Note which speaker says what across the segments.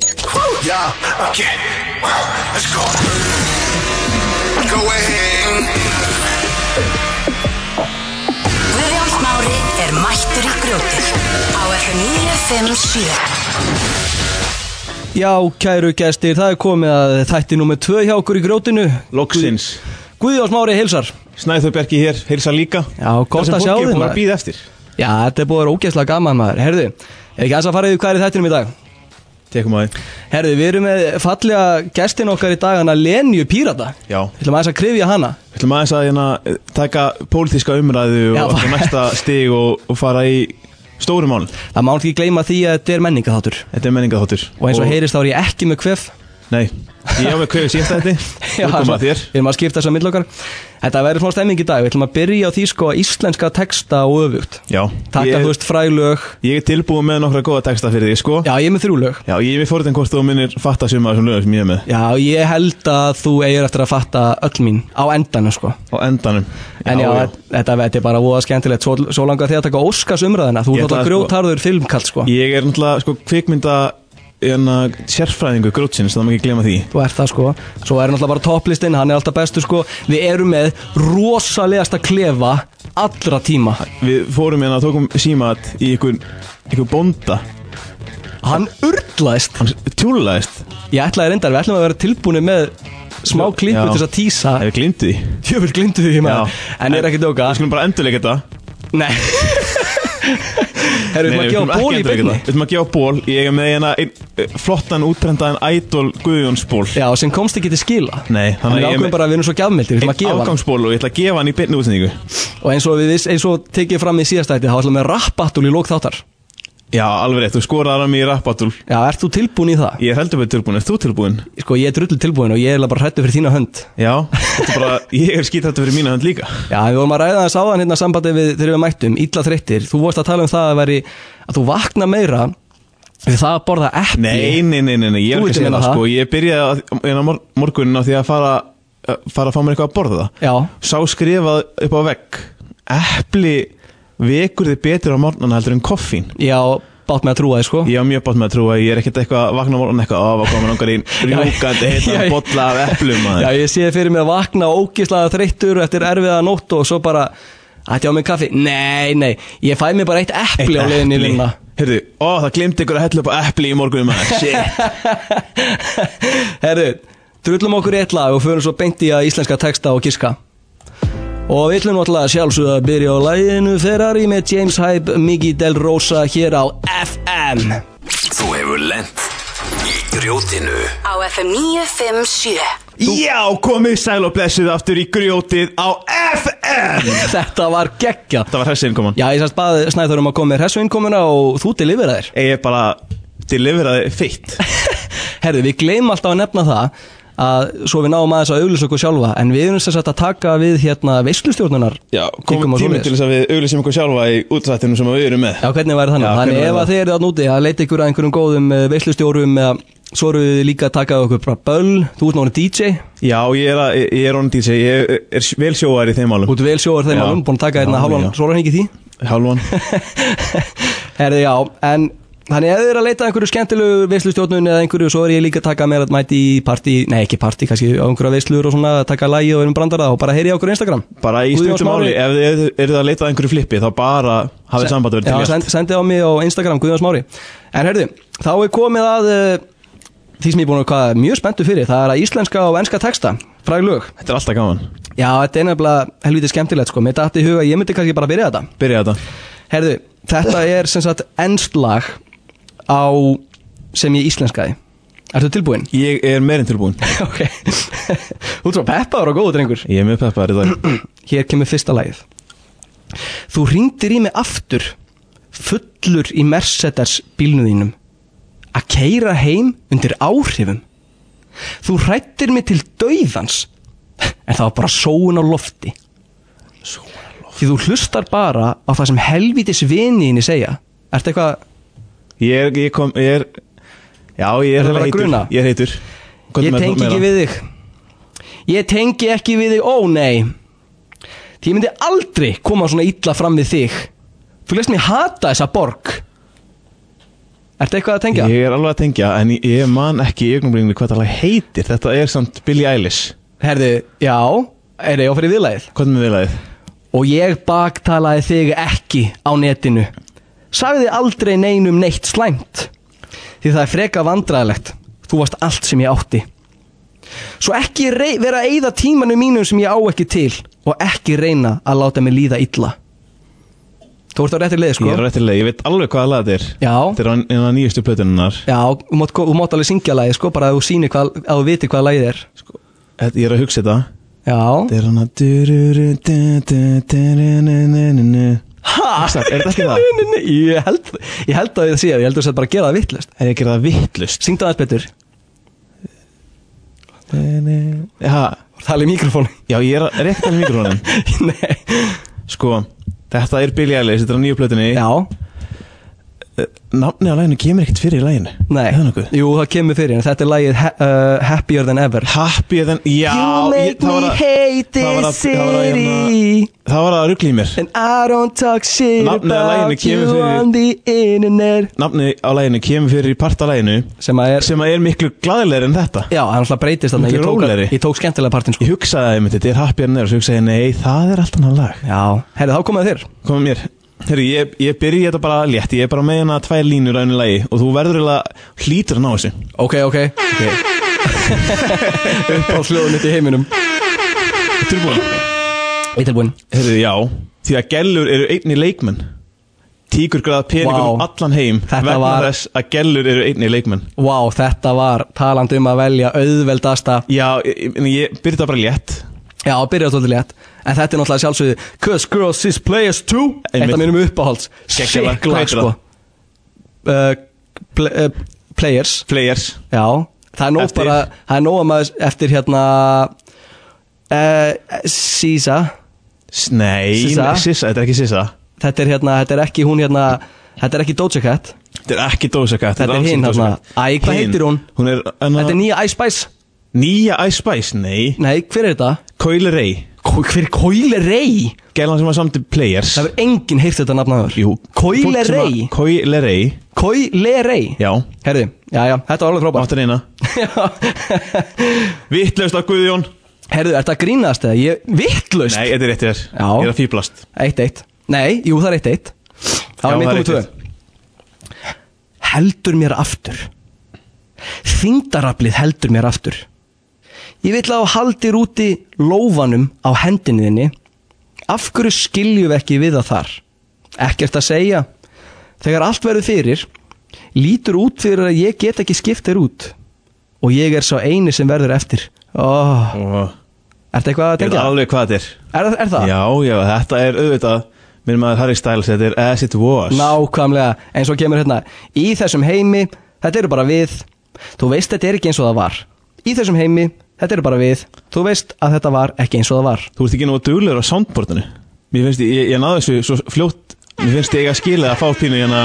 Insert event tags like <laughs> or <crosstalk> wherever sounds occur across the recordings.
Speaker 1: Yeah, okay. Let's go. Go ahead.
Speaker 2: Guðjón Smári er mættur í grjótið á FM 957
Speaker 3: Já, kæru gestir, það er komið að þætti nummer 2 hjá okkur í grjótinu
Speaker 4: Loksins
Speaker 3: Guðjós Mári heilsar
Speaker 4: Snæður Berki hér, heilsa líka
Speaker 3: Já, gott að sjá
Speaker 4: Það sem fólki
Speaker 3: þig,
Speaker 4: er búin
Speaker 3: maður.
Speaker 4: að býða eftir
Speaker 3: Já, þetta er búið að vera ógeðslega gaman maður Herðu, er ekki aðeins að fara yfir hvað er í þættinum í dag?
Speaker 4: Tekum að þið
Speaker 3: Herðu, við erum með fallega gestin okkar í dag hana Lenju Pírata
Speaker 4: Já.
Speaker 3: Við ætlum aðeins að krifja hana
Speaker 4: Við ætlum aðeins að hérna, eh, taka pólitíska umræðu
Speaker 3: Já,
Speaker 4: og
Speaker 3: bara-
Speaker 4: alltaf næsta stig og, og fara í stórum málun
Speaker 3: Það má ekki gleyma því að þetta er menningaþáttur
Speaker 4: Þetta er menningaþáttur
Speaker 3: Og eins og heyrist þá er ég ekki með kvef
Speaker 4: Nei, ég á með hverju síðasta
Speaker 3: <laughs>
Speaker 4: þetta
Speaker 3: Já,
Speaker 4: Þú kom
Speaker 3: svona,
Speaker 4: að þér
Speaker 3: Við erum að skipta þess að okkar Þetta verður svona stemming í dag Við ætlum að byrja á því sko að íslenska texta og öfugt
Speaker 4: Já,
Speaker 3: Takka,
Speaker 4: ég,
Speaker 3: þú veist, fræglög
Speaker 4: ég er tilbúin með nokkra góða texta fyrir þig, sko
Speaker 3: Já, ég er með þrjú lög
Speaker 4: Já, ég er fórðin hvort þú minnir fatta suma af þessum lögum sem ég er með
Speaker 3: Já, ég held að þú eigir eftir að fatta öll mín á endanum sko
Speaker 4: á endanum
Speaker 3: En já, þetta þetta er bara voða skemmtilegt Svo, svo langar þið að taka Óskars umræðina Þú er
Speaker 4: Ég ætla
Speaker 3: náttúrulega
Speaker 4: að sko-
Speaker 3: grjótarður filmkall sko
Speaker 4: Ég er náttúrulega sko kvikmynda hérna, sérfræðingu grótsins, það má ekki glema því
Speaker 3: Þú ert það sko Svo er náttúrulega bara topplistinn, hann er alltaf bestu sko Við erum með rosalegasta klefa allra tíma
Speaker 4: Við fórum hérna og tókum símat í ykkur, ykkur bónda
Speaker 3: Hann urlaðist
Speaker 4: Hann tjúlaðist
Speaker 3: Ég ætlaði reyndar, við ætlum að vera tilbúni með smá klippu
Speaker 4: Já.
Speaker 3: til þess að tísa
Speaker 4: Það við glimtu því
Speaker 3: Jöfnvel glindu því maður En er ekki dóka
Speaker 4: Við skulum bara endurleika þetta
Speaker 3: Nei <laughs> Herru, við maður
Speaker 4: Nei, nei,
Speaker 3: að gefa ból í
Speaker 4: endurleika
Speaker 3: byrni
Speaker 4: þetta. Við skulum að gefa ból Ég er með hérna einn, eh, flottan útrendaðan idol Guðjónsból
Speaker 3: Já, sem komst ekki til skila
Speaker 4: Nei, þannig
Speaker 3: þannig
Speaker 4: að
Speaker 3: að
Speaker 4: ég-
Speaker 3: ákveðum bara að við erum svo gjafmildir Við ætlum að
Speaker 4: Einn
Speaker 3: gefa hann
Speaker 4: afgangsból og ég ætla að gefa hann í beinni útsendingu
Speaker 3: Og eins og við viss, eins og tekið fram í síðastætti Þá ætlum við rappatul í lók þáttar
Speaker 4: Já, alveg rétt, þú skoraðar hann í rappatul
Speaker 3: Já, ert þú tilbúin í það?
Speaker 4: Ég er heldur betur tilbúin, er þú tilbúin?
Speaker 3: Sko, ég er drullu tilbúin og ég er eiginlega bara hrættu fyrir þína hönd
Speaker 4: Já, þetta er bara,
Speaker 3: <laughs>
Speaker 4: ég er skýt fyrir mína hönd líka
Speaker 3: Já, við vorum að ræða þess áðan hérna sambandi við þegar við mættum Ítla þreyttir, þú vorst að tala um það að veri Að þú vakna meira Við það að borða epli
Speaker 4: Nei, nei, nei, nei, nei, ég er
Speaker 3: Þú
Speaker 4: ekki
Speaker 3: ert
Speaker 4: að
Speaker 3: að
Speaker 4: segja
Speaker 3: meina það.
Speaker 4: það sko Ég byrjaði að, en á mor morgunin á því að fara að fara að fá mér eitthvað að borða það
Speaker 3: Já,
Speaker 4: Sá skrifað upp á vegg Epli vekur þið betur á morgnana heldur en koffín
Speaker 3: já, bát með að trúa þið sko
Speaker 4: Ég á mjög bátt með að trúa að ég er ekkert eitthvað að vakna á morgun eitthvað að koma langar í rjúkandi
Speaker 3: Já,
Speaker 4: heitan
Speaker 3: ég-
Speaker 4: bolla af eplum maður.
Speaker 3: Já, ég sé fyrir mér að vakna ógislega þreyttur eftir erfiða nótt og svo bara Ætti á mig kaffi? Nei, nei, ég fæ mér bara eitt epli
Speaker 4: Eitt
Speaker 3: á leiðinni hérna. í <laughs>
Speaker 4: epli.
Speaker 3: vinnuna.
Speaker 4: Heyrðu, ó það glimti ykkur að hella upp á epli í morgunum maður Shit
Speaker 3: Herru, drullum okkur í eitt lag og förum svo beint í að íslenska texta og giska Og við ætlum náttúrulega sjálfsögðu að byrja á læginu Ferrari með James Hype, Miki Del Rosa hér á FM
Speaker 1: Þú hefur lent í grjótinu.
Speaker 2: á FM 957
Speaker 4: Já, komið sæl og blessið aftur í grjótið á FM
Speaker 3: Þetta var geggja
Speaker 4: Það var hessin koman
Speaker 3: Já, ég sannst baði Snæður um að koma með hressuinnkomuna og þú delivera þér
Speaker 4: Ég er bara deliveraði feitt
Speaker 3: Herðu, við gleym alltaf að nefna það að svo við náum aðeins að auglýsa okkur sjálfa en við erum sem sagt að taka við hérna veislustjórnunar
Speaker 4: Já, komum tíminn til
Speaker 3: Já,
Speaker 4: þess að við auðlýsum okkur sjálfa í útrættinu sem við erum með
Speaker 3: hvernig væri þannig?
Speaker 4: Já,
Speaker 3: Þannig
Speaker 4: hvernig væri
Speaker 3: ef að
Speaker 4: það?
Speaker 3: þeir eru að núti að leita ykkur að einhverjum góðum eh, veislustjórum eða svo eru við líka að taka okkur bara böll þú ert náttúrulega DJ
Speaker 4: Já, ég er, að, ég er honum DJ, ég er, er vel sjóar í þeim álum
Speaker 3: út vel sjóar þeim
Speaker 4: Já.
Speaker 3: alveg búin að taka hérna
Speaker 4: Já,
Speaker 3: hálfan
Speaker 4: já.
Speaker 3: sólarhengi í því <laughs>
Speaker 4: Halvan
Speaker 3: Herðu, já, en Þannig ef þið eru að leita að einhverju skemmtilegu veislustjórnun eða einhverju, svo er ég líka að taka mér að mæti í partí, nei ekki partí, kannski á einhverja veislur og svona, taka lagi og erum brandara og bara heyri á okkur á Instagram.
Speaker 4: Bara í
Speaker 3: Guðjón
Speaker 4: stundum
Speaker 3: Smári.
Speaker 4: áli, ef þið eru- eruð að leita að einhverju flippi þá bara hafið samband að
Speaker 3: Já,
Speaker 4: vera til
Speaker 3: send, sendi á mig á Instagram Guðjón Smári En herðu, þá er komið að uh, því sem ég er búin að hvað er mjög spenntu fyrir það er að íslenska og enska texta fræg lög
Speaker 4: Þetta er alltaf gaman,
Speaker 3: Já, þetta er nefnilega helviti skemmtilegt sko mér dætti í huga, að ég myndi kannski bara byrja þetta
Speaker 4: byrja þetta
Speaker 3: Herðu, þetta er sem sagt enskt lag á sem ég íslenskaði Ertu tilbúin?
Speaker 4: Ég er meirinn tilbúin
Speaker 3: ok Þú ert svo peppaður og góður drengur
Speaker 4: Ég er mjög peppar í dag
Speaker 3: <clears throat> Hér kemur fyrsta lagið Þú ringdir í mig aftur Fullur í Mercedes bílnum þínum Að keira heim undir áhrifum Þú hrættir mig til dauðans En það var bara sóun á lofti Því þú hlustar bara á það sem helvítis viniðinni segja Ertu eitthvað,
Speaker 4: Ég er, ég kom, ég er Já, ég
Speaker 3: Er
Speaker 4: er
Speaker 3: það bara
Speaker 4: heitur
Speaker 3: gruna?
Speaker 4: Ég er heitur Hvað
Speaker 3: ég
Speaker 4: með-
Speaker 3: tengi
Speaker 4: meira?
Speaker 3: ekki við þig Ég tengi ekki við þig, ó nei Því ég myndi aldrei koma svona illa fram við þig Þú lest mér hata þessa borg Ertu eitthvað að tengja?
Speaker 4: Ég er alveg að tengja, en ég- ég man ekki í augnumlinginu hvað það alveg heitir Þetta er samt Billie Eilish
Speaker 3: Herðu, já, er ég á fyrir viðlæðið
Speaker 4: Hvað er með viðlaðið?
Speaker 3: Og ég baktalaði þig ekki á netinu Sagði aldrei neinum neitt slæmt Því það er freka vandræðilegt Þú varst allt sem ég átti Svo ekki rey- vera að eyða tímanu mínum sem ég á ekki til Og ekki reyna að láta mig líða illa Þú ert á réttir leið, sko
Speaker 4: Ég er réttilega, ég veit alveg hvaða lag þetta er
Speaker 3: Já.
Speaker 4: Þetta er á- eina af nýjustu plötununnar
Speaker 3: Já, þú mátt, þú mátt alveg syngja lagið, sko Bara að þú sýnir hvað, að þú viti hvað lagið er
Speaker 4: Þetta- Ég er að hugsa þetta
Speaker 3: Já
Speaker 4: Þetta er hann að dururu, du, du, du, du, nu, nu, nu, nu.
Speaker 3: Ha?
Speaker 4: Hugsar, er þetta ekki
Speaker 3: <laughs>
Speaker 4: það?
Speaker 3: Nei, nei, nei, ég held, ég held að ég sé það Ég held að þú sett bara að gera það vittlust
Speaker 4: Er ég að gera það vittlust?
Speaker 3: Syngdu aðeins betur
Speaker 4: Já,
Speaker 3: Tala í mikrofónu
Speaker 4: já, ég er að rekta alveg mikrónin
Speaker 3: <laughs> Nei
Speaker 4: Sko, þetta er Billie Eilish, þetta er á nýju plötunni
Speaker 3: Já,
Speaker 4: Nafni á læginu kemur ekkert fyrir í læginu
Speaker 3: nei
Speaker 4: Er það nokkuð?
Speaker 3: Jú, það kemur fyrir en Þetta er lagið ha uh, Happier Than Ever
Speaker 4: Happy then, já
Speaker 3: You
Speaker 4: ég-
Speaker 3: make
Speaker 4: það var
Speaker 3: me
Speaker 4: að-
Speaker 3: hate
Speaker 4: það var
Speaker 3: this
Speaker 4: að- það var að-
Speaker 3: city
Speaker 4: Það var að ruggla í mér
Speaker 3: And I don't talk shit
Speaker 4: Nafnið á laginu
Speaker 3: about
Speaker 4: kemur
Speaker 3: you
Speaker 4: fyrir-
Speaker 3: on the internet
Speaker 4: Nafni á læginu kemur fyrir í part á læginu
Speaker 3: Sem að er
Speaker 4: Sem að er miklu glæðilegri en þetta
Speaker 3: Já, hann alltaf breytist þarna
Speaker 4: Miklu
Speaker 3: Ég tók,
Speaker 4: rólegri.
Speaker 3: ég tók skemmtilega partinn sko
Speaker 4: Ég hugsaði að þetta er Happy then ever Svo hugsaði ég, nei, það er allt annað lag
Speaker 3: Já, herri, þá komaði þér
Speaker 4: Koma mér Herri, ég, ég byrja þetta bara létt Ég er bara með hana tvær línur á einu lægi Og þú verður eiginlega hlýtur að ná þessu
Speaker 3: Ok, ok <laughs> Ok Upp á sljóðun í heiminum
Speaker 4: Tilbúin
Speaker 3: Ég tilbúin
Speaker 4: Herri, já Því að gellur eru einni leikmenn Tíkur græða peningum
Speaker 3: Vá.
Speaker 4: um allan heim
Speaker 3: Þetta
Speaker 4: Vegna
Speaker 3: var-
Speaker 4: þess að gellur eru einni leikmenn
Speaker 3: Vá, þetta var talandi um að velja auðveldasta
Speaker 4: Já, ég, ég, ég byrja þetta bara létt
Speaker 3: Já, byrjaði svolítið létt En þetta er náttúrulega sjálfsögðu Cause girls is players too
Speaker 4: Einmitt.
Speaker 3: Þetta minnum uppáhalds
Speaker 4: Geggjala, hvað
Speaker 3: Sikla
Speaker 4: heitir
Speaker 3: sko uh, pl uh, Players
Speaker 4: Players
Speaker 3: Já Það er nóg
Speaker 4: Eftir?
Speaker 3: bara Það er nóg að maður eftir hérna uh, Sisa
Speaker 4: S- Nei,
Speaker 3: Sissa.
Speaker 4: nei, Sissa, þetta er ekki Sissa
Speaker 3: Þetta er hérna Þetta er ekki hún hérna Þetta er ekki Doja Cat
Speaker 4: Þetta er ekki Doja Cat
Speaker 3: Þetta er
Speaker 4: alls
Speaker 3: hin
Speaker 4: ekki Doja
Speaker 3: þarna.
Speaker 4: Cat.
Speaker 3: Æ, hvað
Speaker 4: Hin.
Speaker 3: heitir hún?
Speaker 4: Hún er anna,
Speaker 3: Þetta er nýja Ice Spice
Speaker 4: nýja Ice Spice, nei
Speaker 3: Nei, hver er þetta?
Speaker 4: Coil Ray
Speaker 3: Ko- Hver Coyle Ray?
Speaker 4: Gælan sem var samt Players
Speaker 3: Það hefur enginn heyrt þetta nafnaður
Speaker 4: Jú
Speaker 3: Coyle Ray
Speaker 4: Coil Ray
Speaker 3: Coyle Ray
Speaker 4: Já,
Speaker 3: Herði, já, já, þetta var alveg frábært
Speaker 4: áttan eina Vittlaust á Guðjón
Speaker 3: <laughs> Herðu, ert það grínast eða? Ég, vittlaust
Speaker 4: Nei, þetta er rétt þér
Speaker 3: Já.
Speaker 4: Ég er að fýblast
Speaker 3: Eitt eitt Nei, jú það er eitt eitt Það var
Speaker 4: Já,
Speaker 3: mitt
Speaker 4: það er
Speaker 3: nummer tvö
Speaker 4: eitt
Speaker 3: Heldur mér aftur Þingdaraflið heldur mér aftur Ég vil að þú haldir úti lófanum á hendinni þinni Af hverju skiljum við ekki við það þar? Ekkert að segja Þegar allt verður fyrir Lítur út fyrir að ég get ekki skipt þér út Og ég er sá eini sem verður eftir oh,
Speaker 4: Og
Speaker 3: Ertu eitthvað að
Speaker 4: Ég veit
Speaker 3: tengja?
Speaker 4: alveg hvað þetta er
Speaker 3: Er, er það?
Speaker 4: Já, já, þetta er auðvitað Minn maður Harry Styles, þetta er As It Was
Speaker 3: Nákvæmlega, eins og kemur hérna Í þessum heimi, þetta eru bara við Þú veist þetta er ekki eins og það var Í þessum heimi, þetta eru bara við Þú veist að þetta var ekki eins og það var
Speaker 4: Þú ert ekki nú duglegur á soundboardinu Mér finnst, ég, ég náði þessu svo fljótt Mér finnst ég að skila að fá pínu hérna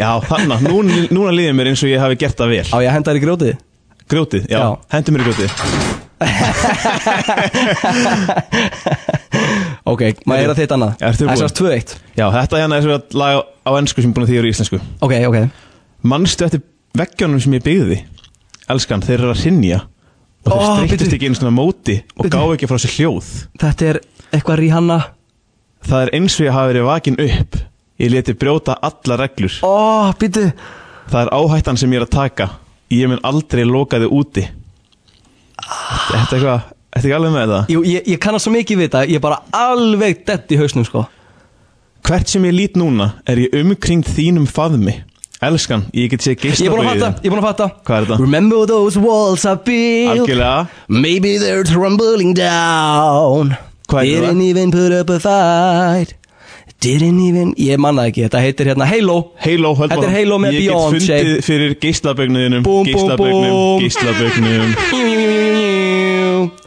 Speaker 4: Já, þarna, núna, núna líður mér eins og ég hafi gert það vel
Speaker 3: Á ég að henda þér í grjótið
Speaker 4: Grjótið, já, já.
Speaker 3: Já.
Speaker 4: hendur mér í grjótið
Speaker 3: <laughs> Ok, maður er að þetta annað Það
Speaker 4: Ertu búinn?
Speaker 3: er sérst 2-1
Speaker 4: Já, þetta hérna er svo lag á- á ennsku sem ég er búin að þýra í íslensku
Speaker 3: Ok, ok
Speaker 4: Manstu eftir veggjónum sem ég byggði Elskan, þeir eru að rinja Og þeir
Speaker 3: Ó,
Speaker 4: streyttist
Speaker 3: bíddu.
Speaker 4: ekki einu svona móti Og
Speaker 3: Bíddu.
Speaker 4: gáðu ekki frá sér hljóð
Speaker 3: Þetta er eitthvað Rihanna
Speaker 4: Það er eins og ég hafi verið vakin upp Ég leti brjóta alla reglur
Speaker 3: Ó, býtu
Speaker 4: Það er áhættan sem ég er að taka Ég mun aldrei loka þig úti Þetta er eitthvað Þetta er ekki alveg með þetta
Speaker 3: Jú, ég, ég kannast svo mikið við þetta Ég er bara alveg dett í hausnum sko
Speaker 4: Hvert sem ég lít núna er ég umkringd þínum faðmi Elskan, ég get séð
Speaker 3: Ég er búin að fatta,
Speaker 4: geislabauðin
Speaker 3: ég er búin að fatta
Speaker 4: Hvað er þetta?
Speaker 3: Remember those walls I built
Speaker 4: Algjörlega
Speaker 2: Maybe
Speaker 3: They're tumbling down
Speaker 4: Hvað heitir
Speaker 3: Didn't
Speaker 4: það?
Speaker 3: even put up a fight Didn't even Ég manna ekki, þetta heitir hérna Halo
Speaker 4: Halo, höldum
Speaker 3: Þetta er
Speaker 4: áfram.
Speaker 3: Halo með
Speaker 4: Ég get
Speaker 3: Beyond,
Speaker 4: fundið
Speaker 3: Jay.
Speaker 4: fyrir geislabögnuðinum
Speaker 3: Búm, búm,
Speaker 4: Geislabögnum,
Speaker 3: búm.
Speaker 4: geislabögnum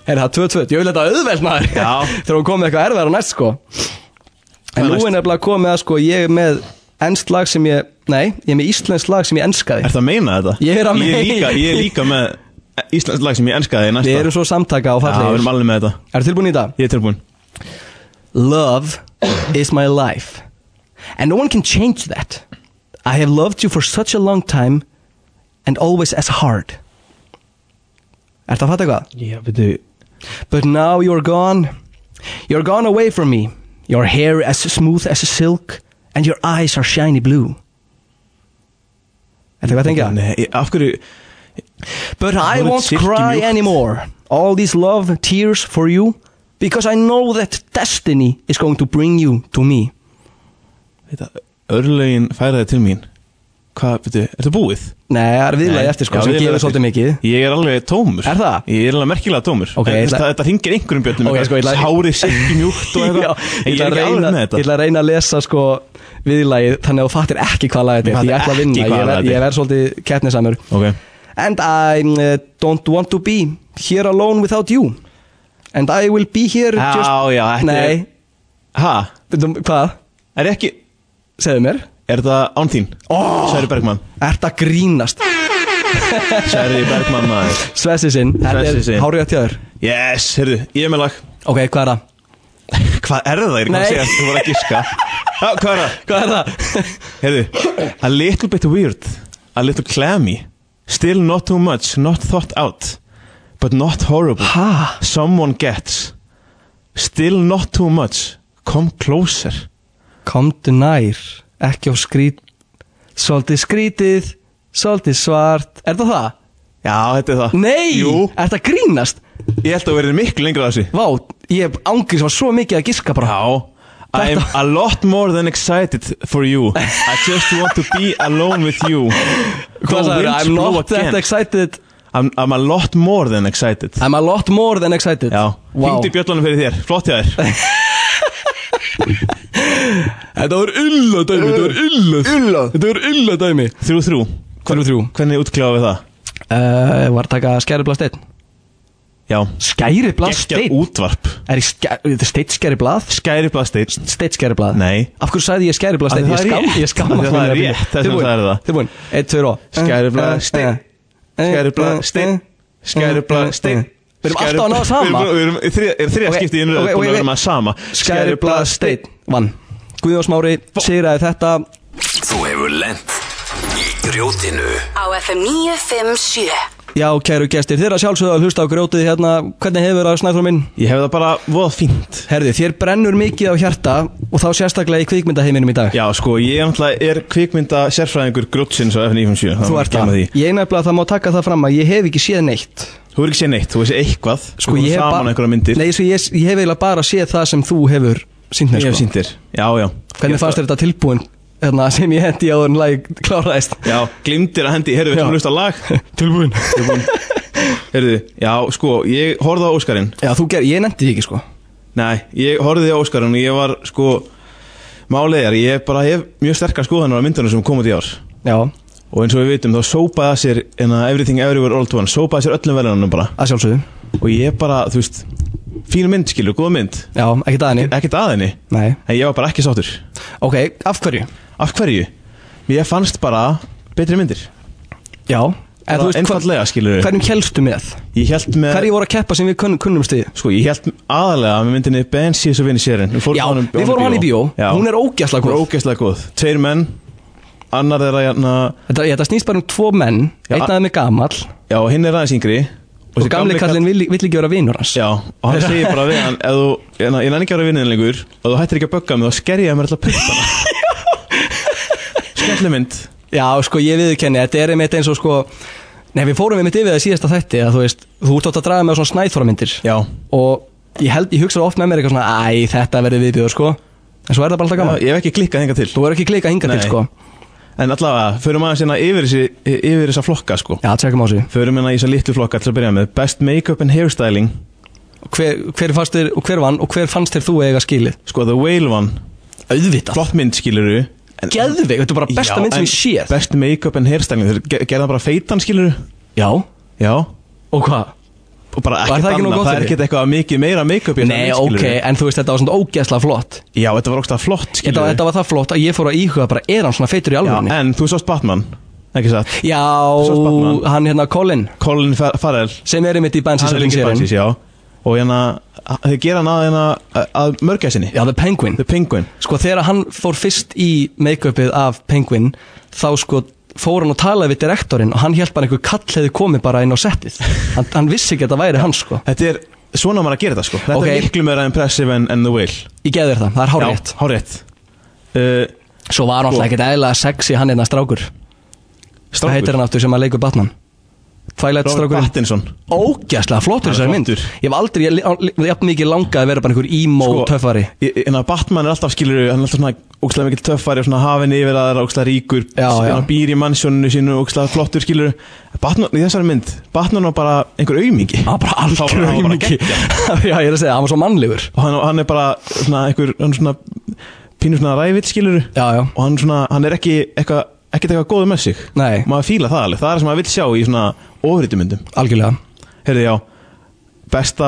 Speaker 3: Er það 2-2, ég vil þetta auðveld maður
Speaker 4: Já.
Speaker 3: <laughs> Þegar hún komið eitthvað erfæra næst sko
Speaker 4: Hvað
Speaker 3: En
Speaker 4: er
Speaker 3: nú
Speaker 4: næst?
Speaker 3: er nefnilega komið að sko Ég er með ennst lag sem ég Nei, ég er með íslensk lag sem ég enskaði
Speaker 4: Er það að meina þetta?
Speaker 3: Ég er að meina-
Speaker 4: líka, ég er líka með Íslands lag sem ég enskaði í næsta
Speaker 3: Við erum svo samtaka og
Speaker 4: Já, við erum
Speaker 3: fallegir
Speaker 4: alveg með þetta
Speaker 3: Er tilbúin í þetta?
Speaker 4: Ég er tilbúin
Speaker 3: Love is my life. And no one can change that. I have loved you for such a long time and always as hard Ertu að fatta eitthvað?
Speaker 4: Já, veitu
Speaker 3: But now you're gone. You're gone away from me. Your hair as smooth as silk and your eyes are shiny blue. Er það hvað að tengja?
Speaker 4: Nei, ég- af hverju
Speaker 3: But I
Speaker 4: Hún er
Speaker 3: won't
Speaker 4: silky
Speaker 3: cry
Speaker 4: mjúkt.
Speaker 3: anymore. All these love tears for you because I know that destiny is going to bring you to me.
Speaker 4: þetta, Örlögin færaði til mín Hvað, veitu, er þetta búið?
Speaker 3: Nei, það er viðlaði
Speaker 4: Nei,
Speaker 3: eftir sko,
Speaker 4: já,
Speaker 3: sem
Speaker 4: viðlagið
Speaker 3: gefur
Speaker 4: eftir.
Speaker 3: svolítið mikið.
Speaker 4: Ég er alveg tómur
Speaker 3: Er það?
Speaker 4: Ég er alveg merkilega tómur
Speaker 3: Ok, ég
Speaker 4: En
Speaker 3: ætla-
Speaker 4: það- Þetta hringir einhverjum bjöndum
Speaker 3: Ok, sko, ég ætla-
Speaker 4: Hárið sikki mjúkt
Speaker 3: <laughs>
Speaker 4: og
Speaker 3: Já,
Speaker 4: eitthvað
Speaker 3: ég
Speaker 4: En Ég er
Speaker 3: ætla
Speaker 4: ekki
Speaker 3: að
Speaker 4: alveg
Speaker 3: reyna-
Speaker 4: með
Speaker 3: ég
Speaker 4: þetta
Speaker 3: ætla að reyna að lesa sko viðlagið þannig að þú fattir ekki hvað lagið þetta er. Því
Speaker 4: Ég
Speaker 3: Ég ætla að
Speaker 4: fatta
Speaker 3: vinna,
Speaker 4: ekki
Speaker 3: ég
Speaker 4: hvað
Speaker 3: verð-
Speaker 4: lagið
Speaker 3: ég
Speaker 4: er.
Speaker 3: verð svolítið kettnisamur.
Speaker 4: Ok
Speaker 3: And I uh, don't want to be here alone without you And I will be here
Speaker 4: Já,
Speaker 3: just
Speaker 4: já, þetta er-
Speaker 3: Nei,
Speaker 4: Ha,
Speaker 3: veitum, hvað?
Speaker 4: er ekki
Speaker 3: Segðu mér
Speaker 4: Er þetta án þín? Oh. Særi Bergmann
Speaker 3: Ert að grínast
Speaker 4: Særi Bergmann maður
Speaker 3: Svessi sinn, þetta
Speaker 4: Svessi
Speaker 3: er
Speaker 4: sinn.
Speaker 3: hárið að tjáður
Speaker 4: Yes, heyrðu, ég er með lag
Speaker 3: Ok, hvað er það?
Speaker 4: Hvað er það? Ég er ekki
Speaker 3: Nei.
Speaker 4: að segja Þú voru að gíska Já, hvað er það?
Speaker 3: Hvað er það?
Speaker 4: Heyrðu A little bit weird A little clammy Still not too much Not thought out But not horrible
Speaker 3: ha?
Speaker 4: Someone gets Still not too much Come closer
Speaker 3: Komdu nær, ekki á skrít Svolítið skrítið, svolítið svart Er það það?
Speaker 4: Já, þetta er það
Speaker 3: Nei,
Speaker 4: Jú,
Speaker 3: ert að grínast?
Speaker 4: ég held að verið miklu lengra á þessu
Speaker 3: Vá, ég ángir sem var svo mikið að giska bara
Speaker 4: Já I'm a lot more than excited for you I just want to be alone with you The
Speaker 3: Hvað sagður,
Speaker 4: winds
Speaker 3: I'm
Speaker 4: blow
Speaker 3: not that
Speaker 4: again.
Speaker 3: excited
Speaker 4: I'm, I'm a lot more than excited
Speaker 3: I'm a lot more than excited
Speaker 4: Já,
Speaker 3: wow.
Speaker 4: hringdi bjöllunum fyrir þér, flott hjá þér
Speaker 3: Þetta var illa dæmi, þetta var illa Illa Þetta var illa dæmi
Speaker 4: Þrjú þrjú,
Speaker 3: Hvernig þrjú?
Speaker 4: hvernig útkláðu við það?
Speaker 3: Uh, var að taka skæriblað steinn
Speaker 4: Já,
Speaker 3: Skæriblað
Speaker 4: geggjað
Speaker 3: steinn?
Speaker 4: útvarp
Speaker 3: Er ég skæ... Þetta er steinn skæriblað?
Speaker 4: Skæri blasteit
Speaker 3: Steinn skæriblað
Speaker 4: Nei.
Speaker 3: Af hverju sagði ég skæriblað steinn?
Speaker 4: Af því það er rétt.
Speaker 3: Ég skam
Speaker 4: Af því það er rétt, þess vegna sagðirðu það.
Speaker 3: Tilbúin, eitt, tveir og Eh,
Speaker 4: Skæriblað steinn. Skæriblað steinn Skæriblað steinn
Speaker 3: Eh, Við erum alltaf að ná sama
Speaker 4: Við erum, við erum, erum þriða
Speaker 3: Ok,
Speaker 4: skipti í innröð
Speaker 3: ok,
Speaker 4: okay,
Speaker 3: ok,
Speaker 4: okay, okay.
Speaker 3: ok.
Speaker 4: Við erum að sama
Speaker 3: Skæriblað steinn Vann Guðjón Smári sigraði þetta
Speaker 1: Þú hefur lent í grjótinu
Speaker 2: á FM 957
Speaker 3: Já, kæru gestir, þeirra sjálfsögðu að hlusta á grjótið hérna Hvernig hefur það snæður um minn?
Speaker 4: Ég hef það bara voða fínt
Speaker 3: Herði, þér brennur mikið á hjarta og þá sérstaklega í kvikmyndaheiminum í dag
Speaker 4: Já sko, ég náttúrulega er kvikmynda sérfræðingur grútsins á FN957
Speaker 3: Þú ert það, ég nefnilega það má taka það fram að ég hef ekki séð neitt
Speaker 4: Þú er ekki séð neitt, þú veist eitthvað
Speaker 3: Sko,
Speaker 4: Við komum
Speaker 3: ég hef
Speaker 4: saman
Speaker 3: ba-
Speaker 4: einhverja myndir
Speaker 3: Nei, sko, ég, ég hef eiginlega bara séð það sem þú hefur sínt mér
Speaker 4: Ég hef
Speaker 3: sko.
Speaker 4: sínt þér Já, já
Speaker 3: Hvernig fannst þér þetta tilbúin hérna, <laughs> sem ég hendi á en lag kláraðist
Speaker 4: Já, glimtir að hendi, heyrðu, við
Speaker 3: Já.
Speaker 4: ætlum að hlusta á lag
Speaker 3: <laughs> Tilbúin
Speaker 4: Heyrðu, já, sko, ég horfði á Óskarinn
Speaker 3: Já, þú ger, ég nefndi því ekki sko
Speaker 4: Nei, ég horfði á Óskarinn og ég var, sko Málið er, ég bara hef mjög sterkar skoðanar á myndunum sem kom út í ár
Speaker 3: Já,
Speaker 4: Og eins og við vitum, þá sópaði það sér en að Everything Everywhere All at One, sópaði sér öllum verðunum bara
Speaker 3: að sjálfsögðu
Speaker 4: Og ég bara, þú veist, fín mynd, skilur, góð mynd
Speaker 3: Já, ekki daginni
Speaker 4: Ekkert að henni,
Speaker 3: Nei,
Speaker 4: en ég var bara ekki sáttur
Speaker 3: ok, af hverju?
Speaker 4: Af hverju? Ég fannst bara betri myndir
Speaker 3: Já, en þú veist
Speaker 4: Bara
Speaker 3: hvað,
Speaker 4: Einfallega, skilur
Speaker 3: hverjum helstu með?
Speaker 4: Ég held með
Speaker 3: Hverju voru að keppa sem við kunn, kunnumst í?
Speaker 4: Sko, ég held aðalega með myndinni Ben Sears og Vinni Sérin Við
Speaker 3: Já, við fórum hann í bíó, hún er ógæsla
Speaker 4: Hún
Speaker 3: góð
Speaker 4: er ógeðslega góð Tveir menn Annar er að hérna
Speaker 3: Þetta, þetta snýst bara um tvo menn
Speaker 4: Já,
Speaker 3: Einn af þeim er gamall
Speaker 4: Já, hinn er aðeins yngri
Speaker 3: Og
Speaker 4: þessi
Speaker 3: gamli
Speaker 4: kall-
Speaker 3: kallinn vill, vill ekki vera vinur hans
Speaker 4: Já, og hann segir bara
Speaker 3: <laughs>
Speaker 4: við hann Ef þú, hérna, ég nenni ekki að vera vinninn lengur Og þú hættir ekki að bögga mig, þá sker ég mér alltaf
Speaker 3: <laughs>
Speaker 4: puttana Skellu mynd
Speaker 3: Já, sko, ég viðkenni Þetta er einmitt eins og sko Nei, við fórum einmitt yfir það í síðasta þætti að, Þú veist, þú ert átt að draga með svona snæþóramyndir
Speaker 4: Já
Speaker 3: Og ég held, ég hugsa oft með mér eitthvað svona Æ, þetta verði viðbjöður, sko En svo er það bara alltaf gaman
Speaker 4: Ég hef ekki klikkað hingað til
Speaker 3: Þú verður ekki klika hingað
Speaker 4: Nei.
Speaker 3: til, sko
Speaker 4: En allavega, förum aðeins hérna yfir, þessi, yfir þessa flokka sko
Speaker 3: Já, tjekkum á þessu
Speaker 4: Förum hérna í þessa litlu flokka til að byrja með Best make-up and hairstyling
Speaker 3: hver, hver fannst þér, og hver vann og hver fannst þér þú eiga skilið?
Speaker 4: Sko, The Whale One
Speaker 3: Auðvitað
Speaker 4: Flott mynd skiluru
Speaker 3: Geðvig, þetta er bara besta
Speaker 4: Já,
Speaker 3: mynd sem
Speaker 4: en
Speaker 3: ég séð
Speaker 4: Best make-up and hairstyling Þeir ge- gerða bara feitan skiluru
Speaker 3: Já,
Speaker 4: Já
Speaker 3: og hvað?
Speaker 4: Og bara
Speaker 3: Var
Speaker 4: ekkert
Speaker 3: það ekki nóg
Speaker 4: annað
Speaker 3: gott
Speaker 4: Það er
Speaker 3: fyrir?
Speaker 4: ekkert eitthvað mikið meira make-up í þessa
Speaker 3: Nei,
Speaker 4: mynd,
Speaker 3: ok,
Speaker 4: skilurðu.
Speaker 3: en þú veist, þetta var svona ógeðslega flott
Speaker 4: Já, þetta var ógstað flott
Speaker 3: þetta,
Speaker 4: skiluru
Speaker 3: þetta var það flott að ég fór að íhuga bara er hann svona feitur í alvörunni
Speaker 4: Já, en þú sást Batman Ekki satt
Speaker 3: Já,
Speaker 4: sást Batman.
Speaker 3: hann hérna Colin
Speaker 4: Colin Fa- Farrell
Speaker 3: sem er einmitt í Bansins
Speaker 4: Hann er líka Bansins, já Og hérna Þeir gera hann að hérna að- Að mörgæsinni
Speaker 3: Já, The Penguin
Speaker 4: The Penguin
Speaker 3: Sko þegar hann fór fyrst í make-upið af Penguin þá sko fór hann og talaði við direktorinn og hann held bara einhver kall hefði komið bara inn á settið hann, hann vissi ekki að það væri hann sko
Speaker 4: Þetta er svona á maður að gera þetta sko Þetta
Speaker 3: Ok.
Speaker 4: er miklu meira impressive en, en The Whale
Speaker 3: ég geði þér það, það er hárétt
Speaker 4: Já, hárétt uh,
Speaker 3: svo var hann
Speaker 4: Sko.
Speaker 3: alltaf ekkert eðlilega sexy hann einna strákur hvað heitir hann aftur sem að leikur Batman Twilight
Speaker 4: Robert
Speaker 3: strákurinn
Speaker 4: Pattinson
Speaker 3: ógæslega flottur
Speaker 4: Hann er
Speaker 3: þessar mynd
Speaker 4: flottur. Sko,
Speaker 3: ég hef aldrei, ég hef mikið langað að vera bara einhver emo töffari
Speaker 4: í- En að Batman er alltaf skilur Hann er alltaf svona ógstlega mikill töffari Og svona hafinn yfir aðra ógstlega ríkur
Speaker 3: Já, já.
Speaker 4: Hann býr í mannsjóninu sínu ógstlega flottur skilur Batman í þessari mynd Batman var bara einhver aumingi
Speaker 3: hann var bara
Speaker 4: Þá var-
Speaker 3: algjör
Speaker 4: hann var bara
Speaker 3: aumingi <laughs> já ég er að segja, hann var svo mannlegur
Speaker 4: Og hann, hann er bara svona einhver Hann er svona pínur svona ræfitt skilur
Speaker 3: já já,
Speaker 4: Og hann, svona, hann er ekki eitthvað ekkert eitthvað góð með sig
Speaker 3: Nei.
Speaker 4: Maður fíla það alveg, það er það sem maður vill sjá í svona ofritumyndum
Speaker 3: algjörlega
Speaker 4: Herði já, besta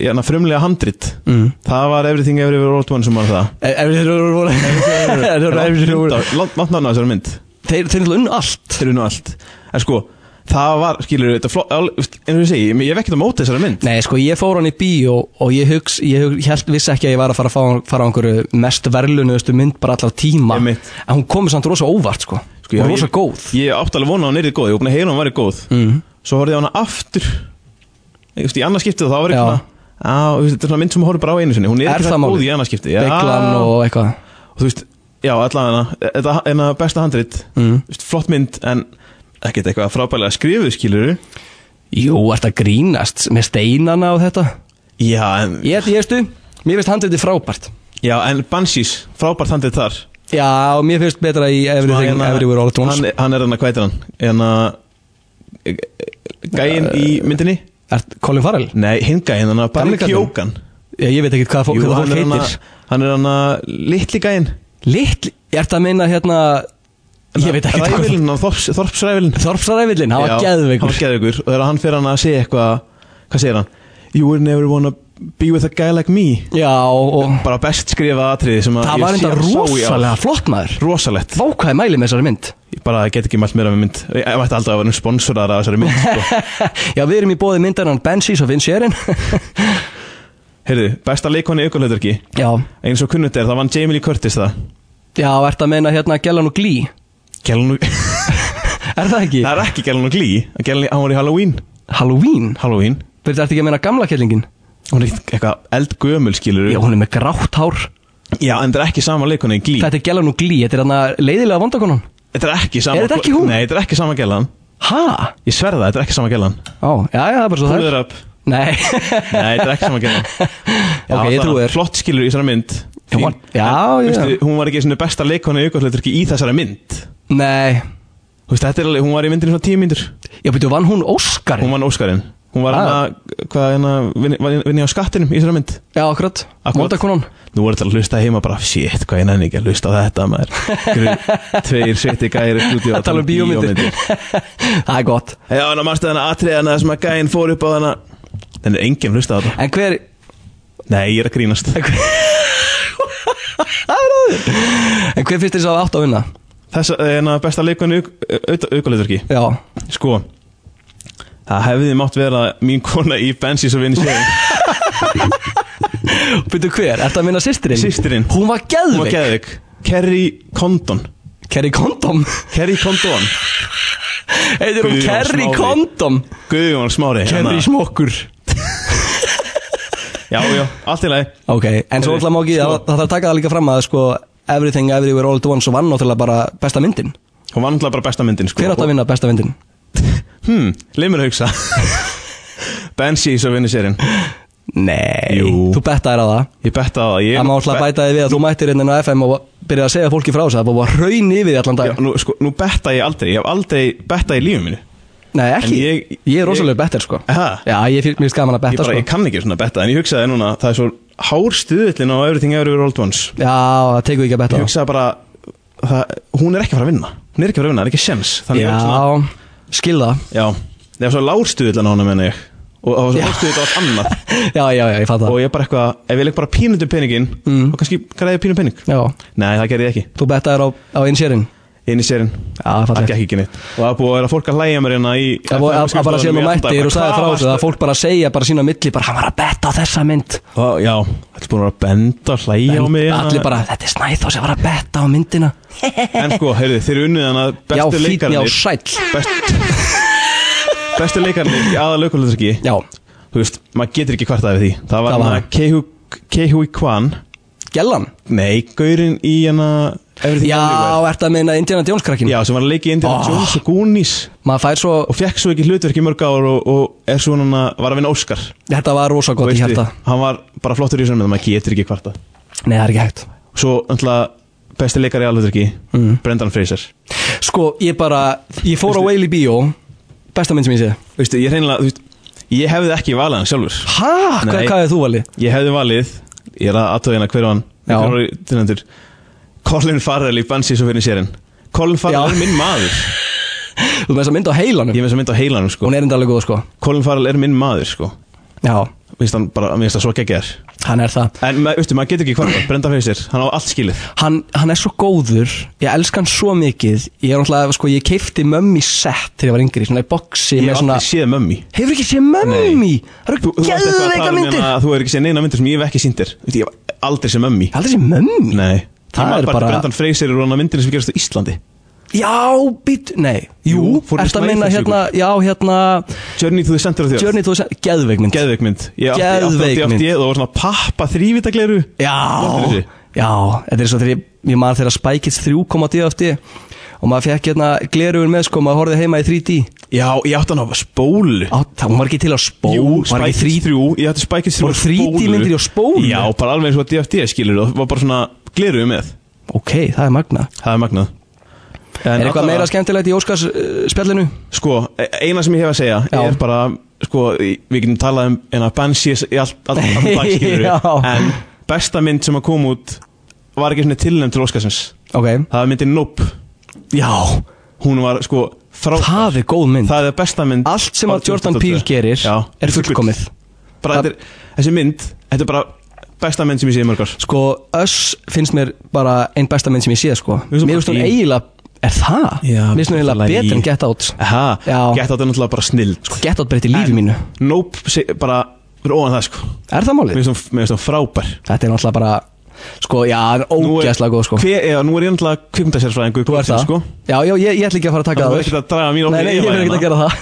Speaker 4: jana, frumlega handrit
Speaker 3: Mm.
Speaker 4: Það var Everything Every World One sem var það
Speaker 3: E- ef ef þeir eru voru <laughs> ef þeir eru- ef þeir eru voru
Speaker 4: Látt náttúrulega þessari mynd
Speaker 3: þeir þeir eru unnu allt
Speaker 4: Þeir eru nú allt En sko, það var, skilur þetta flott al- En þú segi, ég hef ekkert á móti þessari mynd
Speaker 3: Nei, sko, ég fór hann í bíó og ég hugst, ég hug, held, vissi ekki að ég var að fara að fá, fara á einhverju mest verðlunuðustu mynd bara allar tíma
Speaker 4: Einmitt.
Speaker 3: En hún komið samt rosa óvart, sko,
Speaker 4: sko,
Speaker 3: og
Speaker 4: ég-
Speaker 3: rosa góð
Speaker 4: Ég átti alveg vona að hún er góð, ég opnaði heyra að hún væri góð
Speaker 3: mm.
Speaker 4: Svo horfði ég á hana aftur Ég veist, í annarskiptið og það var
Speaker 3: Já.
Speaker 4: ekki svona Já, þú veist, þetta er svona mynd sem maður horfir bara á einu sinni Hún er,
Speaker 3: Er
Speaker 4: ekki
Speaker 3: það
Speaker 4: það
Speaker 3: málið?
Speaker 4: góð í annarskiptið
Speaker 3: Beglan og eitthvað
Speaker 4: og þú veist, já, allavega þetta er það besta handrit
Speaker 3: Mm.
Speaker 4: Þú veist, flott mynd, en ekkert eitthvað frábælega skrifuð, skilur
Speaker 3: Jú, ert að grínast með steinana og þetta
Speaker 4: já, en,
Speaker 3: Ég held ég veistu, mér finnst handriti frábært
Speaker 4: já, en Banshees, frábært handrit þar
Speaker 3: Já, og mér finnst betra í Everything,
Speaker 4: Svona, hérna,
Speaker 3: Everywhere, All at Once
Speaker 4: hann, hann er hann að kvæta hann en að gæinn í myndinni
Speaker 3: Ert Colin Farrell?
Speaker 4: nei, hinn gæinn, hann að
Speaker 3: Uh, Gamli
Speaker 4: bara
Speaker 3: kallinn?
Speaker 4: kjókan
Speaker 3: Já, ég veit ekki hvað fólk, hvað
Speaker 4: hann
Speaker 3: fólk
Speaker 4: er hann
Speaker 3: heitir
Speaker 4: að hann er hann að litli gæinn
Speaker 3: Litt, ert að meina hérna, ég veit ekki hvað
Speaker 4: ræfilinn, Þorps, Þorpsræfilinn
Speaker 3: Þorpsræfillin, hann var
Speaker 4: Hérna, Já,
Speaker 3: geðveikur
Speaker 4: hann var geðveikur og þegar hann fyrir hann að segja eitthvað hvað segir hann? You would never wanna be with a guy like me
Speaker 3: Já, og
Speaker 4: bara best skrifa atriði sem að
Speaker 3: það
Speaker 4: ég
Speaker 3: var
Speaker 4: sé-
Speaker 3: enda
Speaker 4: sá í ár.
Speaker 3: rosalega flott maður
Speaker 4: rosalegt
Speaker 3: Vákvæði mæli með þessari mynd
Speaker 4: ég bara get ekki mælt meira með mynd ég ég mætti aldrei að vera um sponsorar af þessari mynd sko.
Speaker 3: <laughs> Já, við erum í bóði myndarann Banshees og Vin Sherin
Speaker 4: heyrðu besta leikonni aukulöðurki
Speaker 3: <laughs> Já,
Speaker 4: eins og kunnumt er það vann Jamie Lee Curtis það
Speaker 3: já, ert að meina hérna Gellan og Glee <laughs>
Speaker 4: Gellinu
Speaker 3: Er það ekki?
Speaker 4: <laughs> það er ekki Gellinu Glee Gellinu hann var í Halloween
Speaker 3: Halloween?
Speaker 4: Halloween
Speaker 3: Byrðu þetta ekki að meina gamla kellingin?
Speaker 4: hún er ekkert eitthvað eldgömul skilur
Speaker 3: Já, hún er með grátt hár
Speaker 4: já en það er ekki sama leikonni í Glee
Speaker 3: Þetta er Gellan og Glee, þetta er hann leiðilega vandakonan
Speaker 4: þetta er ekki sama
Speaker 3: Er þetta ekki hún?
Speaker 4: nei þetta er ekki sama gellan
Speaker 3: Ha?
Speaker 4: ég sverða þetta er ekki sama gellan
Speaker 3: Ó, já, já, það er bara svo það er
Speaker 4: Pull her up
Speaker 3: Nei
Speaker 4: Nei, þetta er ekki sama að gera
Speaker 3: <laughs> Ok, ég trúi þér
Speaker 4: Flott skilur í þessari mynd
Speaker 3: Já, hún- já,
Speaker 4: En,
Speaker 3: já.
Speaker 4: veistu, Hún var ekki svona besta leikonu í aukvöldleiturki í þessari mynd
Speaker 3: Nei
Speaker 4: Þú veist, þetta er alveg, hún var í myndinu svona tíu myndur
Speaker 3: Já, byrju, vann hún Óskari?
Speaker 4: Hún vann Óskarinn Hún var
Speaker 3: Ah.
Speaker 4: hérna, hvað hérna, vinni- var vinni á skattinum í þessari mynd
Speaker 3: Já, akkurat
Speaker 4: Akkurat.
Speaker 3: Vandakonan
Speaker 4: Nú voru þetta að hlusta heima bara, shit, hvað ég nenni ekki að hlusta á þetta maður Einhverjir Tveir sveiti gæri
Speaker 3: <laughs>
Speaker 4: stúdíu
Speaker 3: Að tala um bíómyndir Það er gott
Speaker 4: Já, hann að mannstu þarna atriðana sem að gæinn fór upp á þarna Þannig er enginn að hlusta á þetta
Speaker 3: En hver,
Speaker 4: Nei, ég er að grínast
Speaker 3: en hver finnst þér sá átt að vinna?
Speaker 4: Þessa, hérna, besta leikonu í aukvöldleiturki
Speaker 3: Já
Speaker 4: Sko Það hefði mátt vera mín kona í Bensís og vinn sér <laughs>
Speaker 3: Byrju, hver? Ert að vinna sýstirinn?
Speaker 4: Systirinn.
Speaker 3: Hún var
Speaker 4: Hún var
Speaker 3: geðvik
Speaker 4: geðvik Kerry Condon
Speaker 3: Kerry Condom
Speaker 4: Kerry Condon
Speaker 3: Heitir hún
Speaker 4: Guðjón
Speaker 3: Kerry
Speaker 4: Smári.
Speaker 3: Condom
Speaker 4: Guðjón Smári
Speaker 3: Kerry
Speaker 4: hérna.
Speaker 3: Smokkur
Speaker 4: Já, já, allt í lagi
Speaker 3: Ok, en svo
Speaker 4: Heyrðu,
Speaker 3: alltaf má ekki
Speaker 4: sko.
Speaker 3: Það það þarf að taka það líka fram að sko Everything, Everywhere, All at Once og vann náttúrulega bara besta myndin
Speaker 4: Hún var náttúrulega bara besta myndin sko.
Speaker 3: Hver átt að vinna besta myndin?
Speaker 4: Hmm, leið mér að hugsa Bensís og vinn sérinn
Speaker 3: Nei
Speaker 4: Jú.
Speaker 3: Þú bettaðir að það
Speaker 4: Ég betta á það Ég
Speaker 3: Það má alltaf bæta þig við að þú mættir hérna inn á FM og byrja að segja fólki frá þess að það var raun yfir því allan dag
Speaker 4: Já, nú, sko, nú betta ég aldrei Ég hef aldrei betta í lífum minu
Speaker 3: Nei, ekki,
Speaker 4: En
Speaker 3: ég,
Speaker 4: ég-
Speaker 3: er rosalega better sko
Speaker 4: Ha?
Speaker 3: Já, ég fyrir mér finnst gaman að
Speaker 4: Ég,
Speaker 3: betta
Speaker 4: bara,
Speaker 3: sko
Speaker 4: ég kann ekki svona betta En ég hugsaði núna Það er svo hár stuðullin á Everything Everywhere All at Once
Speaker 3: Já, það tekur ekki að betta
Speaker 4: Ég
Speaker 3: það
Speaker 4: hugsaði bara það, Hún er ekki að fara að vinna Hún er ekki að fara að vinna, það er ekki sjens Þannig ég hugsaði
Speaker 3: Já, skil það
Speaker 4: svona, Já, það var svo lárstuðillan á hana menna ég Og það var svo lárstuðillan á allt annað
Speaker 3: <laughs> Já, já, já, ég fatt það
Speaker 4: Og ég bara eitthvað, ef ég leik bara pínutum peningin
Speaker 3: Mm.
Speaker 4: Og kannski græði ég pínu pening
Speaker 3: Já,
Speaker 4: Nei, það gerði ég ekki
Speaker 3: þú bettaðir á, á einsérinn
Speaker 4: inn í sérin
Speaker 3: Já,
Speaker 4: það
Speaker 3: fallegt.
Speaker 4: gekk ekki neitt og það er búið að vera fólk að hlæja mér hérna í
Speaker 3: Það var það var bara síðan þú mættir og sagði frá þessu Það fólk bara segja bara sína á milli bara hann var að betta á þessa mynd
Speaker 4: það já þetta er búin að vera að benda og hlæja á mig hérna.
Speaker 3: Allir bara þetta er snæð og sem var að betta á myndina
Speaker 4: en sko heyrðu þeir eru unnið hana
Speaker 3: Já,
Speaker 4: bestu
Speaker 3: fýtni á
Speaker 4: leikarnir
Speaker 3: sæll
Speaker 4: best, bestu leikarnir í aða lögulöðsarki
Speaker 3: Já,
Speaker 4: þú veist maður getur ekki kvartað við því það var
Speaker 3: Það var
Speaker 4: hana
Speaker 3: hann.
Speaker 4: Kehu Kehui Kwan
Speaker 3: gellan
Speaker 4: nei gaurinn í hana Everything
Speaker 3: Já,
Speaker 4: Everywhere.
Speaker 3: ertu að meina Indiana Jones krakkin
Speaker 4: já sem var að leika í Indiana
Speaker 3: Oh.
Speaker 4: Jones og Goonies
Speaker 3: Maður fær svo,
Speaker 4: og fekk svo ekki hlutverk í mörg ár og, og er svona var að vinna Óskar
Speaker 3: þetta var rosa gott í
Speaker 4: Veistu,
Speaker 3: hjarta
Speaker 4: hann var bara flottur í þessum með maður getur ekki kvarta
Speaker 3: Nei, það er ekki hægt
Speaker 4: svo náttúrulega besti leikari í alveg
Speaker 3: Mm.
Speaker 4: Brendan Fraser
Speaker 3: Sko, ég bara, ég fór á Whaley Bíó Besta mynd sem ég sé
Speaker 4: veistu, ég reynilega þú veist, ég hefði ekki valið hann sjálfur
Speaker 3: Hæ? Hvað,
Speaker 4: Nei.
Speaker 3: hvað er þú valið?
Speaker 4: ég hefði valið ég er að aðtöða hérna hver var hann
Speaker 3: Já.
Speaker 4: hver var tilnendur Colin Farrell í Banshees og fyrir sérinn Colin Farrell
Speaker 3: Já.
Speaker 4: er minn maður
Speaker 3: Þú með þess að mynda á heilanum
Speaker 4: ég er með þess að mynda á heilanum sko
Speaker 3: Hún er enda alveg góð, sko
Speaker 4: Colin Farrell er minn maður sko
Speaker 3: Já,
Speaker 4: minnst hann bara, minnst það svo geggjær
Speaker 3: hann er það
Speaker 4: en ma- veistu, maður getur ekki hvarta Brendan Fraser, hann á allt skilið
Speaker 3: hann, hann er svo góður Ég elska hann svo mikið Ég er náttúrulega, sko, ég keipti mömmi sett Þegar ég var yngri, svona í boxi
Speaker 4: ég
Speaker 3: með
Speaker 4: hef
Speaker 3: svona
Speaker 4: aldrei séð mömmi
Speaker 3: Hefur ekki séð mömmi? Það eru
Speaker 4: Þú- þú varst eitthvað að tala
Speaker 3: geðveika
Speaker 4: um
Speaker 3: myndir
Speaker 4: hérna
Speaker 3: Ég
Speaker 4: að Þú er ekki séð neina myndir sem ég hef ekki sýndir Ég hef aldrei séð mömmi
Speaker 3: hef Aldrei séð mömmi?
Speaker 4: Nei
Speaker 3: Það
Speaker 4: Ég man
Speaker 3: er bara-
Speaker 4: Brendan Fraser er hann að myndir sem gerast á Íslandi
Speaker 3: Já, být, nei Jú,
Speaker 4: Jú, fór í
Speaker 3: ertu að
Speaker 4: Snæfellsjökul.
Speaker 3: minna hérna Já, hérna
Speaker 4: Journey to the Center of the Earth
Speaker 3: Journey to the Sun, geðveik mynd
Speaker 4: Geðveik mynd Ég átti- átti-
Speaker 3: Geðveik
Speaker 4: átti-
Speaker 3: mynd.
Speaker 4: átti ég- Það var svona pappa þrývitagleru Máttu
Speaker 3: Já,
Speaker 4: þessi?
Speaker 3: já, þetta er svo þegar ég, ég maður þegar spækits 3 kom á DFT og maður fekk hérna glerugur með sko, maður horfið heima í 3D
Speaker 4: Já, ég átti hann á spólu
Speaker 3: Á, það hún var ekki til á spó, var ekki 3D
Speaker 4: 3 Ég átti Spikes 3
Speaker 3: Voru 3D myndir í á spólu?
Speaker 4: Já, bara alveg eins og DFD skilur Það var bara svona gleru með
Speaker 3: Ok, það er magna
Speaker 4: Það er magnað en
Speaker 3: Er eitthvað
Speaker 4: allavega-
Speaker 3: meira skemmtilegt í Óskars uh, spjallinu?
Speaker 4: Sko, e- eina sem ég hef að segja
Speaker 3: Já.
Speaker 4: er bara, sko, í- við getum talað um en að Banshees í allt, allt, allt
Speaker 3: <laughs>
Speaker 4: dag skilur
Speaker 3: Já.
Speaker 4: en besta mynd sem að kom út var ekki svona tilnæmt til Óskarsins
Speaker 3: Ok,
Speaker 4: það var myndin Nope
Speaker 3: já,
Speaker 4: hún var sko frá
Speaker 3: það er góð mynd
Speaker 4: það er besta mynd
Speaker 3: Allt sem að
Speaker 4: Árið
Speaker 3: Jordan
Speaker 4: 2022.
Speaker 3: Peele gerir
Speaker 4: Já.
Speaker 3: er fullkomið
Speaker 4: bara, þetta er, þessi mynd, þetta er bara besta mynd sem ég sé í mörgars
Speaker 3: Sko, Öss finnst mér bara einn besta mynd sem ég sé sko
Speaker 4: finnst hún
Speaker 3: Mér finnst hún
Speaker 4: bara í-
Speaker 3: eiginlega, er það?
Speaker 4: Já,
Speaker 3: Mér finnst hún eiginlega
Speaker 4: í-
Speaker 3: betur en Get Out
Speaker 4: Aha,
Speaker 3: Já.
Speaker 4: gett á þetta náttúrulega bara snild sko,
Speaker 3: Get Out breytti lífi mínu
Speaker 4: Nope, se, bara fyrir ofan það sko
Speaker 3: Er það málið?
Speaker 4: mér finnst hún- mér finnst hún frábær
Speaker 3: Þetta er náttúrulega bara Sko, já, hann er
Speaker 4: Nú er-
Speaker 3: ógeðslega góð sko
Speaker 4: hver, já, nú er ég náttúrulega kvikmyndasérfræðingu
Speaker 3: Þú ert það
Speaker 4: sko.
Speaker 3: Já, já, ég, ég ætla ekki að fara að taka
Speaker 4: Það
Speaker 3: það
Speaker 4: er ekkert að draga mín
Speaker 3: Nei, nei, ég verð ekki að gera það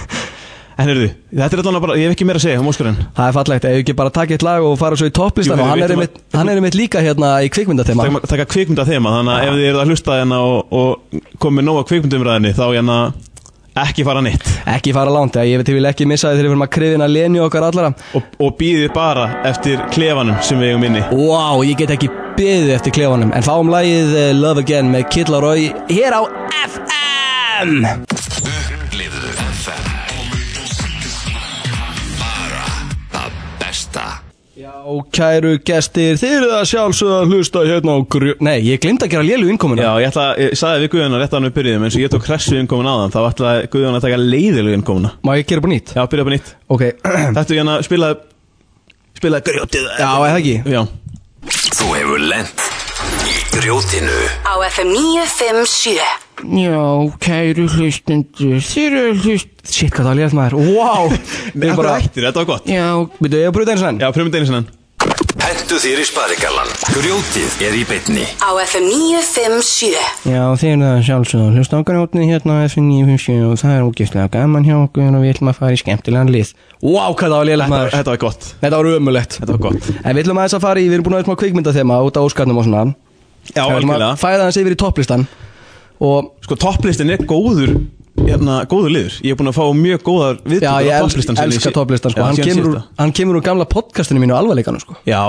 Speaker 4: En heyrðu, þetta er allan að bara, ég hef ekki meira að segja um Óskarinn
Speaker 3: Það er fallegt, ef ekki bara taka eitt lag og fara svo í topplistan
Speaker 4: Jú,
Speaker 3: og hann
Speaker 4: við
Speaker 3: er,
Speaker 4: vitum
Speaker 3: einmitt, hann er einmitt líka hérna í kvikmyndatema
Speaker 4: Taka, taka kvikmynda þema, þannig að ef þið eruð að hlusta hérna og, og komið nóg að kvikmyndumræðinni þá hérna ekki fara neitt
Speaker 3: Ekki fara langt, eða ég veit ég vil ekki missa þið þegar við erum að krifina lenju okkar allara
Speaker 4: og, og býðið bara eftir klefanum sem við eigum inni
Speaker 3: Vá, ég get ekki beðið eftir klefanum En fáum lagið eh, Love Again með Kid Laroi hér á FM
Speaker 1: Upplifðu FM Bara það besta
Speaker 3: Já, kæru gestir, þið eru það sjálfsögða að hlusta hérna á grjó... Nei, ég glemd að gera lélu innkomuna
Speaker 4: Já, ég ætla, ég sagði við Guðjón að rétt ánum við byrjuðum eins og ég tók hressu innkomin aðan þá ætlaði Guðjón að taka leiðilegu innkomina
Speaker 3: Má ég gera búin nýtt?
Speaker 4: Já, byrja upp á nýtt
Speaker 3: Ok, <clears throat>
Speaker 4: Þetta er hérna spilaði spilaði grjótið
Speaker 3: já, eða ekki
Speaker 4: Já,
Speaker 1: Þú hefur lent í grjótinu
Speaker 2: Á FM 957
Speaker 5: Já, kæru hlustendur, þeir eru hlust...
Speaker 3: Shit, hvað það létt maður,
Speaker 5: <laughs>
Speaker 3: wow Við erum bara,
Speaker 4: þetta er hættir, þetta var gott
Speaker 5: Já,
Speaker 3: byrju, ég að bruta eins og enn
Speaker 4: Já, pröfum þetta einu sinni enn.
Speaker 1: Hentu þér í sparigallan Grjótið er í beinni
Speaker 2: Á FM 957
Speaker 5: Já, þeir eru það sjálfsögðu hlusta okkar átnið hérna á FN957 og það er ógeðslega gaman hjá okkur og við ætlum að fara í skemmtilegan lið.
Speaker 3: Wow, hvað það var létt
Speaker 4: Þetta
Speaker 3: maður
Speaker 4: þetta var gott
Speaker 3: Þetta var ömulegt
Speaker 4: Þetta var gott
Speaker 3: En við ætlum aðeins að fara í, við erum búin að eitthvað kvikmynda þema út á óskarnum og svona
Speaker 4: Já,
Speaker 3: Við ætlum að
Speaker 4: algjörlega
Speaker 3: fæða aðeins yfir í topplistan Og,
Speaker 4: Sko topplistin er góður hérna, góður liður Ég er búinn að fá mjög góðar
Speaker 3: já,
Speaker 4: viðtökur
Speaker 3: ég
Speaker 4: á
Speaker 3: els,
Speaker 4: topplistan sem ég
Speaker 3: elska
Speaker 4: sé-
Speaker 3: topplistan sko
Speaker 4: Já,
Speaker 3: hann,
Speaker 4: síðan
Speaker 3: kemur úr,
Speaker 4: síðasta.
Speaker 3: hann kemur úr gamla podcastinu mínu alvarleikanu sko
Speaker 4: Já,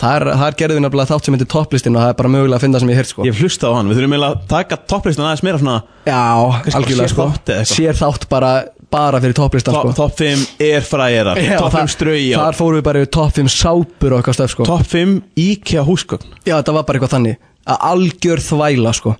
Speaker 3: Þar, þar gerðum við nefnilega þátt sem heitir topplistin og það er bara mögulega að finna sem ég heyrt sko
Speaker 4: ég hef hlustað á hann Við þurfum eiginlega að taka topplistan aðeins meira svona
Speaker 3: Já,
Speaker 4: Kannski bara
Speaker 3: algjörlega
Speaker 4: sér
Speaker 3: sko
Speaker 4: þátt eða eitthvað.
Speaker 3: Sér þátt bara, bara fyrir topplistan
Speaker 4: to-
Speaker 3: sko
Speaker 4: Topp 5 er fræjera
Speaker 3: Já,
Speaker 4: Topp
Speaker 3: það-
Speaker 4: 5 strauja
Speaker 3: Þar fórum við bara yfir topp 5 sápur og eitthvað stöf sko
Speaker 4: Topp 5 IKEA húsgögn
Speaker 3: Já, þetta var bara eitthvað þannig að Algjör þvæla sko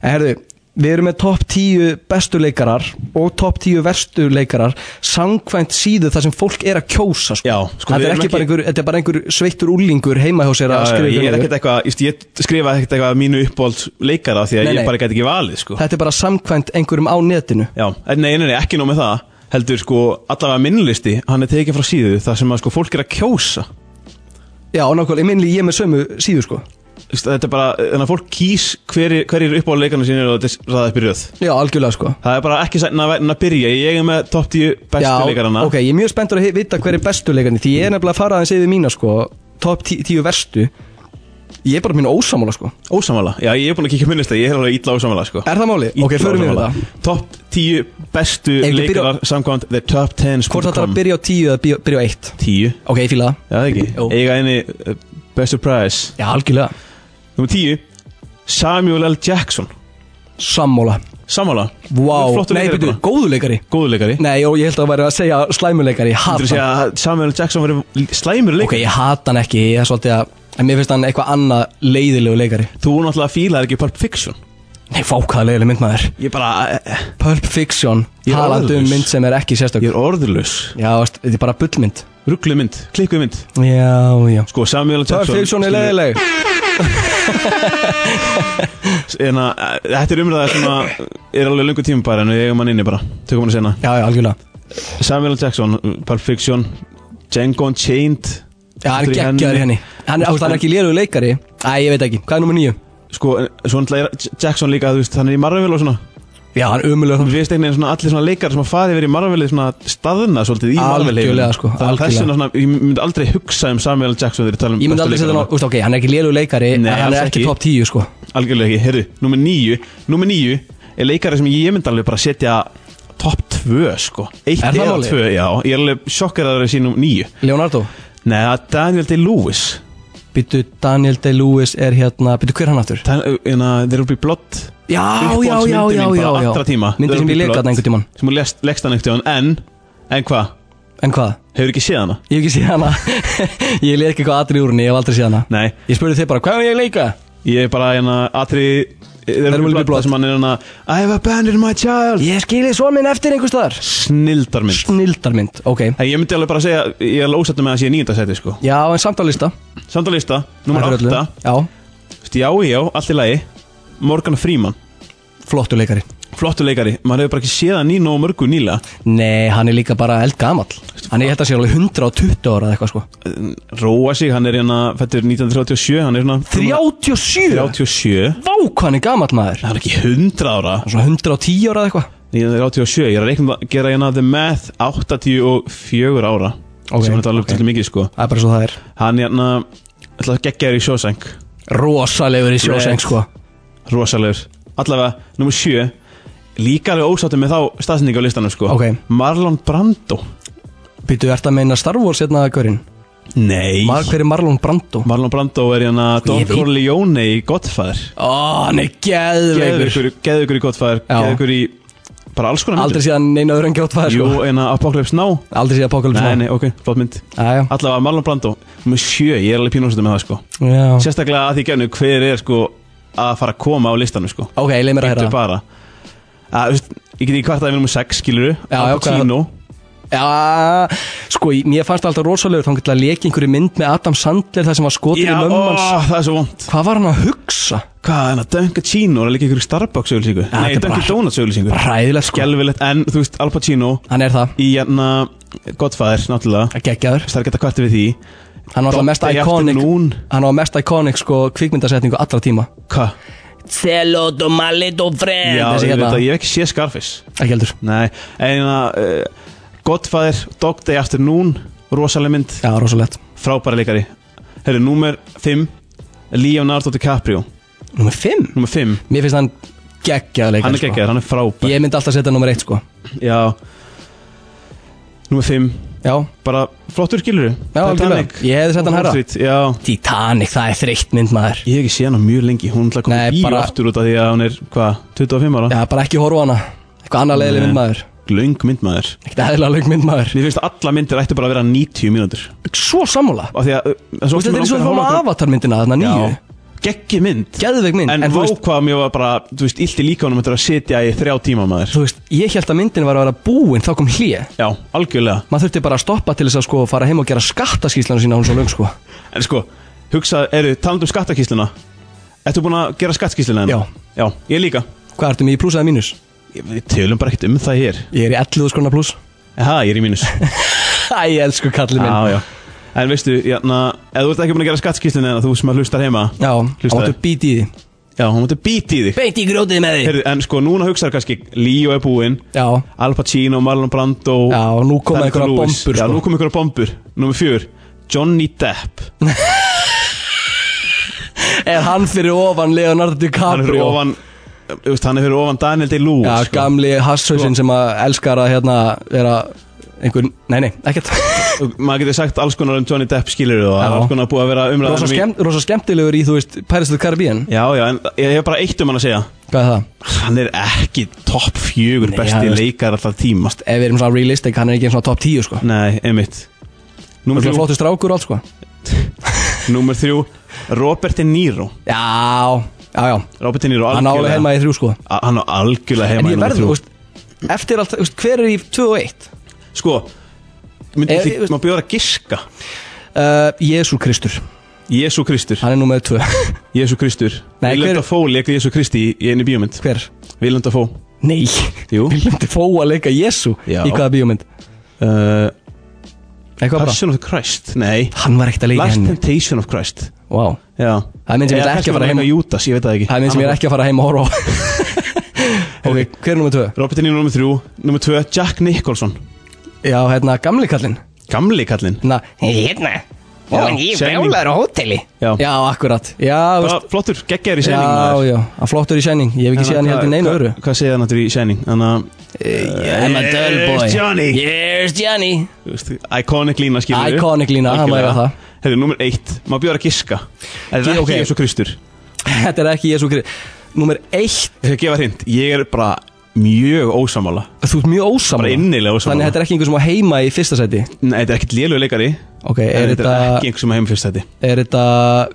Speaker 3: En herðu, Við erum með topp 10 bestu leikarar og topp 10 verstu leikarar samkvæmt síðu þar sem fólk er að kjósa sko.
Speaker 4: Já, sko, við
Speaker 3: þetta, er
Speaker 4: erum
Speaker 3: ekki
Speaker 4: ekki-
Speaker 3: bara einhver, þetta er bara einhver sveittur úlingur heima hjá sér að
Speaker 4: Já, já,
Speaker 3: skrifa
Speaker 4: ég
Speaker 3: einhver
Speaker 4: er ekkert
Speaker 3: lög.
Speaker 4: eitthvað, ég, ég skrifa ekkert eitthvað mínu uppáhalds leikara því að
Speaker 3: Nei,
Speaker 4: ég
Speaker 3: nei.
Speaker 4: bara gæti ekki valið sko.
Speaker 3: Þetta er bara samkvæmt einhverjum á netinu
Speaker 4: Já, en nei, nei, nei, ekki nóg með það heldur sko, allavega minnlisti hann er tekið frá síðu þar sem að sko fólk er að kjósa
Speaker 3: Já, nákvæmlega, ég minnli ég er með sömu síðu sko
Speaker 4: Þú veist, þetta er bara, þannig að fólk kýs hverjir hver uppáhalds leikarna sínir og þetta er ræða upp í röð
Speaker 3: Já, algjörlega sko
Speaker 4: það er bara ekki sætna verðin að byrja ég er með top 10 bestu
Speaker 3: Já,
Speaker 4: leikarana
Speaker 3: ok, ég er mjög spenntur að hi- vita hver er bestu leikarni Því ég er nefnilega að fara aðeins yfir mína sko Top 10 verstu Ég er bara mín ósamála sko
Speaker 4: ósamála, já ég er búin að kíkja minnlista ég er alveg ítla ósamála sko.
Speaker 3: Er það máli?
Speaker 4: Illa
Speaker 3: ok, förum við
Speaker 4: ósammála.
Speaker 3: þetta
Speaker 4: Top 10 bestu
Speaker 3: Ef ekki
Speaker 4: leikarar samkvæmt The Top 10
Speaker 3: Hvort þetta er að byrja á 10 eða byrja- byrja á 1
Speaker 4: 10
Speaker 3: Ok, ég fíla það
Speaker 4: Já, það ekki
Speaker 3: Jú.
Speaker 4: Eiga einni uh, Best Surprise
Speaker 3: Já, algjörlega
Speaker 4: Númer 10 Samuel L. Jackson
Speaker 3: Sammála
Speaker 4: Samála
Speaker 3: Vá
Speaker 4: Flottur
Speaker 3: Nei,
Speaker 4: leikari
Speaker 3: byrju,
Speaker 4: bara.
Speaker 3: góðuleikari
Speaker 4: Góðuleikari
Speaker 3: Nei, og ég held að það væri að segja slæmuleikari Ég
Speaker 4: Þú
Speaker 3: hata
Speaker 4: segja að Samuel L. Jackson verið slæmur
Speaker 3: Ok,
Speaker 4: leikari
Speaker 3: ég hata hann ekki Ég er svolítið að En mér finnst hann eitthvað annað leiðilegu leikari
Speaker 4: Þú náttúrulega fílaði ekki Pulp Fiction
Speaker 3: Nei, fákaða leiðileg myndmaður
Speaker 4: Ég bara eh, eh,
Speaker 3: Pulp Fiction
Speaker 4: Ég er
Speaker 3: Talandi um
Speaker 4: orðlaus.
Speaker 3: mynd sem er ekki sérstök
Speaker 4: Ég er orðurlaus
Speaker 3: Já, veist, þetta er bara bullmynd
Speaker 4: Rugglu mynd Klikku mynd
Speaker 3: Já, já
Speaker 4: Sko, Samuel L. Jackson
Speaker 3: Pulp Fiction er
Speaker 4: skilur-
Speaker 3: leiðileg
Speaker 4: En að eh, Þetta er umræða sem að Er alveg lungu tíma bara En við eigum hann inni bara Tökum hann sena
Speaker 3: Já, já, algjörlega
Speaker 4: Samuel L. Jackson Pulp Fiction Django Unchained
Speaker 3: Já, hann er
Speaker 4: Þetta er í
Speaker 3: geggjaður í henni
Speaker 4: henni.
Speaker 3: Hann, ást, hann er ekki lélugu leikari Æ, ég veit ekki Hvað er nummer nýju?
Speaker 4: Sko, en svo náttúrulega er Jackson líka, þú veist, hann er í Marvel og svona
Speaker 3: Já, hann er umulega
Speaker 4: Mér finnst einhvern veginn svona allir svona leikar sem að farið verið í Marvelið svona staðna svolítið í Marvelið
Speaker 3: Algjörlega, sko,
Speaker 4: Það er
Speaker 3: algjörlega.
Speaker 4: þess vegna svona, ég myndi aldrei hugsa um Samuel L. Jackson þegar ég tala um
Speaker 3: Ég myndi
Speaker 4: bestu
Speaker 3: aldrei setja hann á,
Speaker 4: leikarana.
Speaker 3: úst, ok, hann er ekki lélug leikari
Speaker 4: Nei,
Speaker 3: en hann er
Speaker 4: alls
Speaker 3: ekki
Speaker 4: ekki.
Speaker 3: top 10 sko
Speaker 4: Algjörlega ekki, heyrðu, nummer níu Nummer níu er leikari sem ég myndi alveg bara setja topp 2 sko Eitt
Speaker 3: Er það
Speaker 4: eða
Speaker 3: málið?
Speaker 4: 2, já, ég er alveg sjokkar að það er sínum níu
Speaker 3: Leonardo,
Speaker 4: Nei, það er Daniel Day-Lewis
Speaker 3: byttu Daniel Day-Lewis er hérna, byttu hver er hann aftur?
Speaker 4: Þannig að þeir eru upp í blott
Speaker 3: Já, já, já, já, já,
Speaker 4: bara allra
Speaker 3: já
Speaker 4: tíma
Speaker 3: Myndi
Speaker 4: There
Speaker 3: sem
Speaker 4: Will
Speaker 3: ég
Speaker 4: Be
Speaker 3: leik
Speaker 4: Blood,
Speaker 3: þarna einhvern tímann
Speaker 4: Sem hún lest- leggst hann einhvern tíman En, en hvað?
Speaker 3: En hvað?
Speaker 4: Hefur ekki séð hana?
Speaker 3: Ég hef ekki séð hana <laughs> Ég leik eitthvað atrið úr henni, ég hef aldrei séð hana
Speaker 4: Nei,
Speaker 3: Ég spurði þið bara, hvað er ég að leika?
Speaker 4: ég er bara hérna Atri,
Speaker 3: There
Speaker 4: þeir
Speaker 3: Will
Speaker 4: eru
Speaker 3: Be
Speaker 4: blótt
Speaker 3: Blood.
Speaker 4: Það sem hann er hérna I have abandoned my child
Speaker 3: Ég skilið svo minn eftir einhvers staðar
Speaker 4: Snildarmynd
Speaker 3: Snildarmynd, ok
Speaker 4: En ég myndi alveg bara segja Ég er alveg ósættu með að sé nýjönda seti sko
Speaker 3: Já, en samt á lista
Speaker 4: Samt á lista, nummer
Speaker 3: Takk fyrir öllu.
Speaker 4: 8
Speaker 3: Já,
Speaker 4: Já, já, allt í lagi Morgan Freeman
Speaker 3: flottu leikari
Speaker 4: Flottu leikari, maður hefur bara ekki séð hann í nógu mörgu nýla
Speaker 3: Nei, hann er líka bara eldgamall Hann er, ég held að sé alveg 120 ára eða eitthvað sko
Speaker 4: Eh, Róa sig, hann er hérna Fættur 1937, hann er hérna svona
Speaker 3: 37?
Speaker 4: 37
Speaker 3: Vá, hvað hann er gamall maður
Speaker 4: Hann er ekki 100 ára
Speaker 3: Svona 110 ára eða eitthvað
Speaker 4: 1987, ég er að reikna að gera hérna The Math 84 ára
Speaker 3: Ok,
Speaker 4: Sem hann er alveg
Speaker 3: ok.
Speaker 4: okay. til mikið sko
Speaker 3: Það er bara svo það er
Speaker 4: Hann hérna ætla að geggja þér í sjósæng
Speaker 3: Rosalegur í sjóseng
Speaker 4: Rétt.
Speaker 3: sko
Speaker 4: Rosalegur Allavega, nummer sjö Líka alveg ósáttum með þá staðsendingu á listanum sko
Speaker 3: Ok.
Speaker 4: Marlon Brando
Speaker 3: Býtu, ert að meina Star Wars hérna að görinn?
Speaker 4: Nei
Speaker 3: Mar, hver er Marlon Brando?
Speaker 4: Marlon Brando er hérna Don
Speaker 3: ég veit-
Speaker 4: Corleone í Godfather
Speaker 3: Ó, hann er geðveikur
Speaker 4: Geður ykkur í Godfather
Speaker 3: Já.
Speaker 4: Geður ykkur í bara alls konar
Speaker 3: Aldrei síðan neina öðru en gjótfæður
Speaker 4: Jú,
Speaker 3: sko
Speaker 4: hérna Apocalypse Now
Speaker 3: Aldrei síðan Apocalypse
Speaker 4: Nei,
Speaker 3: Now.
Speaker 4: nei, ok, flott mynd
Speaker 3: Jæja.
Speaker 4: Allavega Marlon Brando Nummer sjö, ég er alveg pínúsættum með það sko
Speaker 3: Já
Speaker 4: Sérstaklega að því gefnu hver er sko að fara að koma á listanum sko
Speaker 3: Ok, leið mér að
Speaker 4: Bíddu
Speaker 3: heyra
Speaker 4: bara að, þú veist, Ég get ekki kvartaði með um 6 skiluru
Speaker 3: Já, já,
Speaker 4: Al Pacino
Speaker 3: Já, sko, ég- mér fannst alltaf rosalegur Þá getur að leka einhverju mynd með Adam Sandler Það sem var skotin
Speaker 4: Já,
Speaker 3: í
Speaker 4: ó,
Speaker 3: mömmans
Speaker 4: það er svo vond
Speaker 3: Hvað var hann að hugsa?
Speaker 4: Hvað, en að Dunkin' Chino er líka ykkur Starbucks auðlýsingu
Speaker 3: þetta
Speaker 4: Nei,
Speaker 3: er
Speaker 4: Dunkin'
Speaker 3: bara-
Speaker 4: Donuts auðlýsingu
Speaker 3: Ræðilegt sko
Speaker 4: Gelvilegt, en þú veist, Al Pacino
Speaker 3: Hann er það
Speaker 4: Í hérna, Godfather, náttúrulega
Speaker 3: Geggjaður
Speaker 4: Það er geta kvartið við því
Speaker 3: Hann var alltaf mest
Speaker 4: Dottir í
Speaker 3: iconic
Speaker 4: afternoon.
Speaker 3: Hann var mest iconic sko kvikmyndasetningu allra tíma
Speaker 4: Hvað?
Speaker 5: Hello to my little friend
Speaker 4: Já,
Speaker 3: þessi
Speaker 4: ég veit
Speaker 3: hérna.
Speaker 4: að ég hef ekki séð Scarface
Speaker 3: Ekki heldur
Speaker 4: Nei, en að uh, Godfather, Dog Day Afternoon Rosaleg mynd,
Speaker 3: Já, rosalegt
Speaker 4: frábæra leikari Herru, númer 5 Leonardo DiCaprio
Speaker 3: Númer 5
Speaker 4: Númer 5
Speaker 3: Mér finnst hann geggjað leikar
Speaker 4: Hann er geggjaður, hann er
Speaker 3: sko.
Speaker 4: frábær
Speaker 3: Ég myndi alltaf setja nummer 1 sko
Speaker 4: Já Númer 5
Speaker 3: Já,
Speaker 4: Bara flottur skilur
Speaker 3: Já, algjörlega. Ég hefði sett hann hærra.
Speaker 4: Já
Speaker 3: Titanic, það er þreytt mynd maður
Speaker 4: Ég hef ekki séð hana mjög lengi Hún ætla að koma
Speaker 3: Nei,
Speaker 4: í bíó
Speaker 3: bara-
Speaker 4: aftur út af því að hún er Hvað, 25 ára?
Speaker 3: Já, bara ekki horfa á hana Eitthvað annað leiðileg
Speaker 4: Nei.
Speaker 3: mynd maður
Speaker 4: Löng mynd maður
Speaker 3: Ekkert eðlilega lög mynd maður
Speaker 4: Mér finnst að alla myndir ættu bara að vera 90 mínútur
Speaker 3: Svo sammála
Speaker 4: Af því að uh,
Speaker 3: Þú veist, þetta er svo að fórum avatar myndina þarna nýju
Speaker 4: Já geggjum mynd
Speaker 3: Geðveik mynd,
Speaker 4: En,
Speaker 3: en
Speaker 4: en
Speaker 3: þú veist-
Speaker 4: vákvað mér var bara, þú veist, illt í líkanum Þetta er að sitja í þrjá tíma maður
Speaker 3: Þú veist, ég held að myndin var að vera búin þá kom hlýja
Speaker 4: Já, algjörlega
Speaker 3: Maður þurfti bara að stoppa til þess að sko fara heim og gera skattaskýslanu sína hún svo löng sko
Speaker 4: En sko, hugsa, eru, talandu um skattakísluna Ertu búin að gera skattkísluna hennar? Já Já, ég líka
Speaker 3: Hvað ertu með í pluss eða mínus?
Speaker 4: Ég- Við tölum bara ekkert um það hér
Speaker 3: Ég er í 11 skrona pluss <laughs>
Speaker 4: Aha, ég er í mínus
Speaker 3: Æ, elsku kallið minn
Speaker 4: Já, já En veistu, jæna, ef þú ert ekki búin að gera skattkísluna hennar Þú sem að hlustar heima
Speaker 3: Já, hann
Speaker 4: Hlustaði.
Speaker 3: máttu bíti í því
Speaker 4: Já, hún mútti bíti í þig
Speaker 3: Beint í grótið með því
Speaker 4: Heyrðu, En sko, núna hugsaðu kannski Líó er búinn
Speaker 3: Já,
Speaker 4: Al Pacino, Marlon Brando
Speaker 3: Já, og nú koma
Speaker 4: Daniel
Speaker 3: einhverjar
Speaker 4: Day-Lewis.
Speaker 3: bombur,
Speaker 4: Já,
Speaker 3: sko.
Speaker 4: nú koma einhverja bombur Númer fjör Johnny Depp
Speaker 3: er hann fyrir ofan Leonardo
Speaker 4: Hann er fyrir
Speaker 3: DiCaprio
Speaker 4: ofan þú veist, Hann er fyrir ofan Daniel Day-Lewis sko.
Speaker 3: Já, gamli hasshausinn sem að elskar að hérna vera einhver, nei nei, ekkert
Speaker 4: Og Maður getur sagt alls konar um Johnny Depp skilur þú
Speaker 3: Já.
Speaker 4: Alls konar búið að vera umræðan
Speaker 3: rosa,
Speaker 4: um í-
Speaker 3: skemm, rosa skemmtilegur í, þú veist, Paris of the Caribbean
Speaker 4: Já, já, en ég hef bara eitt um hann að segja
Speaker 3: Hvað er það?
Speaker 4: Hann er ekki topp fjögur
Speaker 3: Nei, hann
Speaker 4: besti
Speaker 3: er-
Speaker 4: leikar alltaf tímast
Speaker 3: Ef við erum svona realistic, hann er ekki eins og top 10 sko
Speaker 4: Nei, einmitt
Speaker 3: Það er
Speaker 4: Númer þrjú,
Speaker 3: flottur strákur og allt sko
Speaker 4: númer þrjú Robert De Niro
Speaker 3: Já, já, já,
Speaker 4: Robert De Niro
Speaker 3: hann álega
Speaker 4: algjörlega-
Speaker 3: heima í þrjú sko
Speaker 4: A- Hann á algjörlega heima
Speaker 3: En
Speaker 4: í
Speaker 3: ég
Speaker 4: númer
Speaker 3: verður,
Speaker 4: þrjú.
Speaker 3: þú veist, eftir allt, þú veist, hver er í 2 og 1?
Speaker 4: Sko, myndi
Speaker 3: Er-
Speaker 4: því,
Speaker 3: Eh, veist-
Speaker 4: maður bjóður að giska
Speaker 3: Uh, Jésu Kristur,
Speaker 4: Jésu Kristur,
Speaker 3: hann er nú með 2
Speaker 4: Jésu Kristur
Speaker 3: Nei,
Speaker 4: Willem
Speaker 3: hver-
Speaker 4: Dafoe leikur Jésu Kristi í, í einu bíómynd
Speaker 3: Hver?
Speaker 4: Willem Dafoe
Speaker 3: <laughs> Nei,
Speaker 4: Jú.
Speaker 3: Willem Dafoe að leika Jésu
Speaker 4: Já.
Speaker 3: Í hvaða bíómynd?
Speaker 4: uh,
Speaker 3: Eitthvað bara
Speaker 4: Passion of Christ, nei
Speaker 3: Hann var ekkert að leika í
Speaker 4: Last
Speaker 3: henni
Speaker 4: Temptation of Christ
Speaker 3: Vá
Speaker 4: Já.
Speaker 3: Það er mynd sem ég ætla ekki að fara heim
Speaker 4: og
Speaker 3: og-
Speaker 4: Júdas, ég veit það ekki
Speaker 3: Það er minn sem ég er ekki að fara heim og
Speaker 4: <laughs>
Speaker 3: horfa á <laughs> Ok, hver er nummið tvö?
Speaker 4: Robert De Niro nummer þrjú Nummer tvö, Jack Nicholson
Speaker 3: Já, hérna, gamli kallinn
Speaker 4: Gamli kallinn
Speaker 3: Hérna, hérna
Speaker 4: Já, Shining.
Speaker 3: á hóteli
Speaker 4: Já.
Speaker 3: Já, akkurat Já,
Speaker 4: Bara
Speaker 3: veist
Speaker 4: flottur, geggjær í Shining
Speaker 3: Já,
Speaker 4: maður.
Speaker 3: já, hann flottur í Shining Ég hef ekki
Speaker 4: Þannig
Speaker 3: séð
Speaker 4: að
Speaker 3: hann heldur
Speaker 4: hvað-
Speaker 3: neina
Speaker 4: hvað-
Speaker 3: öru
Speaker 4: Hvað segja hann náttúrulega í Shining? Þannig að
Speaker 3: I'm a dull boy
Speaker 4: Here's Johnny.
Speaker 3: Here's Johnny <laughs>
Speaker 4: þú veist, Iconic lína skilur við.
Speaker 3: Iconic lína, hann
Speaker 4: Algjörlega.
Speaker 3: væri það.
Speaker 4: Heyrðu, nummer eitt, maður bjóður að giska Er það
Speaker 3: Ég-
Speaker 4: ekki
Speaker 3: ok.
Speaker 4: Jésu Kristur?
Speaker 3: Þetta er ekki Jésu Krist Númer eitt
Speaker 4: Ég skal gefa hrind, ég er bara mjög ósamála
Speaker 3: Þú ert mjög ósamla
Speaker 4: Bara innilega ósammála.
Speaker 3: Þannig þetta er ekki einhver sem á heima í fyrsta seti
Speaker 4: Nei, þetta er ekkert lélög leikari
Speaker 3: Ok,
Speaker 4: en
Speaker 3: er
Speaker 4: Þetta er ekki
Speaker 3: þetta
Speaker 4: einhver sem að heima fyrst þetta
Speaker 3: Er þetta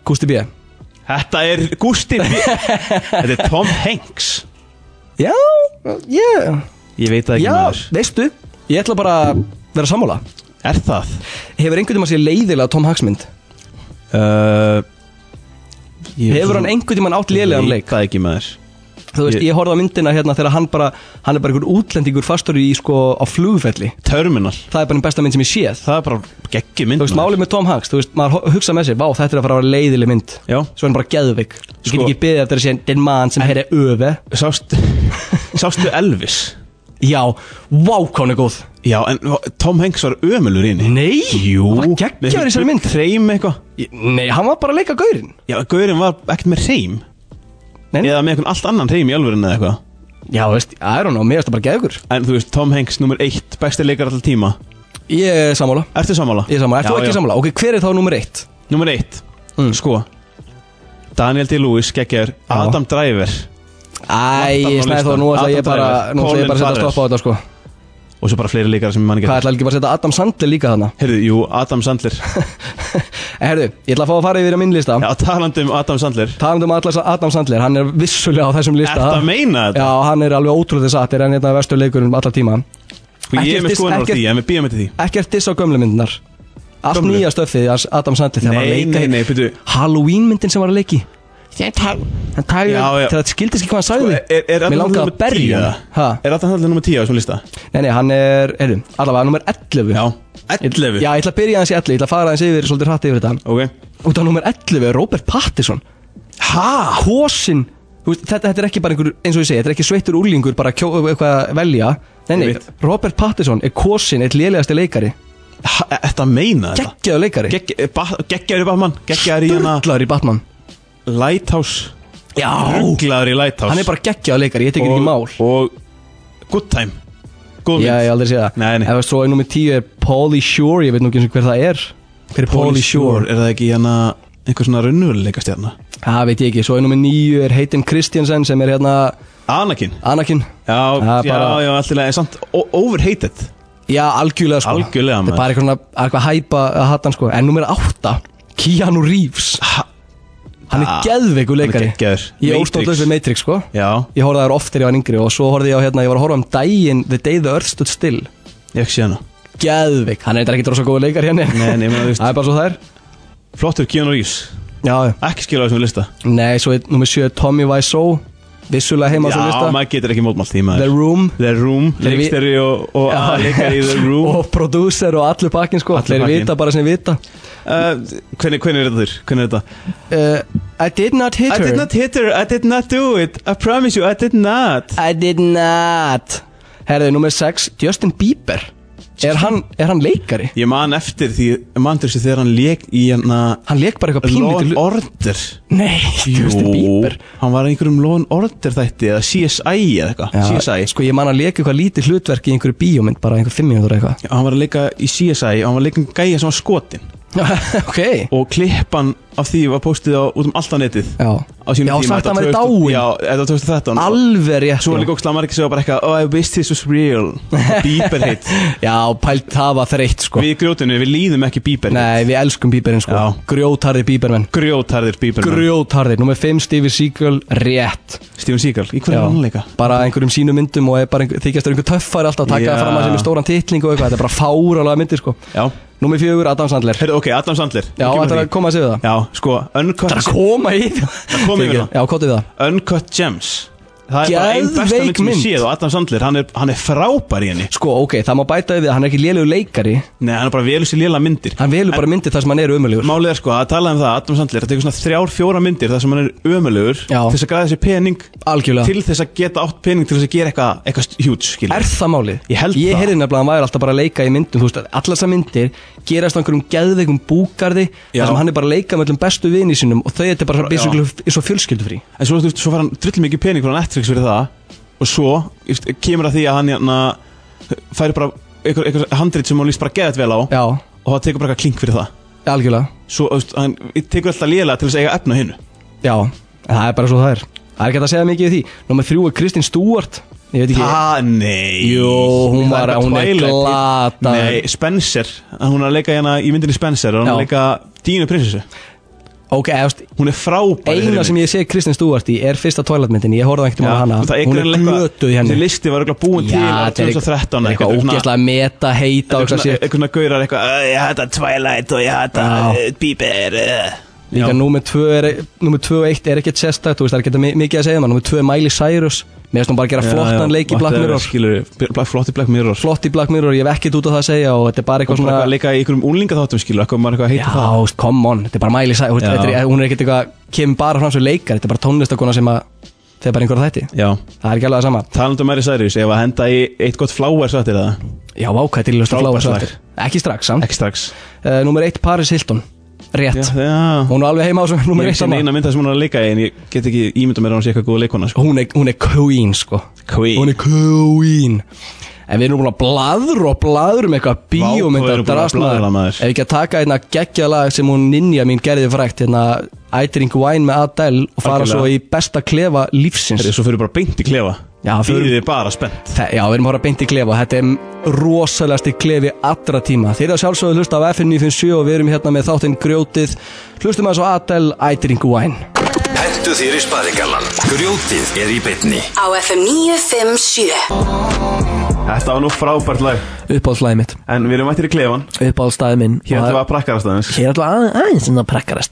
Speaker 3: Gusti B?
Speaker 4: Þetta er Gusti
Speaker 3: <laughs>
Speaker 4: B. Þetta er Tom Hanks
Speaker 3: Já, yeah
Speaker 4: Ég veit það ekki
Speaker 3: Já,
Speaker 4: maður
Speaker 3: veistu, ég ætla bara að vera sammála
Speaker 4: Er það?
Speaker 3: Hefur einhvern tímann séð leiðilega Tom Hanksmynd?
Speaker 4: Uh,
Speaker 3: Hefur hann einhvern tímann átt lélegan leik?
Speaker 4: Það ekki maður
Speaker 3: Þú veist,
Speaker 4: Ég-
Speaker 3: ég horfði á myndina hérna þegar hann bara Hann er bara einhver útlendingur fastur í sko á flugfelli
Speaker 4: Terminal
Speaker 3: Það er bara einn besta mynd sem ég séð
Speaker 4: Það er bara geggjum mynd
Speaker 3: Þú veist,
Speaker 4: maður.
Speaker 3: málið með Tom Hanks, þú veist, maður ho- hugsa með sér Vá, þetta er að fara að vera leiðileg mynd
Speaker 4: Já.
Speaker 3: Svo er hann bara geðveik Ég
Speaker 4: Sko-
Speaker 3: get ekki beðið eftir að segja Den mann sem herri öfe <laughs>
Speaker 4: Sástu, sástu Elvis
Speaker 3: Já, vá, hvað hún er góð
Speaker 4: Já, en Tom Hanks var ömulur inni
Speaker 3: Nei,
Speaker 4: Jú
Speaker 3: hann var geggjaður í þessari mynd.
Speaker 4: Reym eitthvað
Speaker 3: Ég- Nei, hann var bara að leika gaurinn
Speaker 4: Já, Gaurin var ekkert með reym
Speaker 3: Nei, nei.
Speaker 4: Eða með einhvern allt annan reym í alvörinu eða eitthvað
Speaker 3: Já, þú veist, I don't know, mér erst það bara geðugur
Speaker 4: En þú veist, Tom Hanks nummer eitt, besti leikar alltaf tíma
Speaker 3: Ég er sammála,
Speaker 4: Ertu sammála?
Speaker 3: ég er sammála, ert
Speaker 4: Já,
Speaker 3: þú ekki
Speaker 4: já.
Speaker 3: sammála? Ok, hver er þá nummer eitt?
Speaker 4: Númer eitt, sko Daniel D-Lewis, geggjar Adam Driver
Speaker 3: Æ,
Speaker 4: Vantar nú
Speaker 3: snæði þó,
Speaker 4: listan.
Speaker 3: nú ætla ég
Speaker 4: Adam
Speaker 3: bara
Speaker 4: Driver,
Speaker 3: Nú ætla ég bara að setja stopp
Speaker 4: Colin
Speaker 3: á þetta sko
Speaker 4: Og svo bara fleiri leikar sem ég man ekki
Speaker 3: Hvað
Speaker 4: eftir.
Speaker 3: ætla ekki bara að setja Adam Sandler líka þarna <laughs>
Speaker 4: Heyrðu, jú, Adam Sandler
Speaker 3: En herðu, ég ætla að fá að fara yfir á minn lista
Speaker 4: Já, talandi um Adam Sandler
Speaker 3: Talandi um allas Adam Sandler, hann er vissulega á þessum lista
Speaker 4: Ertu að meina þetta?
Speaker 3: Já, hann er alveg ótrúlega sattir En hérna vestu leikurinn allar tíma
Speaker 4: Sko, ég
Speaker 3: Ekkert
Speaker 4: er með
Speaker 3: dis-
Speaker 4: skoðan á
Speaker 3: ekkert-
Speaker 4: því, en við býjum eftir því
Speaker 3: Ekkert diss á gömlu myndinar Allt
Speaker 4: Gömlu?
Speaker 3: nýja stöfið hans Adam Sandler þegar hann var að
Speaker 4: Nei,
Speaker 3: leika
Speaker 4: nei,
Speaker 3: í
Speaker 4: nei, byrju
Speaker 3: Halloween myndin sem var að leiki Hann tæði
Speaker 4: Já, já. Sko,
Speaker 3: Þegar þetta skildist ekki hvað hann sagði
Speaker 4: Er, er
Speaker 3: Mér
Speaker 4: Adam
Speaker 3: langaði að
Speaker 4: Sandler nummer
Speaker 3: berja
Speaker 4: 10?
Speaker 3: hann. Ha?
Speaker 4: Er Adam Sandler nummer 10 á þessum lista?
Speaker 3: Nei, nei, hann er, heyrðu, allavega nummer 11
Speaker 4: Já,
Speaker 3: Ég-
Speaker 4: 11
Speaker 3: Já, ég ætla að byrja hans í 11, ég ætla að fara hans yfir svolítið hratt yfir þetta
Speaker 4: Ok
Speaker 3: Út á nummer 11 er Robert Pattinson Hæ? Hósin veist, þetta, þetta er ekki bara einhver, eins og ég segi, þetta er ekki sveittur úrlingur bara kjó, uh, eitthvað að velja Nei, nei,
Speaker 4: Ég veit.
Speaker 3: Robert Pattinson er kosin eitt lélegasti leikari
Speaker 4: Ha- er Þetta meina þetta? eh,
Speaker 3: Geggjaðu leikari
Speaker 4: Geggjaður í Batman Geggjaður í hana
Speaker 3: Sturlaður í Batman
Speaker 4: Lighthouse
Speaker 3: Já
Speaker 4: Ruglaður í Lighthouse
Speaker 3: Hann er bara geggjaðu leikari, ég tekir ekki mál
Speaker 4: Og Good Time Góð
Speaker 3: Já, ég hef
Speaker 4: mynd
Speaker 3: aldrei sé það
Speaker 4: Nei, nei.
Speaker 3: Ef svo er nummer 10 er Pauly Shore, ég veit nú ekki eins og hver það er Hver er hérna Pauly Shore?
Speaker 4: Er það ekki hana Einhver svona raunveruleika stjarna
Speaker 3: Það veit ég ekki, svo er nummer 9 er Hayden Christiansen sem er hérna
Speaker 4: Anakin
Speaker 3: Anakin
Speaker 4: Já,
Speaker 3: Það
Speaker 4: já,
Speaker 3: er bara-
Speaker 4: já, alltaf En samt o- overhated
Speaker 3: Já, algjörlega sko
Speaker 4: Algjörlega,
Speaker 3: Þetta
Speaker 4: maður.
Speaker 3: er bara eitthvað, svona- eitthvað hæpa að hata hann sko En nummer átta Keanu Reeves Hann er
Speaker 4: Ah,
Speaker 3: geðveikur
Speaker 4: hann er
Speaker 3: leikari
Speaker 4: geggjaður.
Speaker 3: Ég
Speaker 4: Matrix.
Speaker 3: óstóðlega við Matrix sko
Speaker 4: Já.
Speaker 3: Ég horfði þær oft þegar ég var yngri og svo horfði ég á hérna Ég var að horfa um daginn The Day the Earth Stood Still
Speaker 4: Ég ekki sé hana
Speaker 3: Geðveik, hann er eitthvað ekki rosa góð leikari henni
Speaker 4: Nei, nei, maður veist
Speaker 3: Það er bara svo það er
Speaker 4: Flottur Keanu Reeves
Speaker 3: Já,
Speaker 4: Ekki skilja á þessum lista
Speaker 3: nei, svo er nummer 7 Tommy Wiseau Vissulega heima á
Speaker 4: Já,
Speaker 3: þessum lista
Speaker 4: maður getur ekki mótmált því
Speaker 3: The
Speaker 4: maður
Speaker 3: Room
Speaker 4: The Room,
Speaker 3: Þeir við-
Speaker 4: leiksteri og, og
Speaker 3: Já.
Speaker 4: leikari í
Speaker 3: <laughs>
Speaker 4: The Room
Speaker 3: og prodúser og allur pakkin sko
Speaker 4: Allur
Speaker 3: Þeir
Speaker 4: pakkinn.
Speaker 3: vita bara sem vita
Speaker 4: uh, hvernig, hvernig er þetta þurr? Hvernig er þetta?
Speaker 3: uh, I did not hit
Speaker 4: I
Speaker 3: her
Speaker 4: did not hit her, I did not do it I promise you, I did not
Speaker 3: I did not Herðu, nummer 6, Justin Bieber er hann, er hann leikari?
Speaker 4: Ég man eftir því, ég man eftir þessu þegar hann leik í hérna
Speaker 3: Hann leik bara eitthvað
Speaker 4: Law and
Speaker 3: pínlítið
Speaker 4: Order
Speaker 3: Nei, <laughs> Justin Bieber
Speaker 4: hann var í einhverjum Law and Order þætti eða CSI eða eitthvað CSI
Speaker 3: Sko ég man að leika eitthvað lítið hlutverk í einhverju bíómynd bara einhver fimm mínútur eitthvað <laughs>
Speaker 4: hann var að leika í CSI og hann var að leika um gæja sem var skotin
Speaker 3: Ok
Speaker 4: og klippan af því var postið á, út um allt á netið
Speaker 3: Já
Speaker 4: á sínum
Speaker 3: Já,
Speaker 4: tíma
Speaker 3: sagt
Speaker 4: þetta
Speaker 3: hann væri
Speaker 4: 2000
Speaker 3: dáinn.
Speaker 4: já, þetta var 2013
Speaker 3: Alveg rétt sko.
Speaker 4: Svo
Speaker 3: já.
Speaker 4: var líka ógstlega margir sem var bara eitthvað Oh, I wish this was real
Speaker 3: <laughs>
Speaker 4: Bieber hit
Speaker 3: Já, pælt það var þreytt sko
Speaker 4: Við í grjótinu, við líðum ekki Bieber hit
Speaker 3: Nei, við elskum Bieberinn sko
Speaker 4: Já.
Speaker 3: Grjótarði Biebermenn
Speaker 4: Grjótarðir Bieber Grjó
Speaker 3: Grjótarði, nummer 5 Stevie Seagal, rétt
Speaker 4: Steven Seagal, í hverju
Speaker 3: Já,
Speaker 4: er hann að leika?
Speaker 3: bara einhverjum sínum myndum og er bara einhver, þykjast er einhver töffari alltaf að taka
Speaker 4: Já.
Speaker 3: það fram að sem er stóran titling og eitthvað, þetta er bara fáralega myndir sko
Speaker 4: Já
Speaker 3: Númer fjögur, Adam Sandler
Speaker 4: Herðu, ok, Adam Sandler
Speaker 3: Já,
Speaker 4: Við kemum
Speaker 3: þetta er
Speaker 4: að
Speaker 3: að koma að segja það
Speaker 4: því. Já, sko, Uncut,
Speaker 3: að koma í það
Speaker 4: kom yfir það.
Speaker 3: Já, kottu það
Speaker 4: uncut Gems Það er bara einn besta
Speaker 3: Geðveik
Speaker 4: mynd sem ég
Speaker 3: mynd.
Speaker 4: séð og Adam Sandler, hann er, hann er frábær í henni
Speaker 3: Sko, ok, það má bæta við að hann er ekki lélegur leikari
Speaker 4: Nei, hann er bara velur sér léla myndir
Speaker 3: Hann velur bara myndir þar sem hann er ömulegur
Speaker 4: Málið er sko að tala um það, Adam Sandler, það tekur svona þrjár, fjóra myndir þar sem hann er ömulegur
Speaker 3: Já.
Speaker 4: Til þess að græða sér pening
Speaker 3: Algjörlega
Speaker 4: Til þess að geta átt pening til þess að gera eitthvað eitthvað huge, skilur
Speaker 3: Er það málið?
Speaker 4: Ég held
Speaker 3: Ég
Speaker 4: það.
Speaker 3: heyrði nefnilega að hann væri alltaf bara að leika í myndum Þú veist, að allar þessar myndir gerast á einhverjum geðveikum búgarði
Speaker 4: Já.
Speaker 3: Þar sem hann er bara að leika með öllum bestu vini sínum Og þau þetta er bara basically f- svo fjölskyldufrí
Speaker 4: En svo, þú veist, svo fær hann drull mikið pening frá Netflix fyrir það Og svo þú veist, kemur að því að hann hérna, færi bara einhver, einhver handrit sem hann líst bara geðat vel á
Speaker 3: Já,
Speaker 4: Og það tekur bara eitthvað klink fyrir það
Speaker 3: algjörlega
Speaker 4: Svo þú veist, hann tekur alltaf lélega til þess að eiga efna hinn
Speaker 3: Já, en það er bara svo það er Það er ekki hægt að segja mikið í því Númer þrjú er Kristín Stewart Ég veit ekki
Speaker 4: Það, nei
Speaker 3: Jú, hún
Speaker 4: Það
Speaker 3: var-
Speaker 4: eitthvað
Speaker 3: hún er
Speaker 4: Twilight.
Speaker 3: glata.
Speaker 4: Nei, Spencer, hún er að leika hérna í myndinni Spencer Og hún er
Speaker 3: Já.
Speaker 4: að leika Dínu prinsessu
Speaker 3: Ok, eftir,
Speaker 4: Hún er frábær í
Speaker 3: eina
Speaker 4: þeirri
Speaker 3: sem
Speaker 4: mynd.
Speaker 3: ég sé Kristín Stewart í er fyrsta toiletmyndin Ég horfði ekkert
Speaker 4: Já,
Speaker 3: um hana Hún
Speaker 4: það
Speaker 3: er
Speaker 4: greinilega eitthvað-
Speaker 3: glötuð í henni
Speaker 4: Þessi listi var eitthvað búin til árið
Speaker 3: þetta er
Speaker 4: 2013
Speaker 3: eitthvað- Eitthvað
Speaker 4: svona-
Speaker 3: ógeðslega meta, heita og
Speaker 4: eitthvað
Speaker 3: eitthvað
Speaker 4: svona,
Speaker 3: sér
Speaker 4: eitthvað svona gaurar eitthvað "Æ, ég hata Twilight og ég hata
Speaker 3: Já.
Speaker 4: uh, Bieber uh.
Speaker 3: Líka númer 2 Númer 2 og 1 er ekkert sérstakt Þú veist, það er ekkert mi- mikið að segja maður Númer 2 er Miley Cyrus Mér finnst hún bara að gera flottan leik í Black Mirror
Speaker 4: skilur, black, flott í Black Mirror og
Speaker 3: Flott í Black Mirror, ég hef ekkert út á það að segja Og þetta er bara eitthvað
Speaker 4: svona eitthvað að
Speaker 3: svona
Speaker 4: leika í einhverjum úlinga þáttum skilur eitthvað maður eitthvað að heita
Speaker 3: Já,
Speaker 4: það
Speaker 3: veist, come on, þetta er bara Miley Cyrus þú veist,
Speaker 4: Já.
Speaker 3: þetta er, Hún er ekkert eitthvað, kemur bara fram svo leikar Þetta er bara tónlistakona sem að Þegar bara einhverja þætti
Speaker 4: já
Speaker 3: Það er ekki alveg það sama
Speaker 4: talandu um Mary Cyrus ef að henda í eitt gott flower sattir það
Speaker 3: Já, vákæð til að hlusta
Speaker 4: Frábært
Speaker 3: fláa svo
Speaker 4: lag.
Speaker 3: eftir Ekki strax, samt
Speaker 4: ekki strax
Speaker 3: uh, Númer 1, Paris Hilton
Speaker 4: já,
Speaker 3: Rétt,
Speaker 4: já
Speaker 3: hún er alveg heima á svo
Speaker 4: Ég
Speaker 3: Númer
Speaker 4: hef
Speaker 3: 1
Speaker 4: ekki
Speaker 3: saman
Speaker 4: neina mynda sem hún er að leika í en ég get ekki ímynda mér að hún sé eitthvað góð leikona sko.
Speaker 3: hún er, hún er queen sko
Speaker 4: Queen.
Speaker 3: Hún er queen En við erum búin að bladra og bladra um eitthvað
Speaker 4: hvað við
Speaker 3: bíómynda
Speaker 4: erum búin að blaðra, maður.
Speaker 3: Ef við ekki að taka einna geggja lag sem hún ninja mín gerði frækt hérna, I drink wine með Adele og fara
Speaker 4: Algjörlega.
Speaker 3: svo í besta klefa lífsins
Speaker 4: Herri, svo fyrir bara beint í klefa
Speaker 3: Já,
Speaker 4: fyrir
Speaker 3: förum-
Speaker 4: þið bara spennt
Speaker 3: Þe- Já, við erum að horfa beint í klefa og þetta er rosalegasti klefi allra tíma Þeir eru að sjálfsögðu hlusta af FN 957 og við erum hérna með þáttinn grjótið Hlustum að svo Adele, I drink wine
Speaker 1: Hentu þér í sparigallan Grjótið er í bytni
Speaker 2: Á FM 957
Speaker 4: Þetta var nú frábært lag
Speaker 5: uppáðslæði mitt
Speaker 4: En við erum mættir í klefan
Speaker 5: uppáðslæði minn
Speaker 4: Hér
Speaker 5: Og
Speaker 4: ætlum
Speaker 5: það-
Speaker 4: við að prakkarast aðeins
Speaker 5: Ég er alltaf að, aðeins en það prekkarast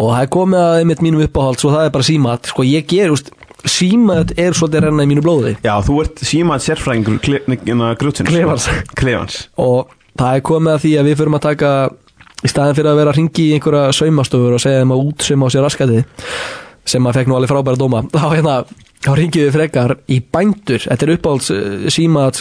Speaker 5: og það er komið að einmitt mínum uppáhald svo það er bara símat, sko ég ger úst, símat er svolítið að renna í mínu blóði
Speaker 4: Já, þú ert símað sérfræðingur kle- nei, hérna, grjótsins
Speaker 5: Klefans.
Speaker 4: Klefans
Speaker 5: og það er komið að því að við förum að taka í staðin fyrir að vera að ringi í einhverja saumastofur og segja þeim að útsauma á sér raskatið sem að fekk nú alveg frábæra dóma <laughs> þá hérna, þá ringið við frekar í bændur, þetta er uppáhalds símat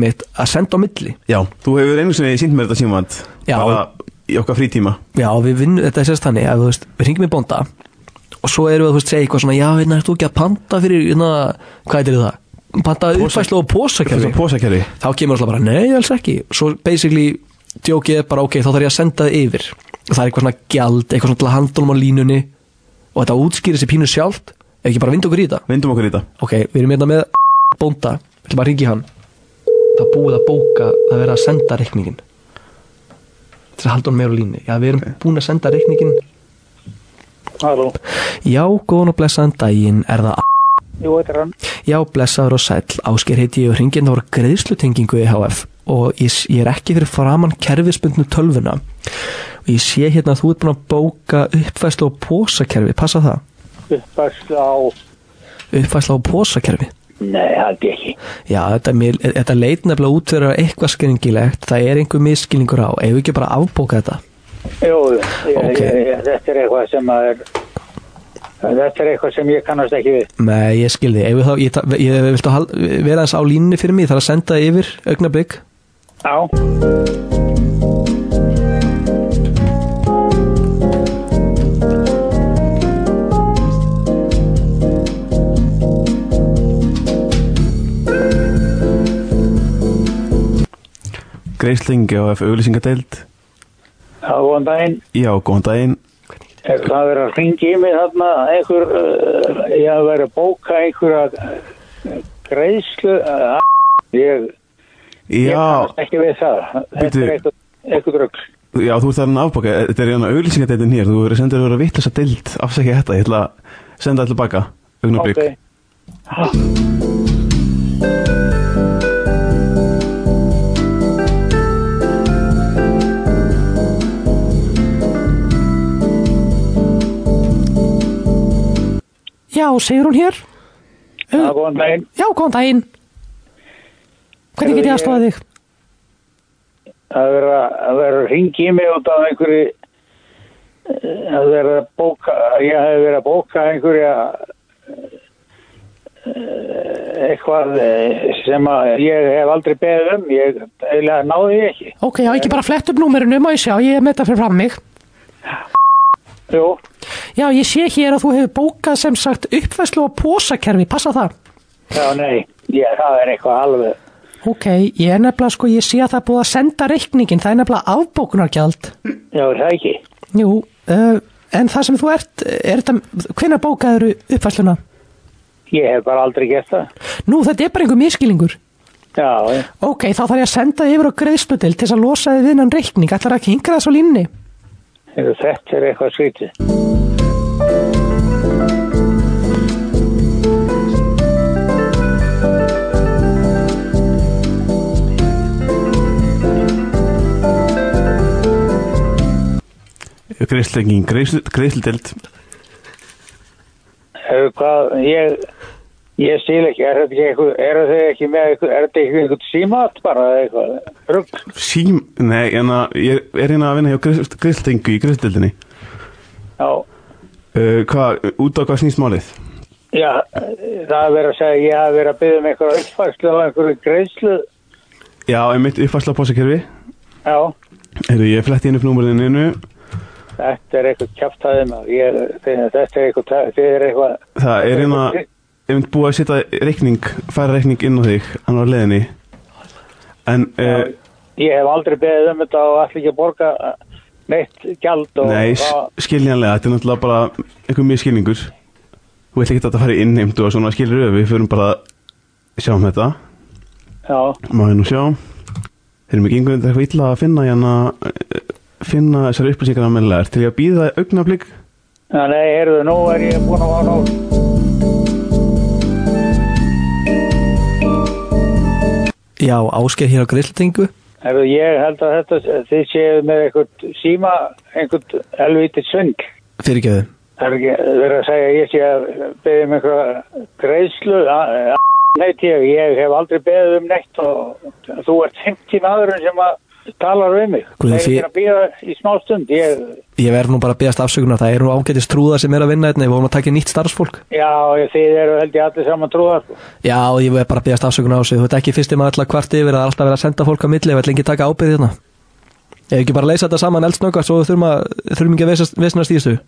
Speaker 5: mitt að senda á milli
Speaker 4: Já Þú hefur einu sinni sínt mér þetta símað
Speaker 5: Já.
Speaker 4: Bara í okkar frítíma
Speaker 5: Já, við vinnum, þetta er sérst þannig að þú veist, við ringjum í bónda og svo erum við að þú veist, segja eitthvað svona, já, hérna, ert þú ekki að panta fyrir, hérna, hvað heitir það? Panta uppfæslu og
Speaker 4: Þetta
Speaker 5: pósakerfi.
Speaker 4: er pósakerri
Speaker 5: Þá kemur alltaf bara, nei, alls ekki. Svo basically, djókið er bara, ok, þá þarf ég að senda það yfir. Og það er eitthvað svona gjald, eitthvað svona til að handla um á línunni og þetta útskýrir sér pínu sjálft, ef ekki bara vind okkur í þetta.
Speaker 4: Vindum okkur í þetta
Speaker 5: Ok, við erum hérna með bónda, við ætlum að ringi hann. Það er búið að bóka að vera að senda reikningin til að halda hann meira á línni. Já, við erum búin að senda reikningin
Speaker 6: Halló,
Speaker 3: Já, góðan og blessaðan daginn, er það a-
Speaker 6: jú, þetta er hann.
Speaker 3: Já, blessaður og sæll, ásker heiti ég og hringin voru greiðslutengingu í HF og ég, s- ég er ekki fyrir framann kerfisbundnu tölvuna og ég sé hérna að þú ert búin að bóka uppfæslu á pósakerfi, passa það?
Speaker 6: Uppfærsla á...
Speaker 3: Uppfæslu á pósakerfi?
Speaker 6: Nei, held ég ekki.
Speaker 3: Já, þetta, mér, þetta leit nefnilega út fyrir að vera eitthvað skringilegt, það er einhver miskilningur á, ef við ekki bara afbóka þetta
Speaker 6: Jú, ég,
Speaker 3: Ok.
Speaker 6: ég, ég, þetta er eitthvað sem að er... Þetta er eitthvað sem ég kannast ekki við.
Speaker 3: Nei, ég skilði, ef við þá, ég, ta- ég, ég viltu hal- vera aðeins á línni fyrir mig, ég þarf að senda það yfir augnablik
Speaker 6: Á,
Speaker 4: Greislingi á F. auglýsingadeild
Speaker 6: á góðan daginn.
Speaker 4: Já, góðan daginn
Speaker 6: Er það að vera að ringi í mig þarna einhver... Uh, ég hafði verið að bóka einhverja uh, greiðslu... Uh, ég, ég
Speaker 4: Já,
Speaker 6: kannast ekki við það. Þetta
Speaker 4: Bíddu.
Speaker 6: er eitthvað, eitthvað rögg.
Speaker 4: já þú ert þarna afbaka Þetta er hérna auglýsingadeildin hér Þú verður sendur að vera vittlasa deild Afsækja þetta, ég ætla að senda allir baka Augnablik
Speaker 6: Ok. Ha,
Speaker 7: Já, segir hún hér.
Speaker 6: á góðan daginn.
Speaker 7: Já, góðan daginn. Hvernig get ég aðstofa þig?
Speaker 6: að vera að vera að ringi í mig út af einhverju eh, að vera að bóka ég hef verið að bóka einhverja eh, eitthvað eh, sem að ég hef aldrei beðið um ég eiginlega náði ég ekki
Speaker 7: Ok, já, ekki bara flett upp númerinu, má ég sjá, ég er með þetta fyrir fram mig.
Speaker 6: Jú,
Speaker 7: Já, ég sé hér að þú hefur bókað sem sagt uppfæslu á pósakerfi, passa það.
Speaker 6: já nei ég, það er eitthvað alveg
Speaker 7: Ok, ég er nefnilega sko, ég sé að það er búið að senda reikningin, það er nefnilega afbókunargjald.
Speaker 6: já er það ekki
Speaker 7: Jú, uh, en það sem þú ert, er þetta, hvenær bókaður uppfæsluna?
Speaker 6: ég hef bara aldrei gert það
Speaker 7: Nú, þetta er bara einhver miskilingur.
Speaker 6: já, eh,
Speaker 7: Ok, þá þarf ég að senda þig yfir á greiðslutil til þess að losa þið innan reikning, ætlar ekki að hinga það svo línni?
Speaker 6: þetta er eitthvað skrítið
Speaker 4: Greislingin, greislideild
Speaker 6: Hefur hvað, ég, ég stíl ekki, er þetta ekki eitthvað, eru þau ekki með eitthvað, er þetta ekki eitthvað símat bara eða eitthvað, rugg,
Speaker 4: Sím, nei, hérna Ég er hérna að vinna hjá greisldengu í greisldeildinni
Speaker 6: já,
Speaker 4: uh, Hvað, út á hvað snýst málið?
Speaker 6: já, það er verið að segja, ég hafi verið að byggja um eitthvað uppfærslu og einhverju greiðslu,
Speaker 4: Já, einmitt uppfærsla á pásakerfi
Speaker 6: já,
Speaker 4: Heyrðu, ég fletti inn upp númurðinu innu
Speaker 6: þetta er eitthvað kjaftaðið maður, ég, þetta þetta er eitthvað, ta- þið er eitthvað,
Speaker 4: Það er hérna einmitt búið að setja reikning færa reikning inn á þig, hann var á leiðinni En, uh,
Speaker 6: ég hef aldrei beðið um þetta og ætla ekki að borga neitt gjald og
Speaker 4: nei,
Speaker 6: það-
Speaker 4: s- skiljanlega Þetta er náttúrulega bara einhver mjög skilningur Þú veit ekki að þetta fari innheimtu og svona skilur við Við förum bara að sjá um þetta
Speaker 6: já,
Speaker 4: Má ég nú sjá Þeir eru mig einhvern veginn eitthvað illa að finna hérna eh, finna þessar upplýsingar að meðlega til ég að býða augnablík
Speaker 6: Já, nei, heyrðu, nú er ég búin að fá nóg.
Speaker 3: Já, ásker hér á greiðslutengu
Speaker 6: Herru, ég held að þetta, þið séu með einhvern síma, einhvern helvítið svindl.
Speaker 3: Fyrirgefðu
Speaker 6: Það er ekki verið að segja að ég sé að beðið um einhverja greiðslu. A- a- Neitt ég, ég hef aldrei beðið um neitt og þú ert 50 maðurinn sem að talar við mig.
Speaker 3: Guð,
Speaker 6: það er
Speaker 3: þið-
Speaker 6: ekki að býða í smá stund. Ég,
Speaker 3: Ég verð nú bara að beðast afsökunar, það eru nú ágætist trúðar sem er að vinna hérna, við vorum að taka inn nýtt starfsfólk
Speaker 6: já, ég- þið eru held ég allir saman sko. trúðar.
Speaker 3: Já, ég verð bara að beðast afsökunar á sig, þú veit ekki fyrst um að alltaf kvart yfir, það er alltaf verið að senda fólk á milli, ég ætla ekki að taka ábyrðið hérna Ef ekki bara leysa þetta saman eldsnöggvart, svo við þurfum, að, þurfum ekki að vesast- vesna stíðstu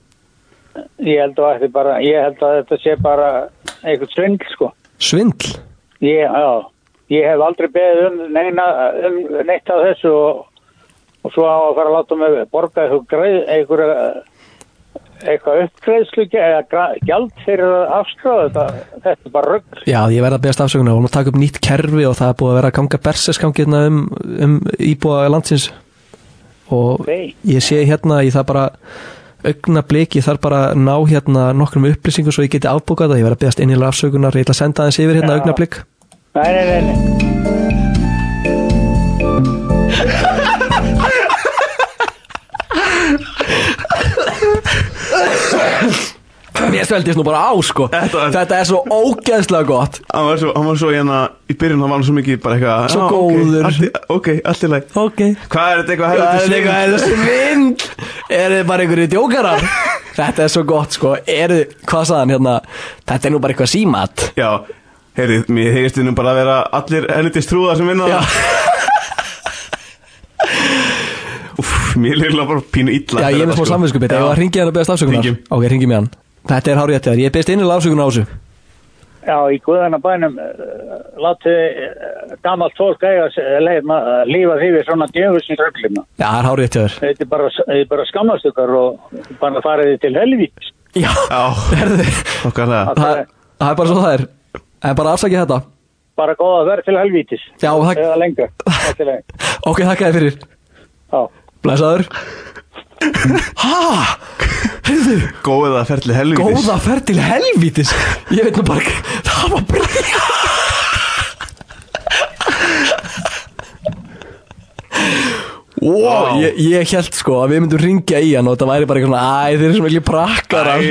Speaker 6: Ég held að, þetta bara, ég held að þetta sé bara einhvern svindl, sko.
Speaker 3: Svindl?
Speaker 6: Ég, já, ég hef aldrei beðið um, neina, um neitt af þessu og, og svo á að fara að láta mig borga eitthvað, greið, eitthvað, eitthvað uppgreiðslu eða gra- gjald fyrir að afskráða þetta. Þetta er bara rugg.
Speaker 3: Já, ég verð að beðast afsökunar, við vorum að taka upp nýtt kerfi og það er búið að vera að ganga berseskangi hérna um, um íbúa landsins og
Speaker 6: Nei.
Speaker 3: ég sé hérna í það bara
Speaker 5: augnabliki þarf bara að ná hérna nokkrum upplýsingum svo ég geti afbúkað það, ég verð að beðast innilega afsökunar ég ætla að senda aðeins yfir hérna
Speaker 6: Já.
Speaker 5: augnablik
Speaker 6: Nei, nei, nei, nei.
Speaker 5: Mér stöldist nú bara á sko
Speaker 4: Þetta er-
Speaker 5: Þetta er svo ógeðslega gott
Speaker 4: Hann var svo, hann var svo hérna, í byrjun hann var hann svo mikið bara eitthvað
Speaker 5: Svo
Speaker 4: "Ah,
Speaker 5: góður."
Speaker 4: Ok, allt í- ok, allt í læg
Speaker 5: Ok
Speaker 4: Hvað er þetta eitthvað
Speaker 5: Það
Speaker 4: helviti
Speaker 5: er
Speaker 4: svindl?
Speaker 5: eitthvað, er þessi vind Er þið bara einhverju djókarar? Þetta er svo gott sko Er þið, hvað sagðan hérna Þetta er nú bara eitthvað símat
Speaker 4: Já, heyrðu, mér heyrist þið nú bara að vera allir helvitist trúðar sem vinna
Speaker 5: Já.
Speaker 4: það Úff, mér er eiginlega bara pínu illa sko.
Speaker 5: Já, ég er með smá samvinskupið Ég var að ringja hann að beðast afsökunar
Speaker 4: Hringjum.
Speaker 5: Ok, ringjum ég hann Þetta er hárið þér Ég beðast innilega afsökunar á þessu
Speaker 6: Já, í guðana bænum látið eh, gamalt fólk eiga eh, leið, ma- eh, lífa því við svona djöfusins röglum.
Speaker 5: Já, það er hárið þér
Speaker 6: Þetta er bara, þetta er bara skammast ykkar og bara farið þið til helvít.
Speaker 5: Já,
Speaker 4: Já,
Speaker 5: herðu
Speaker 4: okkar það
Speaker 5: Það það er bara svo það er En bara afsakið þetta
Speaker 6: Bara góða verð til helvítis.
Speaker 5: Já, það
Speaker 6: Eða lengur. Allt í lagi.
Speaker 5: Ok, þakka þér fyrir
Speaker 6: Já.
Speaker 5: Blessaður Ha? Heyrðu
Speaker 4: Góða ferli helvitis
Speaker 5: Góða ferð til helvítis Ég veit nú bara Það var breyja Wow. Ég, ég held sko að við myndum ringja í hann og þetta væri bara eitthvað svona Æ, þeir eru sem vilja prakkar
Speaker 4: Æ,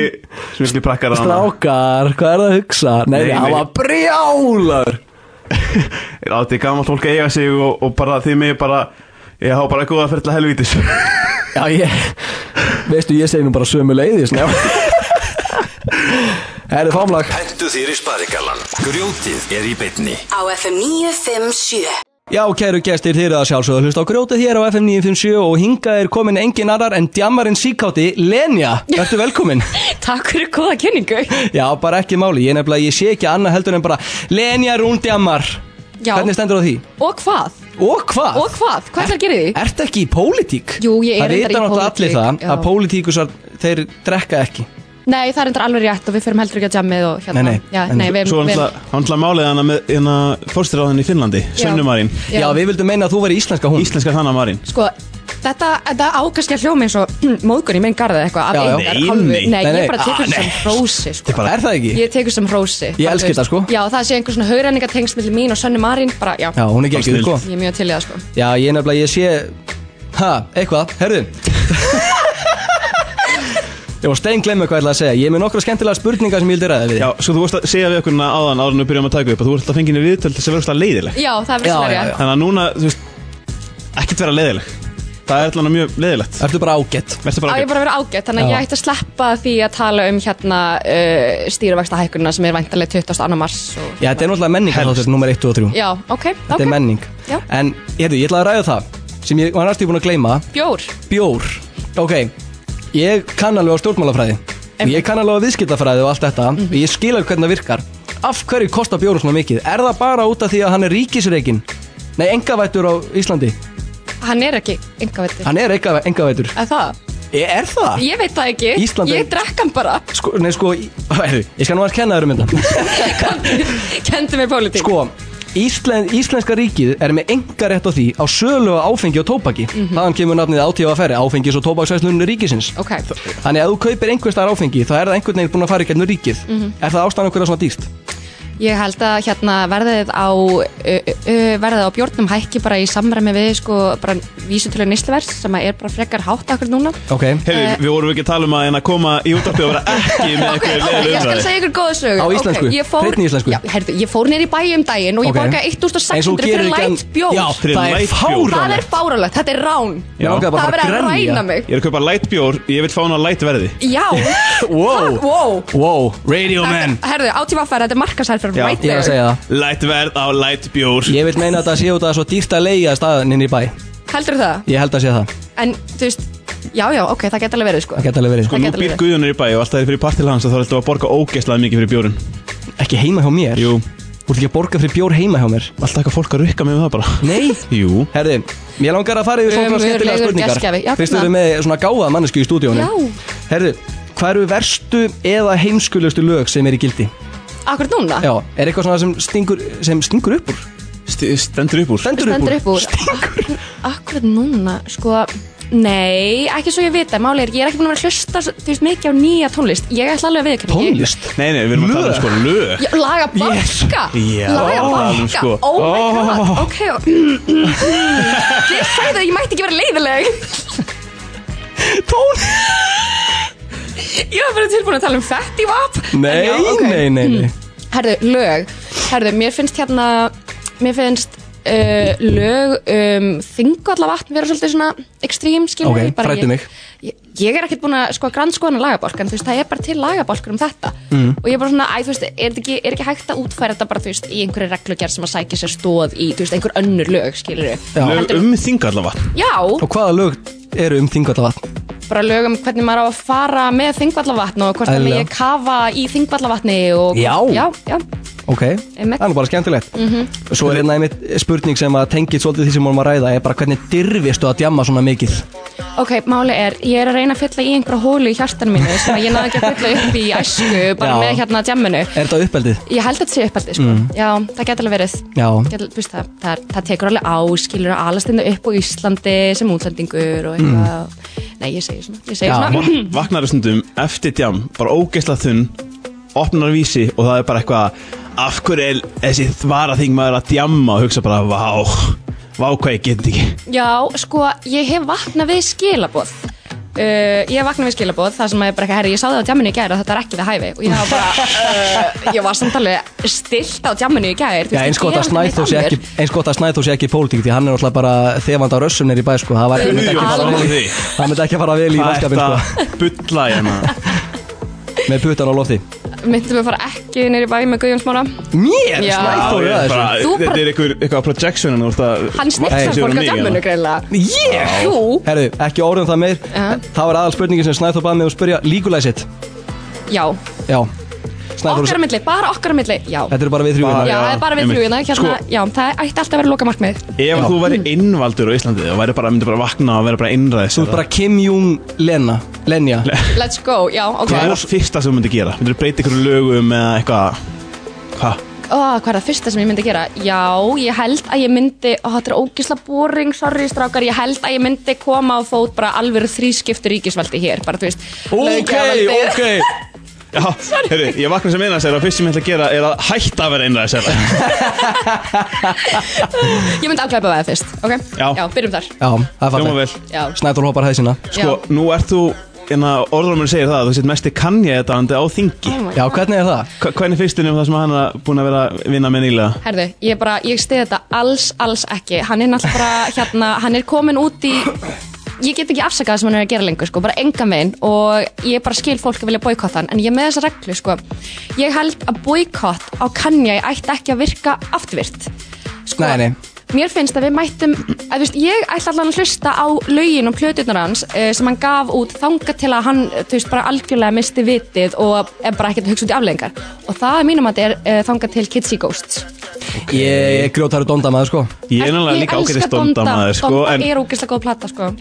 Speaker 4: Smilli prakkar á hana
Speaker 5: Strákar, hvað er það að hugsa? Nei,
Speaker 4: Nei,
Speaker 5: nei, hann
Speaker 4: nei.
Speaker 5: var brjálar
Speaker 4: Er átti gamalt fólk að eiga sig og, og bara þið mig bara Ég hafa bara góða ferli helvitis
Speaker 5: Já, ég Veistu, ég segi nú bara sömu leiðis Herri, fámlag
Speaker 1: Hentu þér í sparigallan Grjótið er í beinni
Speaker 2: Á FM 957
Speaker 3: Já, kæru gestir, þið eru að sjálfsögðu að hlusta á grjótið hér á FM 957 og hingað er komin engin annar en djamarinn síkáti Lenja, ertu velkomin?
Speaker 8: Takk fyrir góða kynningu
Speaker 3: Já, bara ekki máli, ég nefnilega, ég sé ekki annað heldur en bara Lenja Rún djamar
Speaker 8: Já.
Speaker 3: Hvernig stendur á því?
Speaker 8: Og hvað?
Speaker 3: Og hvað?
Speaker 8: Og hvað? Hvað ætlar að gera í því?
Speaker 3: Ertu ekki í pólitík?
Speaker 8: Jú, ég er
Speaker 3: Það
Speaker 8: reyndar
Speaker 3: vita
Speaker 8: í
Speaker 3: náttúrulega allir
Speaker 8: pólitík,
Speaker 3: það
Speaker 8: já.
Speaker 3: að pólitíkusar, þeir drekka ekki
Speaker 8: Nei, það er endur alveg rétt og við förum heldur ekki að jammið og hérna
Speaker 3: Nei, nei.
Speaker 8: Já,
Speaker 3: En
Speaker 8: nei, við,
Speaker 4: <laughs> Svo hann
Speaker 8: við,
Speaker 4: ætla málið hana með hérna fórstiráðin í Finnlandi Svennumarinn,
Speaker 8: Já.
Speaker 3: Já, við vildum meina að þú veri íslenska hún
Speaker 4: íslenska þannamarinn
Speaker 8: Sko, þetta, þetta ákast ekki að hljóma eins og móðgun í minn garði
Speaker 3: Já, já.
Speaker 8: eitthvað af
Speaker 4: Nei,
Speaker 8: einhver hálfu
Speaker 4: nei.
Speaker 8: Nei,
Speaker 3: Nei, nei.
Speaker 8: ég bara
Speaker 3: Ah,
Speaker 8: tekur þetta sem hrósi sko.
Speaker 3: Er það ekki?
Speaker 8: Ég tekur sem hrósi
Speaker 3: Ég
Speaker 8: bara,
Speaker 3: elska
Speaker 8: þú veist.
Speaker 3: þetta, sko.
Speaker 8: Já, það sé einhver svona haurenningatengst millir mín og Sönnu Marín bara, já,
Speaker 3: Já, hún er ekki
Speaker 4: Bara
Speaker 3: ekki,
Speaker 4: snill.
Speaker 3: sko
Speaker 8: ég er mjög til í það sko
Speaker 3: Já, ég nefnilega, ég sé Ha, eitthvað, herðu Ég var stein glemma hvað ég ætla að segja Ég er með nokkra skemmtilega spurningar sem ég vildi ræða við
Speaker 4: Já, svo þú vorst að segja við okkur hérna áðan áður en við byrjum að taka upp að þú vorst að fenginni viðtöl til þess að vera óslega leiðileg
Speaker 8: Já, það er
Speaker 3: Já, já,
Speaker 8: vissulega rétt.
Speaker 3: já.
Speaker 4: Þannig að núna, þú veist, ekkert vera leiðileg Það er allan mjög leiðilegt
Speaker 3: Ertu bara ágætt
Speaker 4: Vertu
Speaker 8: Á
Speaker 4: bara
Speaker 8: ég
Speaker 4: ágætt
Speaker 8: bara að vera ágætt, þannig að
Speaker 3: Já.
Speaker 8: ég ætti að sleppa því að tala um hérna uh, stýruvægsta sem er væntalega 22. mars og...
Speaker 3: Já, þetta er náttúrulega menning
Speaker 4: Helst.
Speaker 3: Þáttur nummer 1 og 3
Speaker 8: Já, ok,
Speaker 3: Þetta er
Speaker 8: ok
Speaker 3: menning
Speaker 8: Já.
Speaker 3: En, heyrðu, ég ætla að ræða það Sem ég var næstu búin að gleyma
Speaker 8: Bjór
Speaker 3: Bjór Ok, ég kann alveg á stjórnmálafræði Og ég kann alveg á viðskiptafræði og allt þetta Og ég skil alveg hvernig það virkar Af hverju kostar bjórun svona mikið? Er það bara út af því að hann er ríkisreikin? Nei, engavættur á Íslandi
Speaker 8: Hann er ekki engavættur
Speaker 3: Hann er enga- engavættur
Speaker 8: Er það?
Speaker 3: Er, er það?
Speaker 8: Ég veit það ekki
Speaker 3: Ísland er-
Speaker 8: Ég drekk hann bara
Speaker 3: Sko, nei, sko, í- heyrðu, ég skal nú að kenna þér um <laughs> þetta
Speaker 8: Kendi mér pólitík
Speaker 3: Sko, Íslen, Íslenska ríkið er með enga rétt á því á sölu á áfengi og tóbaki Þaðan kemur nafnið átífaferri, áfengis og tóbaksversluninu ríkisins
Speaker 8: Ok
Speaker 3: Þannig að ef þú kaupir einhvers staðar áfengi þá er það einhvern veginn búin að fara í gennur ríkið
Speaker 8: Mhm.
Speaker 3: Er það ástæðan okkur að svona dýrt?
Speaker 8: Ég held að hérna verðið á uh, uh, verðið á bjórnum hækki bara í samræmi við sko bara vísutölu nýsluvers sem að er bara frekar hátt akkur núna
Speaker 3: Ok
Speaker 4: Hefur,
Speaker 8: Eh.
Speaker 4: við vorum ekki að tala um að hérna koma í útarpið og vera ekki
Speaker 8: <laughs>
Speaker 4: með
Speaker 8: Ok,
Speaker 4: eitthvað
Speaker 8: ok,
Speaker 4: leiðileg
Speaker 8: ég skal
Speaker 4: umræði
Speaker 8: segja ykkur góða sögur
Speaker 3: Á íslensku,
Speaker 8: ég fór,
Speaker 3: hreinni íslensku.
Speaker 8: já, heyrðu, ég fór nýr í bæi um daginn og ég
Speaker 3: Ok.
Speaker 8: borgaði
Speaker 3: Eins og
Speaker 8: 1.600
Speaker 3: þú gerir
Speaker 8: fyrir
Speaker 3: ekki
Speaker 8: lætt
Speaker 3: en-
Speaker 8: bjór
Speaker 3: Já, það
Speaker 4: Fyrir
Speaker 3: er
Speaker 4: light bjór.
Speaker 8: Það
Speaker 3: fáránlegt
Speaker 8: er fáralegt, þetta er rán
Speaker 3: Mér langaði
Speaker 8: Það
Speaker 3: bara að
Speaker 8: er verið að
Speaker 3: fara að
Speaker 8: ræna
Speaker 3: grenja
Speaker 8: mig
Speaker 4: Ég er að kaupa light bjór, ég vil fá hann á light verði
Speaker 8: Já,
Speaker 3: <laughs> Wow.
Speaker 8: wow.
Speaker 3: Wow, radio man
Speaker 8: Þetta- Herðu, átífafæra, þetta er markasærferð
Speaker 4: Já.
Speaker 8: right
Speaker 3: Ég er að
Speaker 8: there.
Speaker 3: segja það
Speaker 4: Light verð á light bjór
Speaker 3: Ég vil meina að það sé út að það er svo dýrt að leiga staðan inn í bæ
Speaker 8: Heldur það?
Speaker 3: Ég held að sé það,
Speaker 8: En, þú veist, já, já, ok, það geta alveg verið, sko
Speaker 3: það geta alveg verið
Speaker 4: Sko
Speaker 8: Það
Speaker 4: nú
Speaker 8: gæti alveg
Speaker 4: býr
Speaker 8: verið.
Speaker 4: Guðjónur í bæ og alltaf er fyrir partil hans að þá er alltaf að borga ógeðslega mikið fyrir bjórun
Speaker 3: Ekki heima hjá mér
Speaker 4: Jú,
Speaker 3: Þú ert ekki að borga fyrir bjór heima hjá mér
Speaker 4: alltaf eitthvað fólk að rukka mig um það bara
Speaker 3: Nei
Speaker 4: Jú,
Speaker 3: Herði, mér langar að fara yfir svona
Speaker 8: Ömurlegur
Speaker 3: skemmtilega
Speaker 8: gestgjafi. Já,
Speaker 3: spurningar Fyrst við
Speaker 8: hvað?
Speaker 3: erum með svona gáða mannesku í stúdíónu
Speaker 8: Já.
Speaker 3: Herði, hvað eru verstu eða heimskulustu lög sem er í gildi?
Speaker 8: Akkur núna?
Speaker 3: Já, er eitthvað svona sem stingur, sem stingur upp úr?
Speaker 4: St stendur upp úr
Speaker 3: Stendur upp úr?
Speaker 8: Stendur upp úr Akkur núna, sko Nei, ekki svo ég vita, máli er ekki, ég er ekki búin að vera að hlusta svo- þú veist mikið á nýja tónlist Ég ætla alveg að viðkynna
Speaker 3: Tónlist?
Speaker 4: Nei, nei, við erum að tala um sko lög
Speaker 8: Já, laga bakka
Speaker 4: Já, það
Speaker 8: Laga
Speaker 4: er
Speaker 8: bakka,
Speaker 4: sko.
Speaker 8: oh my god
Speaker 3: <laughs>
Speaker 8: Ok, og- ég sagði það, ég mætti ekki vera leiðileg
Speaker 3: Tón
Speaker 8: Ég var bara tilbúin að tala um fett í vap
Speaker 3: Nei,
Speaker 8: En já, ok. Hmm.
Speaker 3: nei, nei, nei
Speaker 8: Herðu, lög Herðu, mér finnst hérna Mér finnst uh, lög um Þingvallavatn vera svolítið svona ekstrím, skilur
Speaker 3: Ok,
Speaker 8: ég bara-
Speaker 3: fræddu
Speaker 8: ég-
Speaker 3: mig.
Speaker 8: Ég, ég er ekkert búin að sko grannskoðan að lagabálk en þú veist, það er bara til lagabálkur um þetta mm. og ég er bara svona, æ, þú veist, er, þetta ekki, er ekki hægt að útfæra þetta bara, þú veist, í einhverju reglugjær sem að sækja sér stóð í, þú veist, einhver önnur lög, skilur
Speaker 4: Lög um þingallavatn
Speaker 8: Já,
Speaker 3: Og hvaða lög eru um þingvallavatn?
Speaker 8: bara lög um hvernig maður á að fara með þingvallavatn og hvort það
Speaker 3: Eðlilega.
Speaker 8: megi kafa í þingvallavatni og...
Speaker 3: Já.
Speaker 8: Já, já.
Speaker 3: Ok, það
Speaker 8: Einmitt. Mhm.
Speaker 3: er nú bara skemmtilegt Svo er hérna einmitt spurning sem að tengið svolítið því sem vorum að ræða er bara hvernig dyrfistu að djamma svona mikið
Speaker 8: Ok, máli er, ég er að reyna að fylla í einhverja hólu í hjartan mínu sem að ég náði ekki að fylla upp í æsku bara
Speaker 3: Já.
Speaker 8: með hérna djamminu.
Speaker 3: Er þetta uppeldið?
Speaker 8: Ég held að þetta sé uppaldið, sko. Já, það getur alveg verið.
Speaker 3: Já,
Speaker 8: Getur, þú veist, það, það, það tekur alveg á, skilur að alast innu upp á Íslandi sem útlendingur og eitthvað. Nei, ég segi svona. Ég segi
Speaker 3: Mm. Já.
Speaker 8: svona.
Speaker 4: Vaknar stundum eftir djam Bara ógeisla þunn Opnar vísi og það er bara eitthvað Af hverju er þessi þvara þingmaður að djamma Og hugsa bara, vá Vá hvað ég get þetta ekki
Speaker 8: Já, sko, ég hef vaknað við skilaboð Uh, ég hef vaknað við skilaboð þar sem að ég bara eitthvað, herri, ég sá það á djamminu í gæri og þetta er ekki við hæfi og ég hafa
Speaker 3: <laughs>
Speaker 8: bara, uh, ég var samt alveg stilt á djamminu í gæri
Speaker 3: Já, eins gott að Snæþór sé ekki, eins gott að Snæþór sé ekki í pólitík því hann er náttúrulega bara þefand á rössum nýri bæ sko, það var- myndi ekki fara
Speaker 8: Alveg.
Speaker 3: vel í- það myndi ekki fara vel í
Speaker 4: Það
Speaker 3: vanskapin
Speaker 4: er
Speaker 3: sko,
Speaker 4: þetta <laughs> bulla hérna
Speaker 3: með putan á lofti
Speaker 8: Myndum við fara ekki neyri bæ með Guðjón Smára
Speaker 3: Mér,
Speaker 8: Já.
Speaker 3: Snæþór er
Speaker 4: Já, ég
Speaker 3: að þessu
Speaker 4: bara-
Speaker 8: sko. Þú bara-
Speaker 4: Þetta er einhver- eitthvað projection hérna, þú ert að-
Speaker 8: Hann
Speaker 4: Nei,
Speaker 8: snittar
Speaker 4: sér
Speaker 8: fólk á
Speaker 4: mig,
Speaker 8: djamminu
Speaker 4: hérna.
Speaker 8: greinlega
Speaker 3: Ég?
Speaker 8: Jú,
Speaker 3: Herðu, ekki orðum það meir
Speaker 8: Já.
Speaker 3: Það var aðal spurningin sem Snæþór baði mig að spyrja Líkulæsitt
Speaker 8: já,
Speaker 3: Já Snæþór
Speaker 8: okkar að milli, bara okkar að milli, já
Speaker 3: Þetta eru bara við þrjú
Speaker 4: Bara-
Speaker 3: hérna
Speaker 8: Já, það er bara við
Speaker 4: einmitt.
Speaker 8: þrjú hérna, hérna,
Speaker 4: Sko-
Speaker 8: já, það ætti alltaf að vera loka markmið
Speaker 4: Ef þú væri innvaldur á Íslandi og væri bara, myndi bara vakna og væri bara innræðis
Speaker 3: Þú ert bara Kim Jong Lena Lenja
Speaker 8: Let's go, já, ok
Speaker 4: Hvað er það fyrsta sem þú myndir gera? Myndir þú breyta ykkur lögum eða eitthvað Hvað?
Speaker 8: oh, hvað er það fyrsta sem ég myndi gera? Já, ég held að ég myndi, ó, þetta er ógisla boring, sorry strákar, ég held að ég myndi koma á fót bara alvöru þrískipti ríkisvaldi hér, bara þú veist.
Speaker 3: Ok,
Speaker 8: löggjafarvaldið.
Speaker 3: ok
Speaker 4: Já, heyrðu, ég vakna sem innræðis og fyrst sem ég ætla að gera er að hætta að vera innræðis
Speaker 8: Ég myndi afklæpa veða fyrst, ok?
Speaker 4: Já.
Speaker 8: byrjum þar.
Speaker 3: Já, það
Speaker 4: Hljóma
Speaker 3: fattar
Speaker 4: vel
Speaker 8: Já. Oh
Speaker 3: Snæþór hopar hæð sína
Speaker 4: Sko,
Speaker 8: Já.
Speaker 4: nú ert þú, en að orðrumur segir það að þú sett mest í kannja þetta á þingi
Speaker 8: Oh my
Speaker 3: Já, hvernig er það?
Speaker 4: Hva- Hvernig finnst þér um það sem hann er búin að vera að vinna með nýlega?
Speaker 8: Herðu, ég bara, ég stiði þetta alls, alls ekki Hann er náttúrulega bara, hérna, hann er komin út í Ég get ekki afsakað það sem hann er að gera lengur, sko, bara engan veginn Og ég bara skil fólk að vilja boykotta hann En ég er með þessa reglu, sko Ég held að boykott á Kanye ætti ekki að virka aftvirt sko,
Speaker 3: Nei, nei.
Speaker 8: Mér finnst að við mættum að, veist, Ég ætla allan að hlusta á lögin og plötunar hans uh, sem hann gaf út þanga til að hann eh, þú veist, bara algjörlega misti vitið og er bara ekkert að hugsa út í afleggingar og það er mínum að þetta er uh, þanga til Kitsy Ghosts
Speaker 3: Ég er grjótaru dóndamaður sko
Speaker 4: Ég er náttúrulega líka
Speaker 8: elska
Speaker 4: ágætist donda maður sko,
Speaker 8: Donda
Speaker 4: en
Speaker 8: er ógeðslega góð plata sko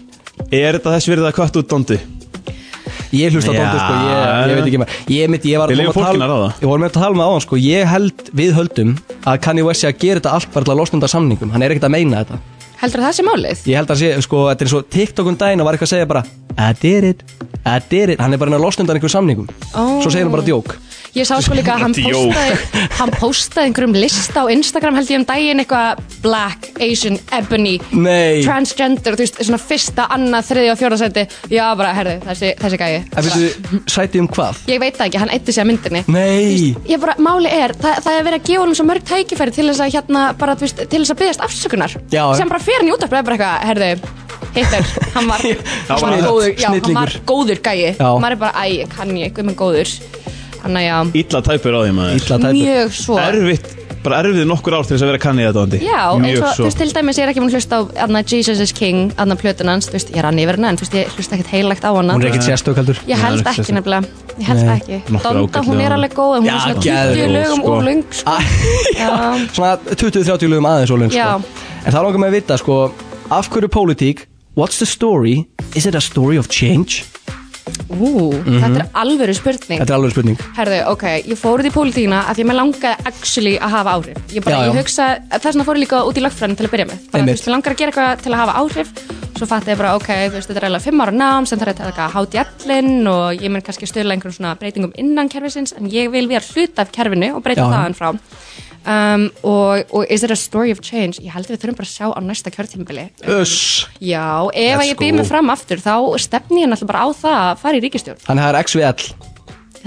Speaker 4: er þetta þess verið að kvætt út dondi?
Speaker 3: Ég hlusta á
Speaker 4: Já.
Speaker 3: dóndu sko, ég, ég veit ekki maður Ég, mitt, ég var
Speaker 4: Við leyfum
Speaker 3: vorum
Speaker 4: fólkinu að ráða.
Speaker 3: Ég vorum með að tala með áðan sko Ég held við höldum að Kanye West sé að gera þetta allt bara til að losna undan samningum Hann er ekkert að meina þetta
Speaker 8: Heldur það sé málið?
Speaker 3: Ég held að sé, sko, þetta er eins og TikTok um daginn og var eitthvað að segja bara I did it, I did it Hann er bara að losna undan einhverjum samningum
Speaker 8: Ó.
Speaker 3: Svo segir hann bara djók
Speaker 8: Ég sá sko líka að hann
Speaker 4: Djók.
Speaker 8: postaði <laughs> hann postaði einhverjum lista á Instagram held ég um daginn eitthvað black, asian, ebony
Speaker 3: Nei.
Speaker 8: transgender, þú veist, svona fyrsta, annað, þriði og fjóra seti Já, bara, herðu, þessi, þessi gæi
Speaker 3: En veistu, sæti um hvað?
Speaker 8: Ég veit það ekki, hann eitti sig að myndinni
Speaker 3: Nei
Speaker 8: Ég bara, máli er, það, það er verið að gefa honum svo mörg tækifæri til þess að hérna, bara, þú veist, til þess að byggðast afsökunar
Speaker 3: Já.
Speaker 8: sem bara fer hann í útarpið bara eitthvað, herðu, hittar,
Speaker 3: <laughs>
Speaker 8: hann var, hann var
Speaker 3: snillt.
Speaker 8: góður, já, hann var
Speaker 3: Snillingur.
Speaker 8: góður gæi
Speaker 3: Já.
Speaker 8: maður er bara, æ, kann ég, guð minn góður þannig að, já,
Speaker 4: Ítla tæpur á því maður
Speaker 3: Ítla tæpur
Speaker 8: mjög svo
Speaker 4: Erfitt, bara erfið nokkur ár til þess að vera kannja þetta dondi
Speaker 8: Já, eins
Speaker 4: Mjög
Speaker 8: og, þú
Speaker 4: svo
Speaker 8: veist, til dæmis, ég er ekki mun hlusta á aðna, Jesus is King, aðna plötun hans, þú veist, ég er hann yfir hana, en þú veist, ég hlusta ekkert heilagt á hana
Speaker 3: Hún er ekkert sérstök heldur
Speaker 8: Ég held
Speaker 4: Nei,
Speaker 8: ekki
Speaker 4: ekki
Speaker 8: nefnilega, ég held ekki
Speaker 4: Nokkur
Speaker 8: Donda, hún
Speaker 4: ágætlega.
Speaker 8: er alveg góð, en hún
Speaker 3: Já,
Speaker 8: er svona
Speaker 3: geðveik,
Speaker 8: 20 lögum
Speaker 4: sko.
Speaker 8: úr lung, sko
Speaker 3: Ah, <laughs>
Speaker 8: Já.
Speaker 3: Svona 20-30 lögum aðeins og lögum sko.
Speaker 8: Já.
Speaker 3: En það langar mig að vita, sko Af hverju pólitík? What's the story? Is it a story of change?
Speaker 8: Ú, þetta er alvöru spurning
Speaker 3: Mhm. Þetta er alveg spurning
Speaker 8: Herðu, ok, ég fór út í pólitíkina af því að mér langaði actually að hafa áhrif Ég bara,
Speaker 3: Já, já.
Speaker 8: ég hugsa, þess vegna fór ég líka út í lögfræðin til að byrja með Bara,
Speaker 3: Einmitt.
Speaker 8: þú veist, mér langar að gera eitthvað til að hafa áhrif svo fatt ég bara, ok, þú veist, þetta er eiginlega fimm ára nám sem þarf að taka hátjallinn og ég mun kannski stöðla einhverjum svona breytingum innan kerfisins en ég vil vera hluta af kerfinu og breyta
Speaker 5: Já, já.
Speaker 8: þaðan frá um, og, og is it a story of change? Ég held að við þurfum bara að sjá á næsta kjörtímbili
Speaker 4: Öss
Speaker 8: Já, ef að
Speaker 3: Let's
Speaker 8: ég býð mig
Speaker 3: go.
Speaker 8: fram aftur þá stefni ég náttúrulega bara á það að fara í ríkistjórn
Speaker 3: Þannig að það er x við l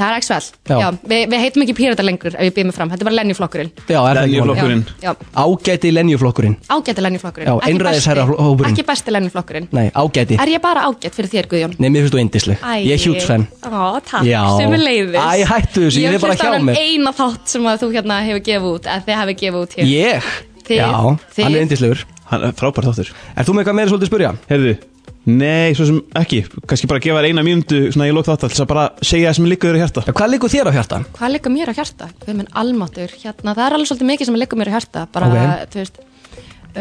Speaker 8: Það er XVL,
Speaker 5: Já.
Speaker 8: já, við, við heitum ekki pírata lengur ef ég býð mig fram, þetta er bara lenjuflokkurinn
Speaker 3: Já, er það ekki
Speaker 4: Lenjuflokk.
Speaker 3: málið?
Speaker 8: Já,
Speaker 4: Flokkurinn.
Speaker 8: já,
Speaker 3: Ágæti lenjuflokkurinn
Speaker 8: ágæti lenjuflokkurinn
Speaker 3: Já,
Speaker 8: Ekki
Speaker 3: einræðisherra
Speaker 8: besti-
Speaker 3: hópurinn.
Speaker 8: Ekki besti lenjuflokkurinn
Speaker 3: Nei, ágæti
Speaker 8: Er ég bara ágætt fyrir þér Guðjón?
Speaker 3: Nei, mér finnst þú indisleg Ég er huge fan
Speaker 8: Ó, takk,
Speaker 3: Já.
Speaker 8: sem er leiðis
Speaker 3: Æ, hættu þessu, ég er bara hjá mér.
Speaker 8: Ég hef hlusta á eina þátt sem að þú hérna hefur gefið út að þið hefur gefið út hér
Speaker 3: Ég?
Speaker 8: Þið-
Speaker 3: Já,
Speaker 8: þið-
Speaker 3: hann er indislegur
Speaker 4: Hann er frábær þáttur
Speaker 3: Er þú með eitthvað meira svolítið að spurja?
Speaker 4: Heyrðu Nei, svo sem ekki Kanski bara gefa þér eina mínútu Svona ég lók þátt alltaf Bara segja það sem liggur þér í hjarta
Speaker 3: Hvað liggur þér á hjarta?
Speaker 8: Hvað liggur mér á hjarta? Guð minn almáttur, hérna, það er alveg svolítið mikið sem liggur mér á hjarta bara,
Speaker 3: Ok.
Speaker 8: þú veist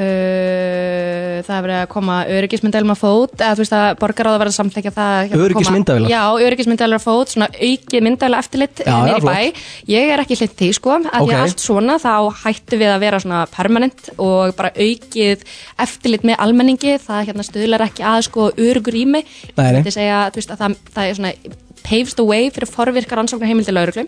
Speaker 8: Uh, það er verið að koma öryggismyndavélum að fót eða þú veist að borgaráð að vera að samtækja það hérna,
Speaker 3: Öryggismyndavélar?
Speaker 8: koma- Já, öryggismyndavélar að fót, svona aukið myndavélar eftirlit
Speaker 3: Já, já,
Speaker 8: niður í
Speaker 3: flott.
Speaker 8: bæ Ég er ekki hlitt því sko, af því
Speaker 3: Ok.
Speaker 8: að allt svona þá hættu við að vera svona permanent og bara aukið eftirlit með almenningi, það hérna stuðlar ekki að sko örugur ími
Speaker 3: Nei, nei.
Speaker 8: Ég myndi segja þú veist, að það, það er svona paves the way fyrir forvirkar rannsóknar heimildi lauruglu.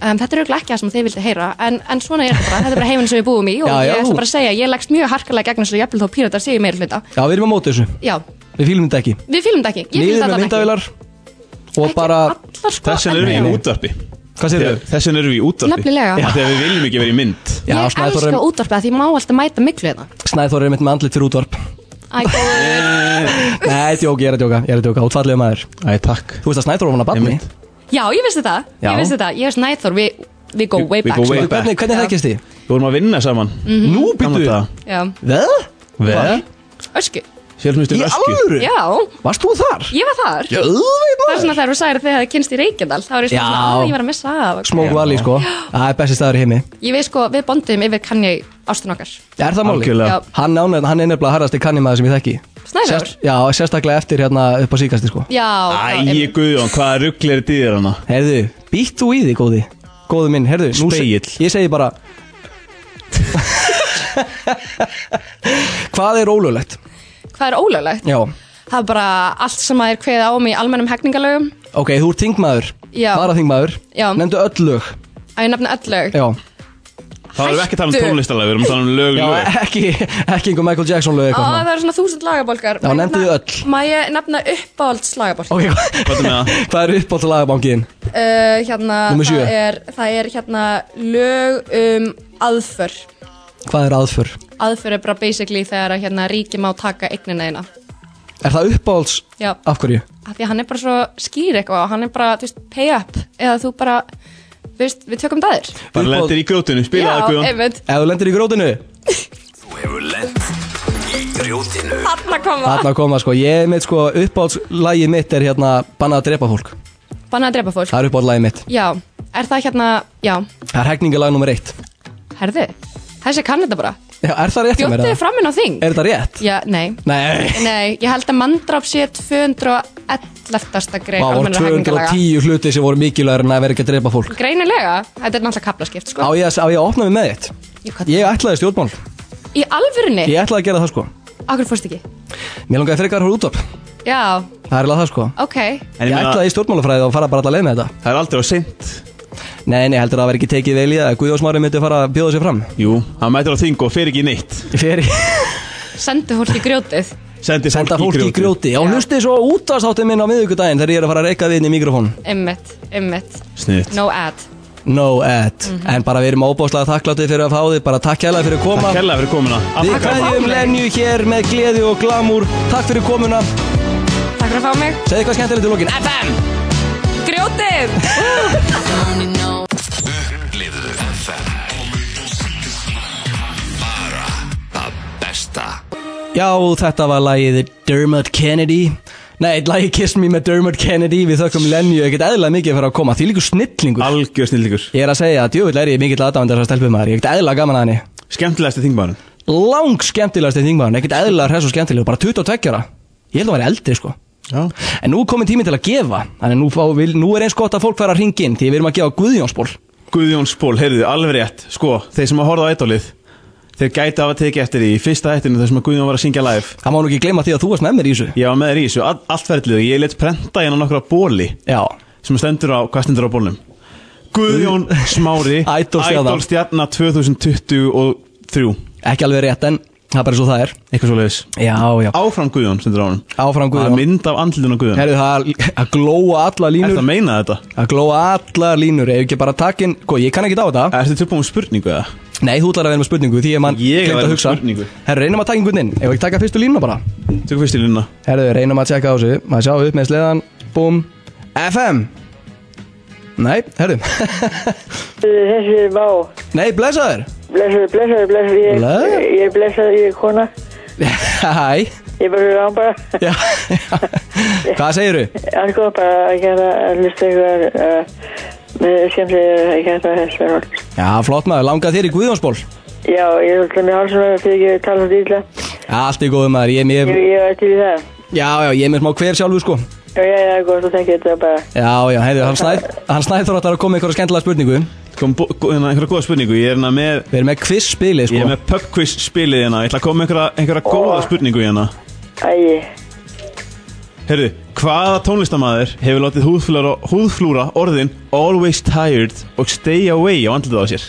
Speaker 8: Um, þetta er auðvitað ekki það sem þið vildi heyra, en, en svona er þetta bara, þetta er bara heiminn sem við búum í og
Speaker 3: Já, já,
Speaker 8: ég
Speaker 3: þú-
Speaker 8: ætla bara að segja, ég leggst mjög harkalega gegn þessu jafnvel þó píratar séu meira hluta.
Speaker 3: Já, við erum á móti þessu
Speaker 8: Já,
Speaker 3: Við fýlum þetta ekki
Speaker 8: við fylgum þetta ekki. Ég fíla
Speaker 3: Niður með
Speaker 8: þetta allan
Speaker 3: myndavilar Og
Speaker 8: Ekki
Speaker 3: bara
Speaker 8: allar sko
Speaker 4: Þessin erum
Speaker 8: en-
Speaker 3: nei.
Speaker 4: við í útvarpi
Speaker 3: Hvað segirðu?
Speaker 4: Þessin erum við í útvarpi
Speaker 8: Nefnilega.
Speaker 4: Já, Þegar við viljum ekki vera í mynd
Speaker 3: Já,
Speaker 8: Ég
Speaker 3: Snæþór
Speaker 8: elska
Speaker 3: er-
Speaker 8: útvarpið að því ég má alltaf mæta miklu hérna.
Speaker 3: Snæður er mitt með andlit fyrir
Speaker 8: <laughs>
Speaker 3: útvarp
Speaker 8: Æ,
Speaker 3: <laughs>
Speaker 8: góður.
Speaker 3: Nei, djók, ég er að djóka Ég er að djóka Útfallið maður
Speaker 4: Æ, takk
Speaker 3: Þú veist að Snæður var hann að batni
Speaker 4: Einmitt.
Speaker 8: Já, ég vissi það,
Speaker 3: Já.
Speaker 8: ég vissi það, ég er snæþór, við við go
Speaker 4: We-
Speaker 8: way
Speaker 4: we
Speaker 8: back.
Speaker 4: go
Speaker 8: sko.
Speaker 4: way back.
Speaker 3: Hvernig, hvernig þekkist þið?
Speaker 4: Við vorum að vinna saman
Speaker 8: Mhm.
Speaker 3: Nú,
Speaker 4: Gamla
Speaker 3: býttu
Speaker 4: daga.
Speaker 8: Já,
Speaker 3: Veð?
Speaker 4: Vel
Speaker 8: ösku,
Speaker 3: Í
Speaker 4: Sjálfsmyndstur ösku
Speaker 3: alvöru?
Speaker 8: já,
Speaker 3: Varst þú þar?
Speaker 8: ég var þar.
Speaker 3: Jöðveit
Speaker 8: Það er svona þegar þú sagðir þegar þið kynst í Reykjadal Þá er ég svona,
Speaker 3: Já.
Speaker 8: að ég var að missa af
Speaker 3: Smoke Valley, sko Það er besti staður í heimi
Speaker 8: Ég veist sko, við bondum yfir kannja ástun okkar
Speaker 3: Er það máli?
Speaker 4: Algjörlega.
Speaker 8: Já.
Speaker 3: Hann, án, hann er nefnilega harðasti kannimaður sem ég þekki
Speaker 8: Snæður?
Speaker 3: Já, sérstaklega eftir hérna upp á síkasti sko
Speaker 8: Já, það
Speaker 4: Æ,
Speaker 8: er-
Speaker 4: Guðjón, hvaða ruggl er þetta í þér hana?
Speaker 3: Herðu, býtt þú í því góði Góði minn, herðu nú se-
Speaker 4: Spegill.
Speaker 3: Ég segi bara Hvað er ólöglegt?
Speaker 8: hvað er ólöglegt?
Speaker 3: Já,
Speaker 8: Það er bara allt sem að er kveðið á um í almennum hegningalögum
Speaker 3: ok, þú ert þingmaður
Speaker 8: Já.
Speaker 3: Bara þingmaður
Speaker 8: Já.
Speaker 3: Nefndu öll lög
Speaker 8: Að ég nefna öll lög
Speaker 3: Já,
Speaker 4: Þá erum við ekki að tala um
Speaker 8: Hættu.
Speaker 4: tónlistalega, við erum að tala um lög,
Speaker 3: Já
Speaker 4: lög
Speaker 3: ekki, ekki einhver Michael Jackson lög
Speaker 8: Á,
Speaker 3: eitthvað svona.
Speaker 8: það eru svona þúsund lagabólkar
Speaker 3: Já, nefndu þau öll.
Speaker 8: Má ég nefna uppáhalds lagabólk?
Speaker 3: Ok, <laughs>
Speaker 4: Hvað er með það?
Speaker 3: hvað er uppátt lagabankiðin?
Speaker 8: Uh, hérna,
Speaker 3: Númer sjö.
Speaker 8: það er, það er hérna lög um aðför
Speaker 3: Hvað er aðför?
Speaker 8: Aðför er bara basically þegar að hérna ríki má taka eignina þeina
Speaker 3: Er það uppáhalds
Speaker 8: Já,
Speaker 3: af hverju?
Speaker 8: af því að hann er bara svo skýr eitthvað og Hann er bara, þú veist, pay up Eða þú bara, þú veist, við tökum dæðir
Speaker 4: Bara lendir í grótinu, spila það
Speaker 8: Já,
Speaker 4: Guðjón
Speaker 8: einmitt,
Speaker 3: Ef þú lendir í grótinu
Speaker 1: Þú hefur lent í grjótinu.
Speaker 8: þarna kom það
Speaker 3: Þarna kom það sko, ég mitt sko uppáhaldslagið mitt er hérna bannað að drepa fólk
Speaker 8: Bannað að drepa fólk
Speaker 3: Það er uppáhaldslagið mitt
Speaker 8: Já, er það hérna, já,
Speaker 3: Það er hegningalag nummer eitt
Speaker 8: herðu Þessi kann þetta bara
Speaker 3: Já, er það rétt hjá mér?
Speaker 8: Bjóttu þið
Speaker 3: eða?
Speaker 8: fram inn á þing
Speaker 3: Er þetta rétt?
Speaker 8: Já, nei
Speaker 3: Nei
Speaker 8: Nei, ég held að manndráp sé 211.
Speaker 3: Það
Speaker 8: grei
Speaker 3: voru
Speaker 8: almennra hegningarlaga.
Speaker 3: 210 hluti sem voru mikilvægur en að vera ekki að drepa fólk
Speaker 8: Greinilega, þetta er náttúrulega kaplaskipt
Speaker 3: Á
Speaker 8: sko.
Speaker 3: ég að, á ég að opna mig með þitt?
Speaker 8: Jú, hvað-
Speaker 3: Ég ætlaði í stjórnmál
Speaker 8: Í alvörinni,
Speaker 3: Ég ætlaði að gera það sko
Speaker 8: akkur fórst ekki
Speaker 3: Mér langaði frekar að horfa út
Speaker 8: Já,
Speaker 3: Það er alveg það sko
Speaker 8: ok
Speaker 4: En
Speaker 3: Ég
Speaker 4: ég meina,
Speaker 3: ætlaði í stjórnmálafræði og fara bara alla leið með þetta
Speaker 4: það er aldrei á seint
Speaker 3: Nei, nei, heldur það að vera ekki tekið vel í það Guðjósmári myndi fara að bjóða sig fram
Speaker 4: Jú, hann mætir á þing og fer ekki í neitt
Speaker 3: Fyrir
Speaker 8: Sendu fólk í grjótið
Speaker 4: Sendir
Speaker 3: senda
Speaker 4: fólk í grjóti
Speaker 3: Já, hlustið svo útastáttum minn á miðvikudaginn Þegar ég er að fara að reyka við inn í mikrofón
Speaker 8: Ymmit, ymmit,
Speaker 4: Sniðt
Speaker 8: no ad
Speaker 3: No ad En bara við erum óbáslega þakkláttið fyrir að fá þig Bara takk hérlega fyrir að koma
Speaker 4: Takk hella fyrir komuna
Speaker 3: Við
Speaker 4: Aftur-
Speaker 3: kveðjum Lenju hér með gleði og glamúr Takk fyrir komuna
Speaker 8: Takk fyrir að fá mig
Speaker 3: Segðu eitthvað skemmtilegt í lokin FM
Speaker 8: Grjótið!
Speaker 1: Upplifðu FM. Bara það besta.
Speaker 3: Já, þetta var lagið Dermot Kennedy Nei, lagið Kiss Me með Dermot Kennedy Við þökkum Lenju ekkert eðlilega mikið fyrir að koma Því líku snillingur
Speaker 4: Algjör snillíkur
Speaker 3: Ég er að segja að djúvill er ég mikill aðdáðan þessar stelpum maður Ég er ekkert eðlilega gaman að henni
Speaker 4: Skemmtilegasti þingmaðurinn
Speaker 3: Lang skemmtilegast í þingmaðan Ekkert eðlilega hress og skemmtilegur Bara 22 ára Ég held að hann væri eldri sko
Speaker 4: Já
Speaker 3: En nú er komin tími til að gefa Þannig að nú, fá, vil, nú er eins gott að fólk fara að ringa inn Því við erum að gefa Guðjónsból
Speaker 4: Guðjón Spól, heyrðu, alveg rétt Sko, þeir sem að horfa á ædólið Þeir gæti hafa tekið eftir því í fyrsta hættinu þar sem að Guðjón var að syngja live
Speaker 3: Það má nú ekki gleyma því að þú varst með mér í þessu
Speaker 4: Ég var með þér í þessu, all, allt ferlið Ég let prenta hérna nokkra bóli
Speaker 3: Já,
Speaker 4: sem stendur á, hvað stendur á bólnum? Guðjón Smári
Speaker 3: <laughs> Idol stjarna.
Speaker 4: Idolstjarna 2023
Speaker 3: ekki alveg rétt en það er bara svo það er
Speaker 4: Eitthvað svo leiðis
Speaker 3: Já, já,
Speaker 4: Áfram Guðjón stendur á hann
Speaker 3: áfram
Speaker 4: Það er
Speaker 3: Guðjón
Speaker 4: mynd af andlitun á Guðjón
Speaker 3: Herðu það að glóa alla
Speaker 4: Ertu
Speaker 3: línur
Speaker 4: að meina þetta?
Speaker 3: Að glóa alla línur, ef ekki bara takin Hvað, Sko, ég kann ekki á þetta
Speaker 4: Ertu tilbúin með spurningu eða?
Speaker 3: Nei, þú ætlar að vera með spurningu því ég mann
Speaker 4: Ég er
Speaker 3: gleymt
Speaker 4: að vera
Speaker 3: að
Speaker 4: með
Speaker 3: hugsa
Speaker 4: spurningu.
Speaker 3: Herru, reynum að taka einhvern inn Ef ekki taka fyrstu línuna bara
Speaker 4: Tökum fyrst í línuna
Speaker 3: Herru, reynum að tjekka á þessu Maður sjá upp með sleðan Búm FM Nei, herru
Speaker 9: Þessi vá,
Speaker 3: <laughs> Nei, blessaður <laughs>
Speaker 9: blessaður, blessaður, blessaður, ég,
Speaker 3: Blessaður?
Speaker 9: ég er blessaður, ég er kona,
Speaker 3: Hæ
Speaker 9: ég er bara rán bara, <laughs>
Speaker 3: Já <laughs> Hvað segiru?
Speaker 9: allt góð bara að gera að hlusta ykkur uh, hérna, sem segir að gera þess verður.
Speaker 3: Já, flott maður, langað þér í Guðjónsból
Speaker 9: Já, ég er alltaf með hálsum að fyrir ekki að tala um dýla,
Speaker 3: Allt í góðu maður, ég er
Speaker 9: ég,
Speaker 3: mér
Speaker 9: ég er til í það.
Speaker 3: Já, já, ég er mér smá hver sjálfur sko
Speaker 9: Já, já, já, góð, þú þengir þetta bara.
Speaker 3: Já, já, heyrðu, hann snæð Hann snæð þróttar að koma með einhverja skemmtilega spurningu
Speaker 4: Kom bó- gó- hérna, einhverja góða spurningu Ég er hérna með
Speaker 3: Við erum með quiz spilið
Speaker 4: Ég
Speaker 3: sko
Speaker 4: er með pub quiz spilið hérna Ég ætla að koma með einhverja, einhverja góða spurningu hérna
Speaker 9: Æi,
Speaker 4: Herru, hvaða tónlistamæður hefur látið húðflúra, húðflúra orðin Always tired og stay away á andlitað á sér?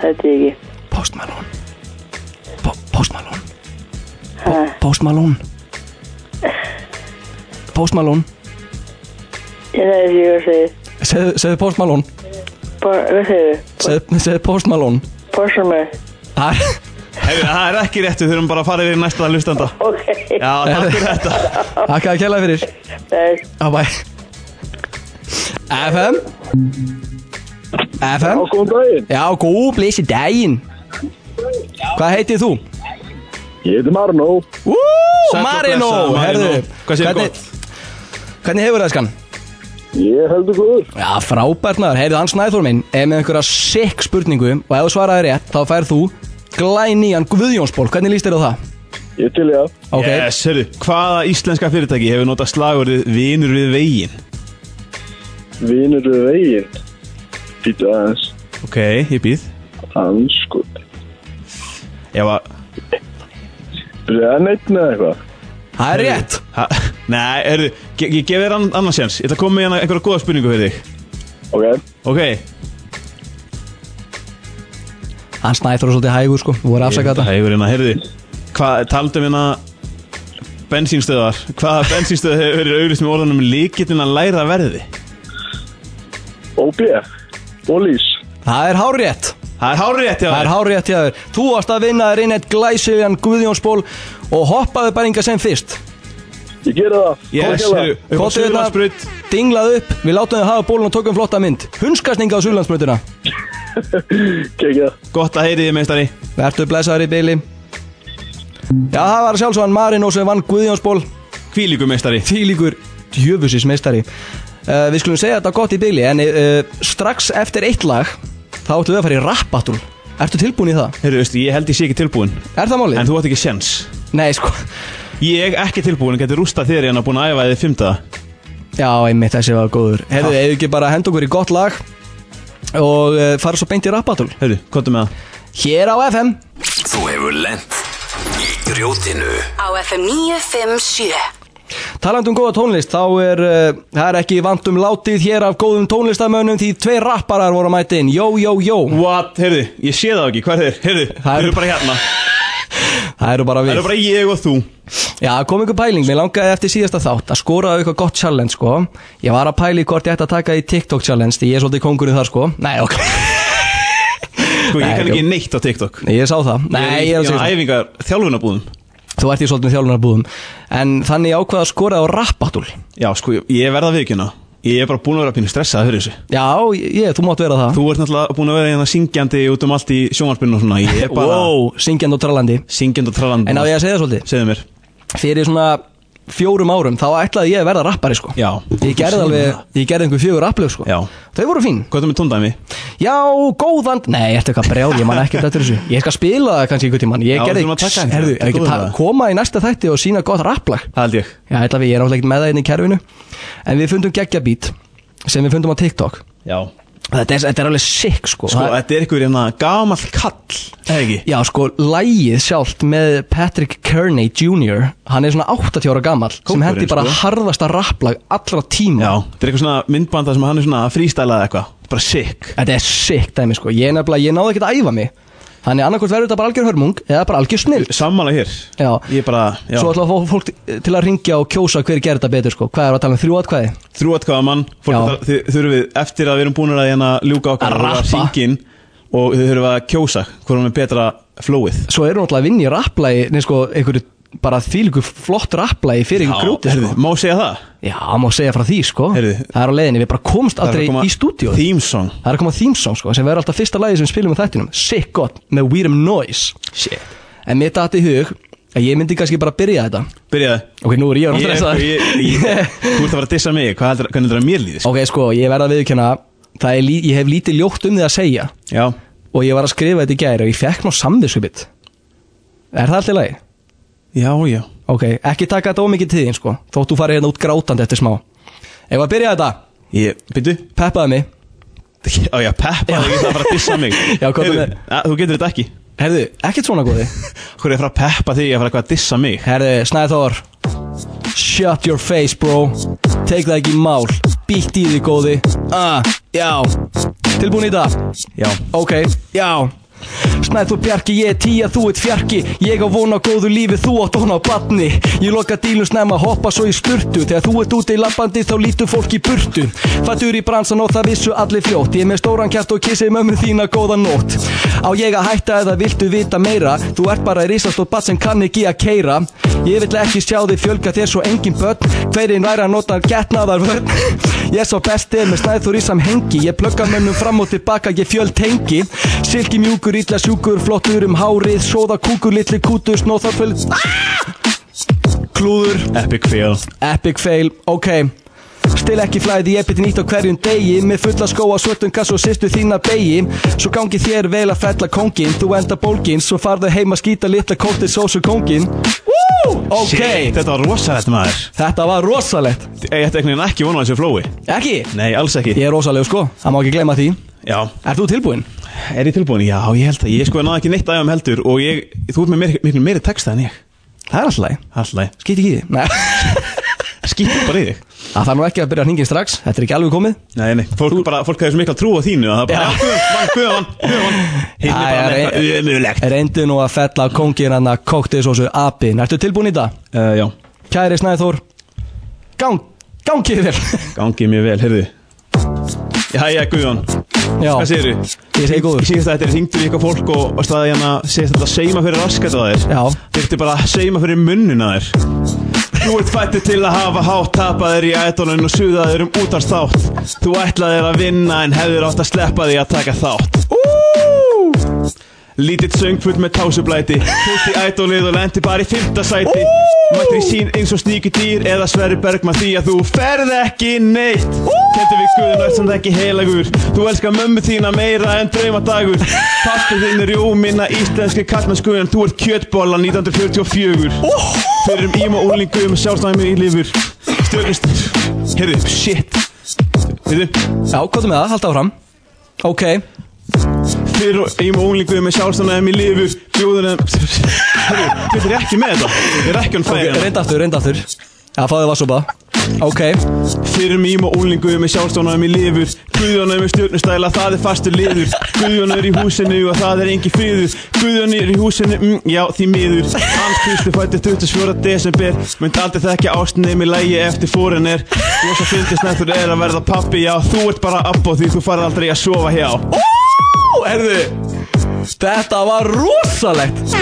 Speaker 9: þetta er ekki.
Speaker 3: Post Malone Po- Post Malone po Post Malone Post Malone
Speaker 9: Ég næði því að segja,
Speaker 3: Segðu segðu Post Malone
Speaker 9: bara, hvað segir þau?
Speaker 3: Segðu segðu Post Malone
Speaker 9: Porsumar.
Speaker 3: <laughs> Það er-
Speaker 4: Herru, það er ekki rétt, við þurfum bara að fara yfir í næsta hlustanda
Speaker 9: <laughs> Ok,
Speaker 4: Já, takk
Speaker 3: <laughs>
Speaker 4: fyrir þetta
Speaker 3: Takk að kjæla fyrir
Speaker 9: það er,
Speaker 3: Á bæ FM FM
Speaker 10: Góðan daginn,
Speaker 3: Já, góð blísi daginn Hvað heitið þú?
Speaker 10: ég heiti Marno
Speaker 3: Ú,
Speaker 4: Sæll og
Speaker 3: Marino
Speaker 4: blessaður, Marino.
Speaker 3: Herðu,
Speaker 4: Hvað segirðu
Speaker 3: hvernig- Hvernig hefur það skan?
Speaker 10: Ég heldur góður
Speaker 3: Já, frábært maður, heyrðu hann Snæþór minn er með einhverja sikk spurningu og ef þú svaraði rétt, þá færð þú glænían Guðjónsból, hvernig líst þér á það?
Speaker 10: Ég til ég að
Speaker 3: Ok,
Speaker 4: Yes, herru, hvaða íslenska fyrirtæki hefur notað slagurðið Vinur við veginn?
Speaker 10: Vinur við veginn Býtu aðeins sko.
Speaker 4: Ok, ég býð
Speaker 10: Anskot
Speaker 4: Ég var,
Speaker 10: Brennetn eða eitthvað
Speaker 3: það er rétt
Speaker 4: ha, <laughs> nei, herru, ge- ég gef þér ann- annan séns Ég ætla að koma með hérna einhverja góða spurningu fyrir þig
Speaker 10: Ok
Speaker 4: Ok,
Speaker 3: Hann Snæþór er svolítið hægur sko, þú voru að afsaka þetta
Speaker 4: Hægur hérna, heyrðu Hvað, taldum hérna Bensínstöðar
Speaker 3: <laughs>
Speaker 4: Hvaða bensínstöð hefur verið auglist með orðanum Líkillin að læra verði
Speaker 10: OB Ólís
Speaker 3: Það er hárétt,
Speaker 4: Það er hárétt hjá
Speaker 3: það
Speaker 4: þér
Speaker 3: er hárétt hjá þér Þú varst að vinna þér inn eitt glæsilegan Guðjónsból og hoppaðu bara inga sem fyrst
Speaker 10: Ég gera það
Speaker 4: Yes, heyrðu, upp á
Speaker 3: Kottu hérna.
Speaker 4: Suðurlandsbraut
Speaker 3: Dinglað upp, við látum þið hafa bólun og tókum flotta mynd Hunskastninga á Súlandsbröndina
Speaker 10: Kekja
Speaker 4: Gott að heyri þið, meistari
Speaker 3: Vertu blessaður í byli Já, það var sjálfsögðan Marino sem vann Guðjónsból
Speaker 4: Kvílíku, meistari
Speaker 3: tílíkur djöfusins meistari uh, Við skulum segja þetta gott í byli En uh, strax eftir eitt lag Þá ættum við að fara í rappatúl Ertu tilbúin í það?
Speaker 4: Heyrðu, veistu, ég held ég sé ekki tilbúin
Speaker 3: Er það málið?
Speaker 4: En þú átt ekki séns
Speaker 3: Nei, sko
Speaker 4: Ég ekki tilbúin, geti rústa þér hérna búin að æfa þið fymta
Speaker 3: Já, einmitt, þessi var góður Hefðu, hefðu ekki bara hend okkur í gott lag Og uh, fara svo beint í rappatúl
Speaker 4: Heyrðu, kottu með það
Speaker 3: Hér á FM
Speaker 1: Þú hefur lent í grjótinu.
Speaker 2: Á FM 957
Speaker 3: Talandi um góða tónlist, þá er uh, það er ekki vandum látið hér af góðum tónlistamönnum því tveir rapparar voru að mæta inn Jó, jó, jó
Speaker 4: What, heyrðu, ég sé það ekki, hvað er þeir? Heyrðu,
Speaker 3: Það
Speaker 4: þeir
Speaker 3: eru-
Speaker 4: eru bara hérna
Speaker 3: Það eru bara
Speaker 4: Það
Speaker 3: við
Speaker 4: eru bara ég og þú
Speaker 3: Já, kom ykkur pæling, mér langaði eftir síðasta þátt að skora á eitthvað gott challenge sko Ég var að pæli hvort ég ætti að taka í TikTok challenge því ég er svolítið kongurinn þar sko Nei, ok, <laughs>
Speaker 4: Sko, ég
Speaker 3: Nei,
Speaker 4: kann
Speaker 3: jú.
Speaker 4: ekki neitt á TikTok
Speaker 3: ég sá það Nei, ég er að
Speaker 4: Ég
Speaker 3: segja það.
Speaker 4: æfingar þjálfunarbúðum
Speaker 3: Þú ert í svolítið þjálfunarbúðum En þannig ég ákvað að skora á rappatúl
Speaker 4: Já, sko, ég- ég verða að viðkjöna Ég er bara búin að vera pínu stressað fyrir þessu
Speaker 3: Já, ég, þú mátt vera það
Speaker 4: Þú ert náttúrulega búin að vera hérna syngjandi út um allt í sjónvarpinu og svona Ég er bara
Speaker 3: Wow, syngjand og trallandi
Speaker 4: syngjandi og trallandi
Speaker 3: En á ég að segja það svolítið
Speaker 4: Segðu mér
Speaker 3: Fyrir svona fjórum árum, þá ætlaði ég að verða rappari sko
Speaker 4: Já.
Speaker 3: Ég gerði alveg, ég gerði einhver fjögur rapplög sko
Speaker 4: Já.
Speaker 3: Þau voru fín
Speaker 4: Hvað er það með tóndæmi?
Speaker 3: Já, góðan Nei, ertu eitthvað brjál, ég man ekkert eftir þessu Ég skal spila það kannski einhvern tímann Ég
Speaker 4: Já,
Speaker 3: gerði,
Speaker 4: þurfum að taka þetta.
Speaker 3: herðu,
Speaker 4: Þetta er
Speaker 3: ekki
Speaker 4: góð
Speaker 3: ta-
Speaker 4: það.
Speaker 3: koma í næsta þætti og sína gott rapplag
Speaker 4: Það held ég
Speaker 3: Já, ætla hérna við, ég er náttúrulega ekkert með það inn í kerfinu En við fundum geggjabít sem við fundum á TikTok
Speaker 4: Já
Speaker 3: þetta er, þetta er alveg sick sko,
Speaker 4: Sko,
Speaker 3: Það-
Speaker 4: þetta er ykkur hérna gamall kall Eða ekki?
Speaker 3: Já sko, lægið sjálft með Patrick Kearney Jr. Hann er svona 80 ára gamall sem
Speaker 4: Kóngurinn,
Speaker 3: hendi bara
Speaker 4: sko.
Speaker 3: harðasta rapplag allra tíma
Speaker 4: Já, þetta er eitthvað svona myndbanda sem hann er svona frístælað eitthvað Bara sick
Speaker 3: Þetta er sick dæmi sko, ég, er nefnilega, ég náði ekki að æfa mig Þannig annarkvort verður þetta bara algjör hörmung eða bara algjör snill
Speaker 4: Sammála hér
Speaker 3: Já.
Speaker 4: Ég bara, já
Speaker 3: Svo ætla að fá fólk til að ringja og kjósa hver gerir þetta betur sko Hvað er að tala um þrjú atkvæði?
Speaker 4: Þrjú atkvæða mann
Speaker 3: Já.
Speaker 4: Fólk þar- þið- þurfum við Eftir að við erum búin að hérna ljúka okkar
Speaker 3: Að
Speaker 4: og
Speaker 3: rappa.
Speaker 4: hringin Og þið þurfum að kjósa Hvorum er betra flowið
Speaker 3: Svo eru náttúrulega að vinna í rapplagi Nei sko, einhverju bara þvílíku flott rapplagi fyrir
Speaker 4: Já,
Speaker 3: einhverju grjóti
Speaker 4: heyrðu,
Speaker 3: sko.
Speaker 4: Má segja það?
Speaker 3: Já, má segja frá því sko
Speaker 4: Heyrðu.
Speaker 3: Það er á leiðinni, við bara komst
Speaker 4: Það er að
Speaker 3: aldrei
Speaker 4: koma
Speaker 3: í stúdíu
Speaker 4: Theme song
Speaker 3: Það er að koma þýmsóng sko, sem verður alltaf fyrsta lagi sem við spilum í þættinum Sick gott, með Weird Noise Shit En mér datt í hug að ég myndi kannski bara byrja þetta
Speaker 4: Byrjaði
Speaker 3: Ok, nú er ég
Speaker 4: Ég-
Speaker 3: orðin stressaður
Speaker 4: ég- ég- Þú ert að fara að dissa mig Hvað heldur, hvernig heldur að mér
Speaker 3: <laughs>
Speaker 4: líðist?
Speaker 3: Ok, sko, ég verð að viðkjöna Það er, lí- ég hef lítið ljótt um því að segja
Speaker 4: Já
Speaker 3: Og ég var að skrifa þetta í gæri og ég fekk ná samviskupitt Er það allt í lagi?
Speaker 4: Já, já
Speaker 3: Ok, ekki taka þetta ómikið tíðin sko Þótt þú farið hérna út grátandi eftir smá Ef að byrja þetta,
Speaker 4: Ég, byrju
Speaker 3: peppaði mig
Speaker 4: Á já, peppa þig Það er að fara að dissa mig
Speaker 3: <laughs> Já, hvað
Speaker 4: Heyrðu,
Speaker 3: með-
Speaker 4: að- Þú getur þetta ekki
Speaker 3: Herðu, ekkert svona góði
Speaker 4: Hvor er að fara að peppa þig Ég er að fara eitthvað að dissa mig
Speaker 3: Herðu, Snæþór Shut your face bro Take það ekki í mál Bítt í því góði Ah, já Tilbúin í þetta
Speaker 4: Já
Speaker 3: Ok, já Snæður Bjarki, ég er tíja, þú ert fjarki Ég á von á góðu lífi, þú átt von á batni Ég loka dílum snemma, hoppa svo í spurtu Þegar þú ert úti í lappandi, þá lítur fólk í burtu Fættur í bransan og það vissu allir fljótt Ég er með stóran kjart og kissi mömmu þína góða nótt Á ég að hætta eða viltu vita meira Þú ert bara í risastótt bat sem kann ekki að keira Ég vill ekki sjá þig fjölga þér svo engin börn Hverinn væri að nota getnaðar vörn Ég sá bestir með snæður í samhengi Ég plugga mönnum fram og tilbaka, ég fjöl tengi Silki mjúkur, illa sjúkur, flottur um hárið Sjóða kúkur, litli kútur, snóða föl Klúður,
Speaker 4: Epic fail
Speaker 3: epic fail, ok Stil ekki flæði, ég byrti nýtt á hverjum degi Með fulla skóa, svörtum kass og sýstu þína beigi Svo gangi þér vel að fella kóngin Þú enda bólgin, svo farðu heim að skýta litla kóttir sósu kóngin Woo! Ok,
Speaker 4: Shit, Þetta var rosalegt maður
Speaker 3: þetta var rosalegt
Speaker 4: Ég ætti einhvern veginn ekki vona á þessu flói
Speaker 3: Ekki?
Speaker 4: Nei, alls ekki
Speaker 3: Ég er rosalegu sko, það má ekki gleyma því
Speaker 4: Já
Speaker 3: Ert þú tilbúinn?
Speaker 4: Er ég tilbúin? Já, ég held það Ég sko náði ekki neitt aðeins heldur Og ég, þú ert með meir, miklu meiri texta en ég
Speaker 3: Það er alltaf læg
Speaker 4: Alltaf
Speaker 3: Skýt ekki í því Nei
Speaker 4: Skýtt bara í þig
Speaker 3: Það þarf nú ekki að byrja hringin strax Þetta er ekki alveg komið
Speaker 4: Nei, nei Fólk, bara, fólk hefur svo mikla trú á þínu að Það er bara
Speaker 3: Já.
Speaker 4: Já, Guðjón vann, Guðjón vann, Guðjón vann Hinn er
Speaker 3: Já,
Speaker 4: bara með
Speaker 3: já,
Speaker 4: eitthvað umulegt
Speaker 3: Reyndu nú að fella kóngin hann að kóktið svo svo apin Ertu tilbúin í það?
Speaker 4: uh, Já
Speaker 3: Kæri Snæður Gang, gangið þér
Speaker 4: Gangið mjög vel, heyrðu Jæja, Guðjón
Speaker 3: Já
Speaker 4: Hvað segir þið?
Speaker 3: Ég segi góður.
Speaker 4: Síðast að þetta er hringdur í eitthvað fólk og, og staði hérna Segist þetta seima fyrir raskat á þér
Speaker 3: Já.
Speaker 4: Þyrfti bara að seima fyrir munnin á þér Þú ert fættur til að hafa hátt Tapaðir í ædolun og suðaðir um útarstátt Þú ætlaðir að vinna en hefðir átt að sleppa því að taka þátt Lítill söngfull með tásublæti Fyrst í ædólið og lendi bara í fymta sæti Mættir í sín eins og sníki dýr Eða Sverri Bergman því að þú ferð ekki neitt Kendi við guðun öll sem það ekki heilagur Þú elskar mömmu þína meira en draumadagur Pastur þinn er jómina íslenski kallmennskuðin Þú ert kjötbolla 1944 Fyrir um íma úlingum sjálfstæmi í lifur Stjórnist Heyrðu, shit Heyrðu
Speaker 3: Já, komdu með það, halda áfram Ok
Speaker 4: Fyrir og ég má unglinguði með sjálfstæðan í lifur Bjóðunum Herru, þetta er ekki með þetta Ég er ekki hann fæðið okay,
Speaker 3: Reynda aftur, reynda aftur Já, fáðu vassopa Ok
Speaker 4: Fyrir mig og unglinguði með sjálfstæðan í lifur Guðjónu með stjórnustæla, það er fastur liður Guðjónu er í húsinu og það er engin friður Guðjónu er í húsinu, mm, já því miður Hans Kristi fætti 24. desember Mynd aldrei þekki ástinni með lægi eftir fórin er Þú svo fyndist nættur er að verða pappi, já Þú ert bara abbo því þú farið aldrei að sofa hjá
Speaker 3: Ó, herðu Þetta var rosalegt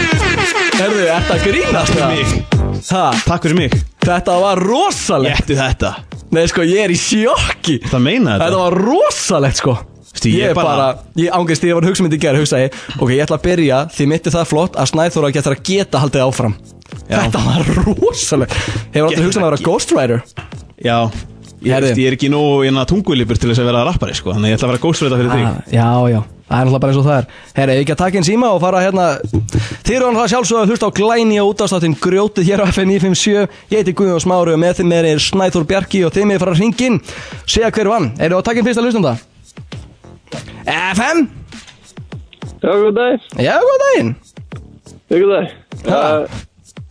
Speaker 3: Herðu, ertu að grínast
Speaker 4: Fyrir
Speaker 3: það?
Speaker 4: mig,
Speaker 3: Ha,
Speaker 4: takk fyrir mig
Speaker 3: þetta var rosalegt
Speaker 4: Léttu þetta
Speaker 3: Nei sko, ég er í sjokki
Speaker 4: Það meina þetta?
Speaker 3: Þetta var rosalegt sko
Speaker 4: Sti, ég
Speaker 3: ég, er
Speaker 4: bara-
Speaker 3: bara, ég ángist, ég var að hugsa myndi í gerð Hugsaði, ok, ég ætla að byrja Því mitt er það flott að Snæþóra getur að geta haldið áfram
Speaker 4: Já.
Speaker 3: Þetta var rosalegt Hefur aldrei hugsað
Speaker 4: Geta
Speaker 3: um að vera
Speaker 4: get-
Speaker 3: Ghost Rider
Speaker 4: Já, ég,
Speaker 3: Herðu.
Speaker 4: veist, ég er ekki nógu hérna, tungulipur til þess að vera rappari sko, þannig að ég ætla að vera góðsveita fyrir þig
Speaker 3: ah, Já, já, það er náttúrulega bara eins og það er Herra, ég ekki að taka inn síma og fara hérna Þið eru náttúrulega sjálfsögðu að hlusta á glæni og útastáttin Grjótið hér á FN957 Ég heiti Guðjón Smári og með þeim er Snæþór Bjarki og þeim er fara hringin Segja hver vann, eru að taka inn fyrsta hlustum það? FM
Speaker 10: Já, góð dag,
Speaker 3: Já, góð daginn
Speaker 10: góð dag
Speaker 3: Ha?
Speaker 10: uh,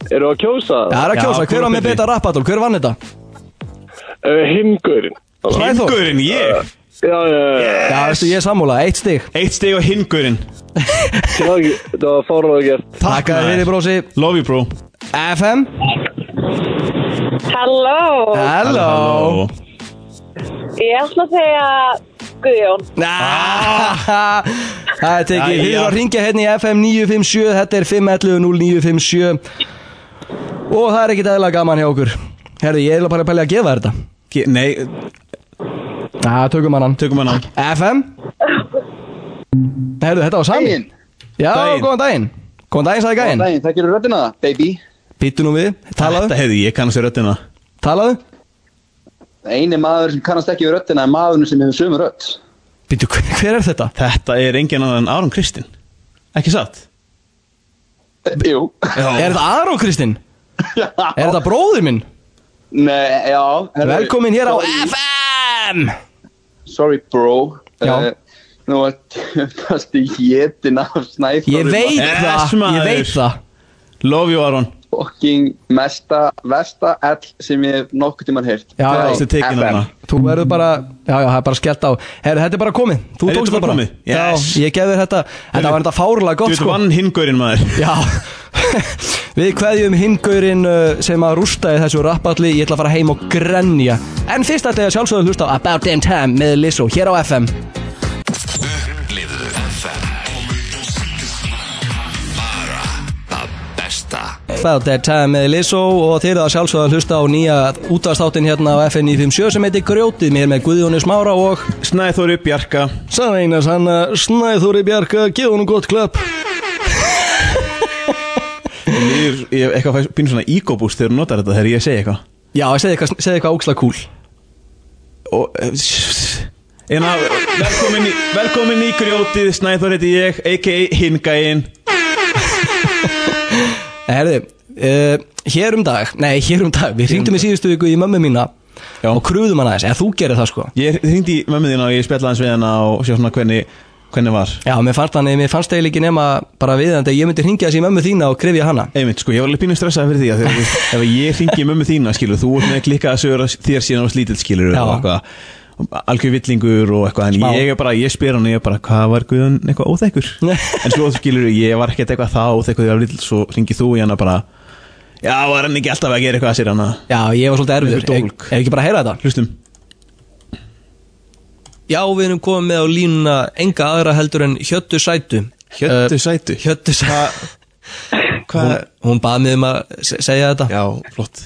Speaker 10: Eru að kjósa?
Speaker 3: Það er að
Speaker 4: Já,
Speaker 3: kjósa, hver var með
Speaker 4: Kolbeinn.
Speaker 3: betra rappatul, hver vann þetta?
Speaker 10: Uh, Hingurinn
Speaker 3: Sæþór.
Speaker 4: Hingurinn, ég
Speaker 10: Já, já, já
Speaker 3: Já, veistu, ég er sammúla, eitt stig
Speaker 4: Eitt stig á hingurinn
Speaker 10: Það var ekki- það var fárlega gert
Speaker 3: Takk að þið,
Speaker 4: maður.
Speaker 3: brósi
Speaker 4: Love you, bro
Speaker 3: FM
Speaker 9: Halló,
Speaker 3: Hello
Speaker 9: ég ætla að segja Guðjón.
Speaker 3: Ah. Það er tekið, þið
Speaker 4: Jæja.
Speaker 3: eru að ringja hérna í FM 957 Þetta er 511 0957 Og það er ekkit eðla gaman hjá okkur Herði, ég er eiginlega bara að pæla í að gefa þér þetta
Speaker 4: Ge- Nei,
Speaker 3: Já, tökum hann
Speaker 4: tökum hann á
Speaker 3: FM Herðu, þetta var sami
Speaker 11: Daginn.
Speaker 3: Já,
Speaker 4: Daginn.
Speaker 3: góðan daginn Góðan daginn, sagði gæinn
Speaker 11: Nei, það gerur röddina það, baby
Speaker 3: Býttu nú við,
Speaker 4: Þetta
Speaker 3: talaðu,
Speaker 4: hefði ég kannast í röddina
Speaker 3: talaðu
Speaker 11: Einu maður sem kannast ekki við röddina er maðurinn sem hefur sömu rödd
Speaker 3: Býttu, hver hver er þetta?
Speaker 4: Þetta er engin annan en Aron Kristinn Ekki satt?
Speaker 11: Eh, Jú
Speaker 3: Er þetta Aron <laughs> Kristinn? Er þetta bróðir minn?
Speaker 11: Nei, já herra,
Speaker 3: Velkomin hér á
Speaker 11: sorry-
Speaker 3: FM
Speaker 11: Sorry, bro
Speaker 3: Já.
Speaker 11: Eh, Nú að tjöfast í jétin af snæfjórum
Speaker 3: Ég veit
Speaker 4: Yes,
Speaker 3: það, ég
Speaker 4: maður.
Speaker 3: veit það
Speaker 4: Love you, Aron
Speaker 11: Fucking mesta, versta ell sem ég hef nokkuð tímann heyrt
Speaker 3: Já,
Speaker 11: Nei,
Speaker 4: Þessi tekin
Speaker 11: FM.
Speaker 4: hana
Speaker 3: Þú verður bara, já, já, það er bara skellt á Herðu, þetta er bara komið, þú
Speaker 4: Er
Speaker 3: tókst
Speaker 4: þetta
Speaker 3: það
Speaker 4: bara
Speaker 3: bara
Speaker 4: komið? Yes.
Speaker 3: Já, ég gef þér þetta, þetta var þetta fárlega
Speaker 4: Þú
Speaker 3: gott
Speaker 4: veit, um
Speaker 3: sko
Speaker 4: vann hingurinn maður
Speaker 3: Já <laughs> Við kveðjum hingaurinn uh, sem að rústaði þessu rappalli Ég ætla að fara heim og grenja En fyrst ætla ég að sjálfsögðu að hlusta á About Damn Time með Lizzo hér á FM
Speaker 1: Upplifðu FM Bara það besta
Speaker 3: About Damn Time með Lizzo og þeir eru að sjálfsögðu að hlusta á nýja útastáttinn hérna á FM 957 sem heitir Grjótið mér með Guðjóni Smára og
Speaker 4: Snæþóri Bjarka
Speaker 3: Sanna Einars Hanna Snæþóri Bjarka, gefa hún gott klapp
Speaker 4: Mér líður- Ég hef eitthvað fæ- pínu svona ego-boost þegar hún notar þetta þegar ég segi eitthvað
Speaker 3: Já, segðu eitthvað, segðu eitthvað óksla cool
Speaker 4: og en að velkomin í, velkomin í grjótið Snæþór heiti ég a.k.a. hingæin
Speaker 3: Herði, uh, Eh, hér um dag, nei hér um dag, við hringdum í síðustu viku í mömmu mína
Speaker 4: Já.
Speaker 3: og krúðum hann aðeins, eða þú gerir það sko
Speaker 4: ég hringdi í mömmu þína og ég spjallaði hans við hana og sjá svona hvernig hvernig var
Speaker 3: Já, mér fannst hann, mér fannst eiginlega ekki nema bara viðandi að ég myndi hringja þessi í mömmu þína og krefja hana
Speaker 4: einmitt sko ég var alveg pínu stressað fyrir því að þegar, þú- ef ég hringi í mömmu þína skilur þú ert með klikkaða sögur af þér síðan á slítill skilur
Speaker 3: Já.
Speaker 4: og eitthvað algjör villingur og eitthvað en
Speaker 3: Smá.
Speaker 4: ég er bara, ég spyr hann og ég er bara hvað var Guðan eitthvað óþekkur
Speaker 3: <laughs> Nei.
Speaker 4: en svo skilur ég var ekkert eitthvað þá óþekkur þegar ég var lítill svo hringi þú í hana bara já var hann ekki alltaf að gera eitthvað að sér hana
Speaker 3: Já, ég var svolítið erfiður, ef
Speaker 4: Einhver dólg.
Speaker 3: ef ekki bara að heyra þetta
Speaker 4: hlustum
Speaker 3: Já, við erum komið með á línuna enga aðra heldur en Hjöttu Sætu
Speaker 4: Hjöttu sætu
Speaker 3: Eh, Hjöttu Sætu
Speaker 4: Hvað?
Speaker 3: Hún, hún baði mig um að se- segja þetta
Speaker 4: Já, flott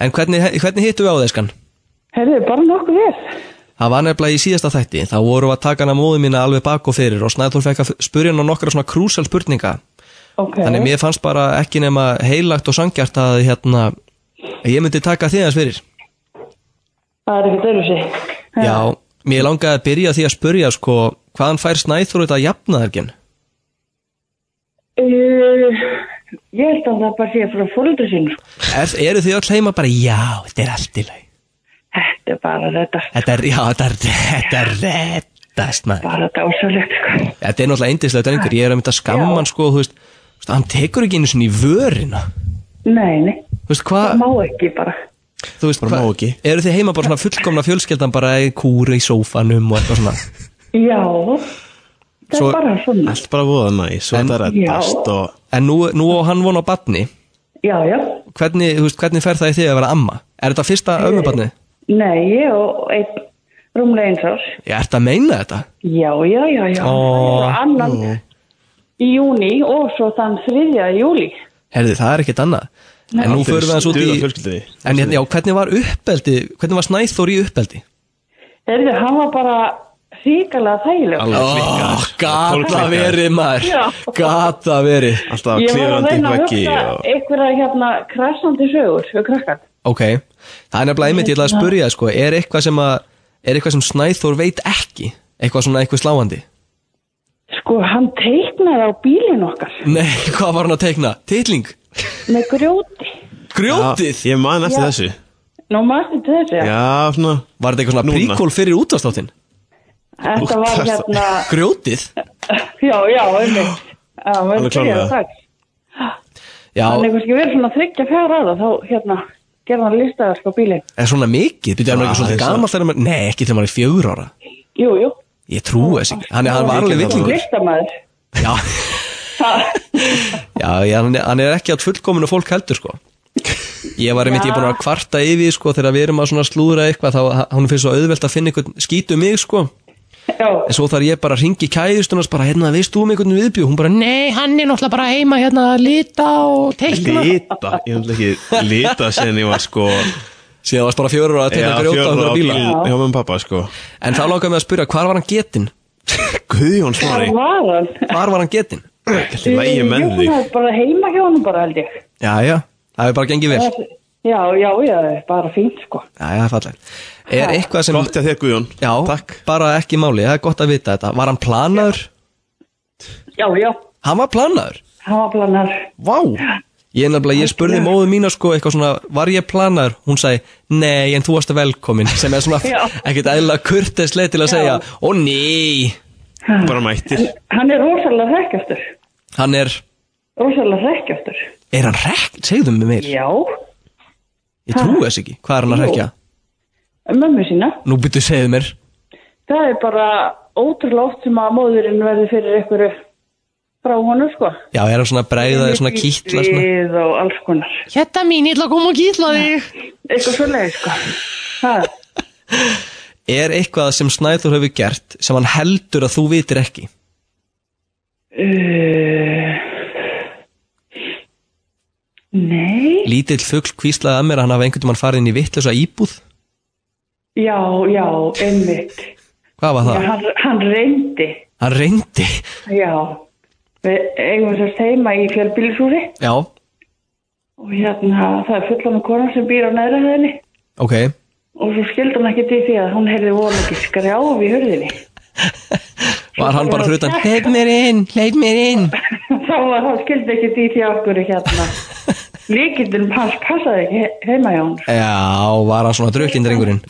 Speaker 3: En hvernig, hvernig hittum við á þesskan?
Speaker 9: Herðu, bara nokkuð vel.
Speaker 3: Það var nefnilega í síðasta þætti, þá vorum við að taka hana móðu mína alveg bak og fyrir og Snæður fekk að spurja hana nokkra svona krúsal spurninga.
Speaker 9: Ok.
Speaker 3: Þannig mér fannst bara ekki nema heilagt og sangjart að hérna, að ég myndi taka þig aðeins fyrir.
Speaker 9: Það er ekkert öðru sig.
Speaker 3: Já, mér langaði að byrja á því að spurja sko, hvaðan fær Snæður þetta jafnaðarginn?
Speaker 9: Uh, ég held að það bara sé frá fóröldur sín.
Speaker 3: Er, eru þið öll heima bara, já, þetta er allt í lagi.
Speaker 9: Þetta er bara þetta.
Speaker 3: Þetta er, já, þetta er, þetta er rettast maður.
Speaker 9: Bara dásalegt, sko.
Speaker 3: Þetta er náttúrulega eindislega drengur, ég er að mynda skamman sko, þú veist, þú veist, hann tekur ekki einu svona í vörina.
Speaker 9: Nei, nei.
Speaker 3: Þú veist, hvað...
Speaker 9: Má ekki bara.
Speaker 3: Þú veist,
Speaker 4: Bara
Speaker 3: hva-
Speaker 4: má ekki.
Speaker 3: Eru þið heima bara svona fullkomna fjölskeldan bara í kúri í sófanum og eitthvað svona
Speaker 9: Já. Það
Speaker 3: Svo-
Speaker 9: er bara svona.
Speaker 4: Allt bara voða næs og
Speaker 3: En-
Speaker 4: þetta reddast
Speaker 9: Já.
Speaker 4: og
Speaker 3: En nú, nú á hann von á batni
Speaker 9: Já, já.
Speaker 3: hvernig, þú veist, hvernig fer það í þig að vera amma? Er þetta fyrsta ömmubatni?
Speaker 9: Nei, ég og einn rúmlega eins árs.
Speaker 3: Ég ert að meina þetta
Speaker 9: Já, já, já, já.
Speaker 3: Ó.
Speaker 9: Svo annan í júni og svo þann þriðja í júli.
Speaker 3: Herði, það er ekkert annað En nú förum við aðeins út
Speaker 4: Duga
Speaker 3: í
Speaker 4: fjölskyldinni.
Speaker 3: En hérna, já, hvernig var uppeldi, hvernig var snæþór í uppeldi?
Speaker 9: Herðu, hann var bara ríkalega þægileg.
Speaker 4: Alveg
Speaker 3: Ó,
Speaker 4: klikkar
Speaker 3: gata verið
Speaker 9: Já.
Speaker 3: maður Gata verið
Speaker 4: Alltaf
Speaker 9: Ég var að
Speaker 4: klifrandi
Speaker 9: reyna að
Speaker 4: veggi
Speaker 9: hugsa
Speaker 4: og
Speaker 9: einhverja hérna krasnandi sögur sko, fyrir krakkan.
Speaker 3: Ok, það er nefnilega einmitt, ég ætlaði að spurja sko, er eitthvað sem að, er eitthvað sem snæþór veit ekki? Eitthvað svona eitthvað sláandi?
Speaker 9: Sko, hann teiknaði á bílinn okkar
Speaker 3: Nei, hvað var hann að teikna? Titling?
Speaker 9: með grjóti.
Speaker 3: Grjótið?
Speaker 4: Já, Ég man eftir
Speaker 9: Já.
Speaker 4: þessu
Speaker 9: Nú maður til þessi.
Speaker 4: Já, svona
Speaker 3: Var þetta eitthvað svona
Speaker 4: Núna.
Speaker 3: príkól fyrir útastáttin?
Speaker 9: Þetta var hérna,
Speaker 3: Grjótið?
Speaker 9: já, já, einmitt. Já,
Speaker 3: Alveg
Speaker 9: við byrjaði
Speaker 3: klárlega.
Speaker 9: takk.
Speaker 3: Já,
Speaker 9: Þannig kannski verið svona þryggja fjara ára þá hérna gerði hann listaðar sko bílinn.
Speaker 3: er svona mikið Býttu, er maður ekki
Speaker 9: Aðeins
Speaker 3: svolítið
Speaker 9: að-
Speaker 3: gamall þegar maður Nei, ekki þegar maður er fjögur ára
Speaker 9: Jú, jú.
Speaker 3: Ég trúi þess ekki Hann, hann var alveg villingur
Speaker 9: Listamæður.
Speaker 3: Já, <laughs> já ég, hann, hann er ekki átt fullkominu fólk heldur sko Ég var einmitt, ég er búin að kvarta yfir því, sko þegar við erum að svona slúðra eitthvað þá hann finnst svo auðvelt að finna einhvern skítu mig sko
Speaker 9: Já.
Speaker 3: En svo þarf ég bara að ringi kæðustunars bara hérna, veist þú um einhvern viðbjú? Hún bara, nei, hann er náttúrulega bara heima hérna að lita og teikna
Speaker 4: Lita, ég hef ekki lita sen ég var sko
Speaker 3: Síðan varst bara fjörur að teikna grjóta og einhverja bíla.
Speaker 4: Já, með pappa sko
Speaker 3: En þá langaði mig að spyrja, hvar var hann getinn?
Speaker 4: Guðjón Smári
Speaker 9: var hann?
Speaker 3: Hvar var hann getinn?
Speaker 4: Ekki lægi með
Speaker 9: Jú,
Speaker 4: þig
Speaker 9: það er bara heima hjá hann bara held ég.
Speaker 3: Já, já, það hefur bara gengið vel
Speaker 9: Já, já, já, bara fínt sko.
Speaker 3: Já, já, það er fallegt Er eitthvað sem
Speaker 4: Gott að þér Guðjón
Speaker 3: Já, Takk. bara ekki máli, það er gott að vita þetta Var hann planaður?
Speaker 9: Já, já,
Speaker 3: Hann var planaður?
Speaker 9: hann var planar.
Speaker 3: Vá! Ég, nefnilega, ég spurði móðu mína sko eitthvað svona Var ég planaður? Hún sagði, nei, en þú varst velkomin Sem er svona
Speaker 9: <laughs> Já.
Speaker 3: ekkert eðla kurteislega til að segja Ó nei!
Speaker 4: Bara mættir
Speaker 9: Hann er rosalega hrekkjaftur.
Speaker 3: Hann er,
Speaker 9: Rosalega hrekkjaftur.
Speaker 3: er hann rekk? Segðu mig meir,
Speaker 9: Já,
Speaker 3: ég trúi þess ekki Hvað er hann að
Speaker 9: Jú.
Speaker 3: rekja?
Speaker 9: mömmu sína.
Speaker 3: Nú byttu segðu mér
Speaker 9: Það er bara ótrúlega oft sem að móðurinn verður fyrir einhverju frá honum sko.
Speaker 3: Já, er hann svona bregða, svona kýtla svona.
Speaker 9: Við og alls konar. Hérna mín, ég ætla að koma og kýtla þig. Eitthvað svoleiði sko. Ha,
Speaker 3: Er eitthvað sem Snæður hefur gert sem hann heldur að þú vitir ekki?
Speaker 9: Eh, nei,
Speaker 3: Lítill fugl kvíslaði að mér að hann hafa einhvern tímann farið inn í vittlösa íbúð
Speaker 9: já, já, einmitt.
Speaker 3: Hvað var það?
Speaker 9: Hann, hann reyndi,
Speaker 3: Hann reyndi
Speaker 9: já. Við eigum þess að heima í fjölbýlisúri
Speaker 3: Já,
Speaker 9: og hérna það er fullan af konar sem býr á næra hæðinni
Speaker 3: ok
Speaker 9: og svo skildi hann ekkert í því að hún heyrði vonu ekki skrjáf í hörðinni.
Speaker 3: Var hann bara fyrir utan
Speaker 9: Hleyp
Speaker 3: mér inn, hleyp mér inn
Speaker 9: <laughs> þá var það skildi ekki því því okkur
Speaker 3: <laughs>
Speaker 9: hérna líkindunum hans passaði ekki he- heima hjá hann
Speaker 3: Já, var hann svona drukkin drengurinn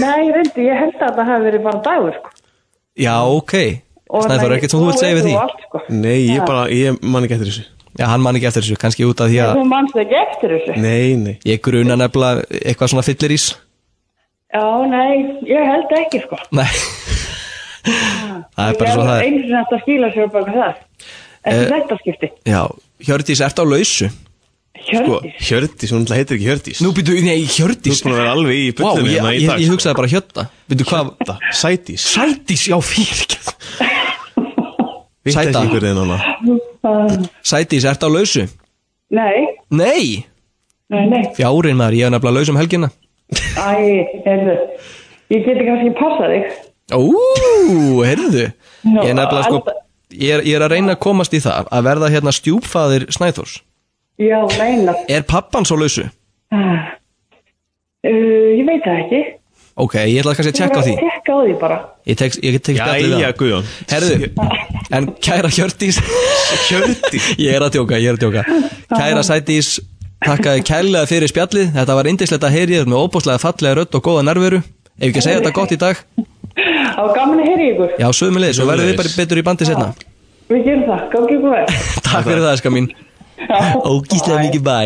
Speaker 9: nei, reyndi, ég held að það hafi verið bara dagur sko.
Speaker 3: Já, ok
Speaker 9: Og
Speaker 3: Snæður,
Speaker 9: það-
Speaker 3: ekkert sem þú vilt segja við því
Speaker 9: og allt, sko.
Speaker 4: Nei, ég bara, ég man ekki eftir þessu
Speaker 3: Já, hann man ekki eftir þessu, kannski út af því að
Speaker 9: þú manst ekki eftir þessu
Speaker 4: Nei, nei
Speaker 3: Ég gruna nefnilega eitthvað svona fyllir ís
Speaker 9: já, nei, ég held ekki sko.
Speaker 3: Nei Það er bara svo það er
Speaker 9: einu sinni hægt að skýla sér baka það eftir
Speaker 3: Eh,
Speaker 9: þetta skipti
Speaker 3: Já, Hjördís, ertu á lausu? sko.
Speaker 9: Hjörð,
Speaker 4: Sko, Hjördís, hún náttúrulega heitir ekki Hjördís
Speaker 3: Nú býtu, nei,
Speaker 4: Þú
Speaker 3: Hjördís
Speaker 4: ert búin að vera alveg í
Speaker 3: Vá,
Speaker 4: bullinu
Speaker 3: ég,
Speaker 4: hérna í
Speaker 3: ég,
Speaker 4: dag,
Speaker 3: ég
Speaker 4: sko.
Speaker 3: hugsaði bara hjötta Býtu, hvað?
Speaker 4: Sædís
Speaker 3: Sædís, já, fyrir
Speaker 4: Vitt
Speaker 3: Sæta.
Speaker 4: ekki ykkur þinn hana
Speaker 9: uh,
Speaker 3: Sædís, ertu á lausu?
Speaker 9: nei,
Speaker 3: Nei,
Speaker 9: nei, nei
Speaker 3: fjárin maður, ég er nefnilega laus um helgina
Speaker 9: æ, heyrðu ég geti kannski passað þig
Speaker 3: Ú, heyrðu Ég er nefnilega sko
Speaker 9: alltaf-
Speaker 3: ég er, ég er að reyna að komast í það að verða hérna stjúpfaðir Snæþórs
Speaker 9: já, meina
Speaker 3: Er pappan svo lausu?
Speaker 9: uh, Eh, ég veit það ekki
Speaker 3: Ok, ég ætla kannski að tjekka á því
Speaker 9: Tjekka á því bara.
Speaker 3: Ég tek, ég tek spjallið
Speaker 4: Jæja,
Speaker 3: það
Speaker 4: Guðjón
Speaker 3: Herðu, en kæra Hjördís
Speaker 4: Hjördís
Speaker 3: Ég er að djóka, ég er að djóka Kæra Sædís, þakkaði kærlega fyrir spjallið Þetta var indislegt að heyri þér með óbúslega fallega rödd og góða nærveru Ef ekki að segja þetta gott í dag
Speaker 9: Það var gaman að heyra í ykkur.
Speaker 3: Já, sömulegis, og verðum við bara betur í bandi setna
Speaker 9: Við gerum það. Gangi ykkur vel.
Speaker 3: Takk fyrir það, skar mín Ógíslega mikið bæ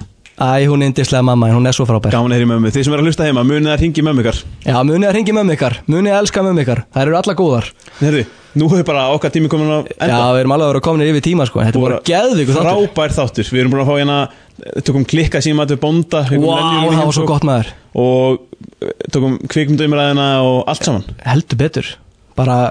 Speaker 3: <laughs> Æ, hún er indislega mamma, en hún er svo frábær
Speaker 4: Gaman að heyri mömmu Þið sem eru að hlusta heima, munið að ringi mömmu ykkar
Speaker 3: Já, munið að ringi mömmu ykkar, munið að elska mömmu ykkar Þær eru alla góðar
Speaker 4: Herðu, nú hefur bara okkar tími komin að
Speaker 3: Já,
Speaker 4: enda
Speaker 3: við erum alveg að vera kominir yfir tíma, sko Þetta er bara geðvíku þáttur
Speaker 4: Frábær þáttur Við erum búin að fá hérna eh, Tökum klikka síma til bónda fengum
Speaker 3: Vá,
Speaker 4: venjulegan
Speaker 3: það var
Speaker 4: heimsókn
Speaker 3: svo gott maður
Speaker 4: Og eh, tökum kvikmyndumræðina og allt saman
Speaker 3: Heldur betur Bara,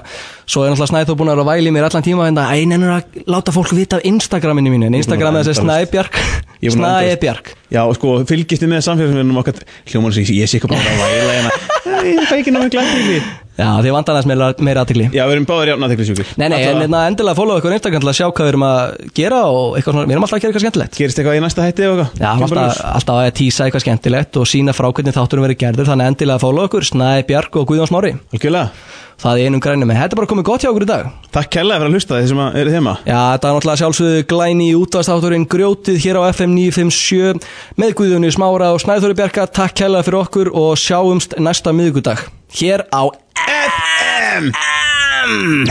Speaker 3: svo er náttúrulega Snæþór búin að vera að væli mér allan tíma hérna Æ, nennur að láta fólk vita af Instagraminu mínu En Instagram er þessi Snæbjark
Speaker 4: Ég er
Speaker 3: <laughs>
Speaker 4: búin að endast.
Speaker 3: Snæbjark
Speaker 4: Já, og sko, fylgist þið með samfélagsmiðlum okkar Hljóman sem ég sé eitthvað bara að væla hérna Æ, Það er ekki námið glæðið
Speaker 3: Já, því vantan aðeins meira, meira aðtikli
Speaker 4: Já, við erum báðir jafn aðtikli sjúkir
Speaker 3: Nei, nei, en
Speaker 4: Alla-
Speaker 3: hérna, endilega follow ykkur á Instagram til að sjá hvað við erum að gera og eitthvað svona, við erum alltaf að gera eitthvað skemmtilegt
Speaker 4: Gerist eitthvað í næsta hætti eða eitthvað?
Speaker 3: Já, við erum alltaf, alltaf að tísa eitthvað skemmtilegt og sína frá hvernig þátturum verið gerðir þannig að endilega follow ykkur, Snæ, Bjark og Guðjón Smári
Speaker 4: Algjörlega
Speaker 3: Það er einum grænum, en þetta er bara komið gott hjá okkur í dag
Speaker 4: Takk kærlega fyrir að hlusta þeir sem að eru heima
Speaker 3: Já, þetta er náttúrulega sjálfsögðu glæni í útastátturinn Grjótið hér á FM 957 með Guðjónu Smára og Snæðurður Bjarka Takk kærlega fyrir okkur og sjáumst næsta miðgudag hér á FM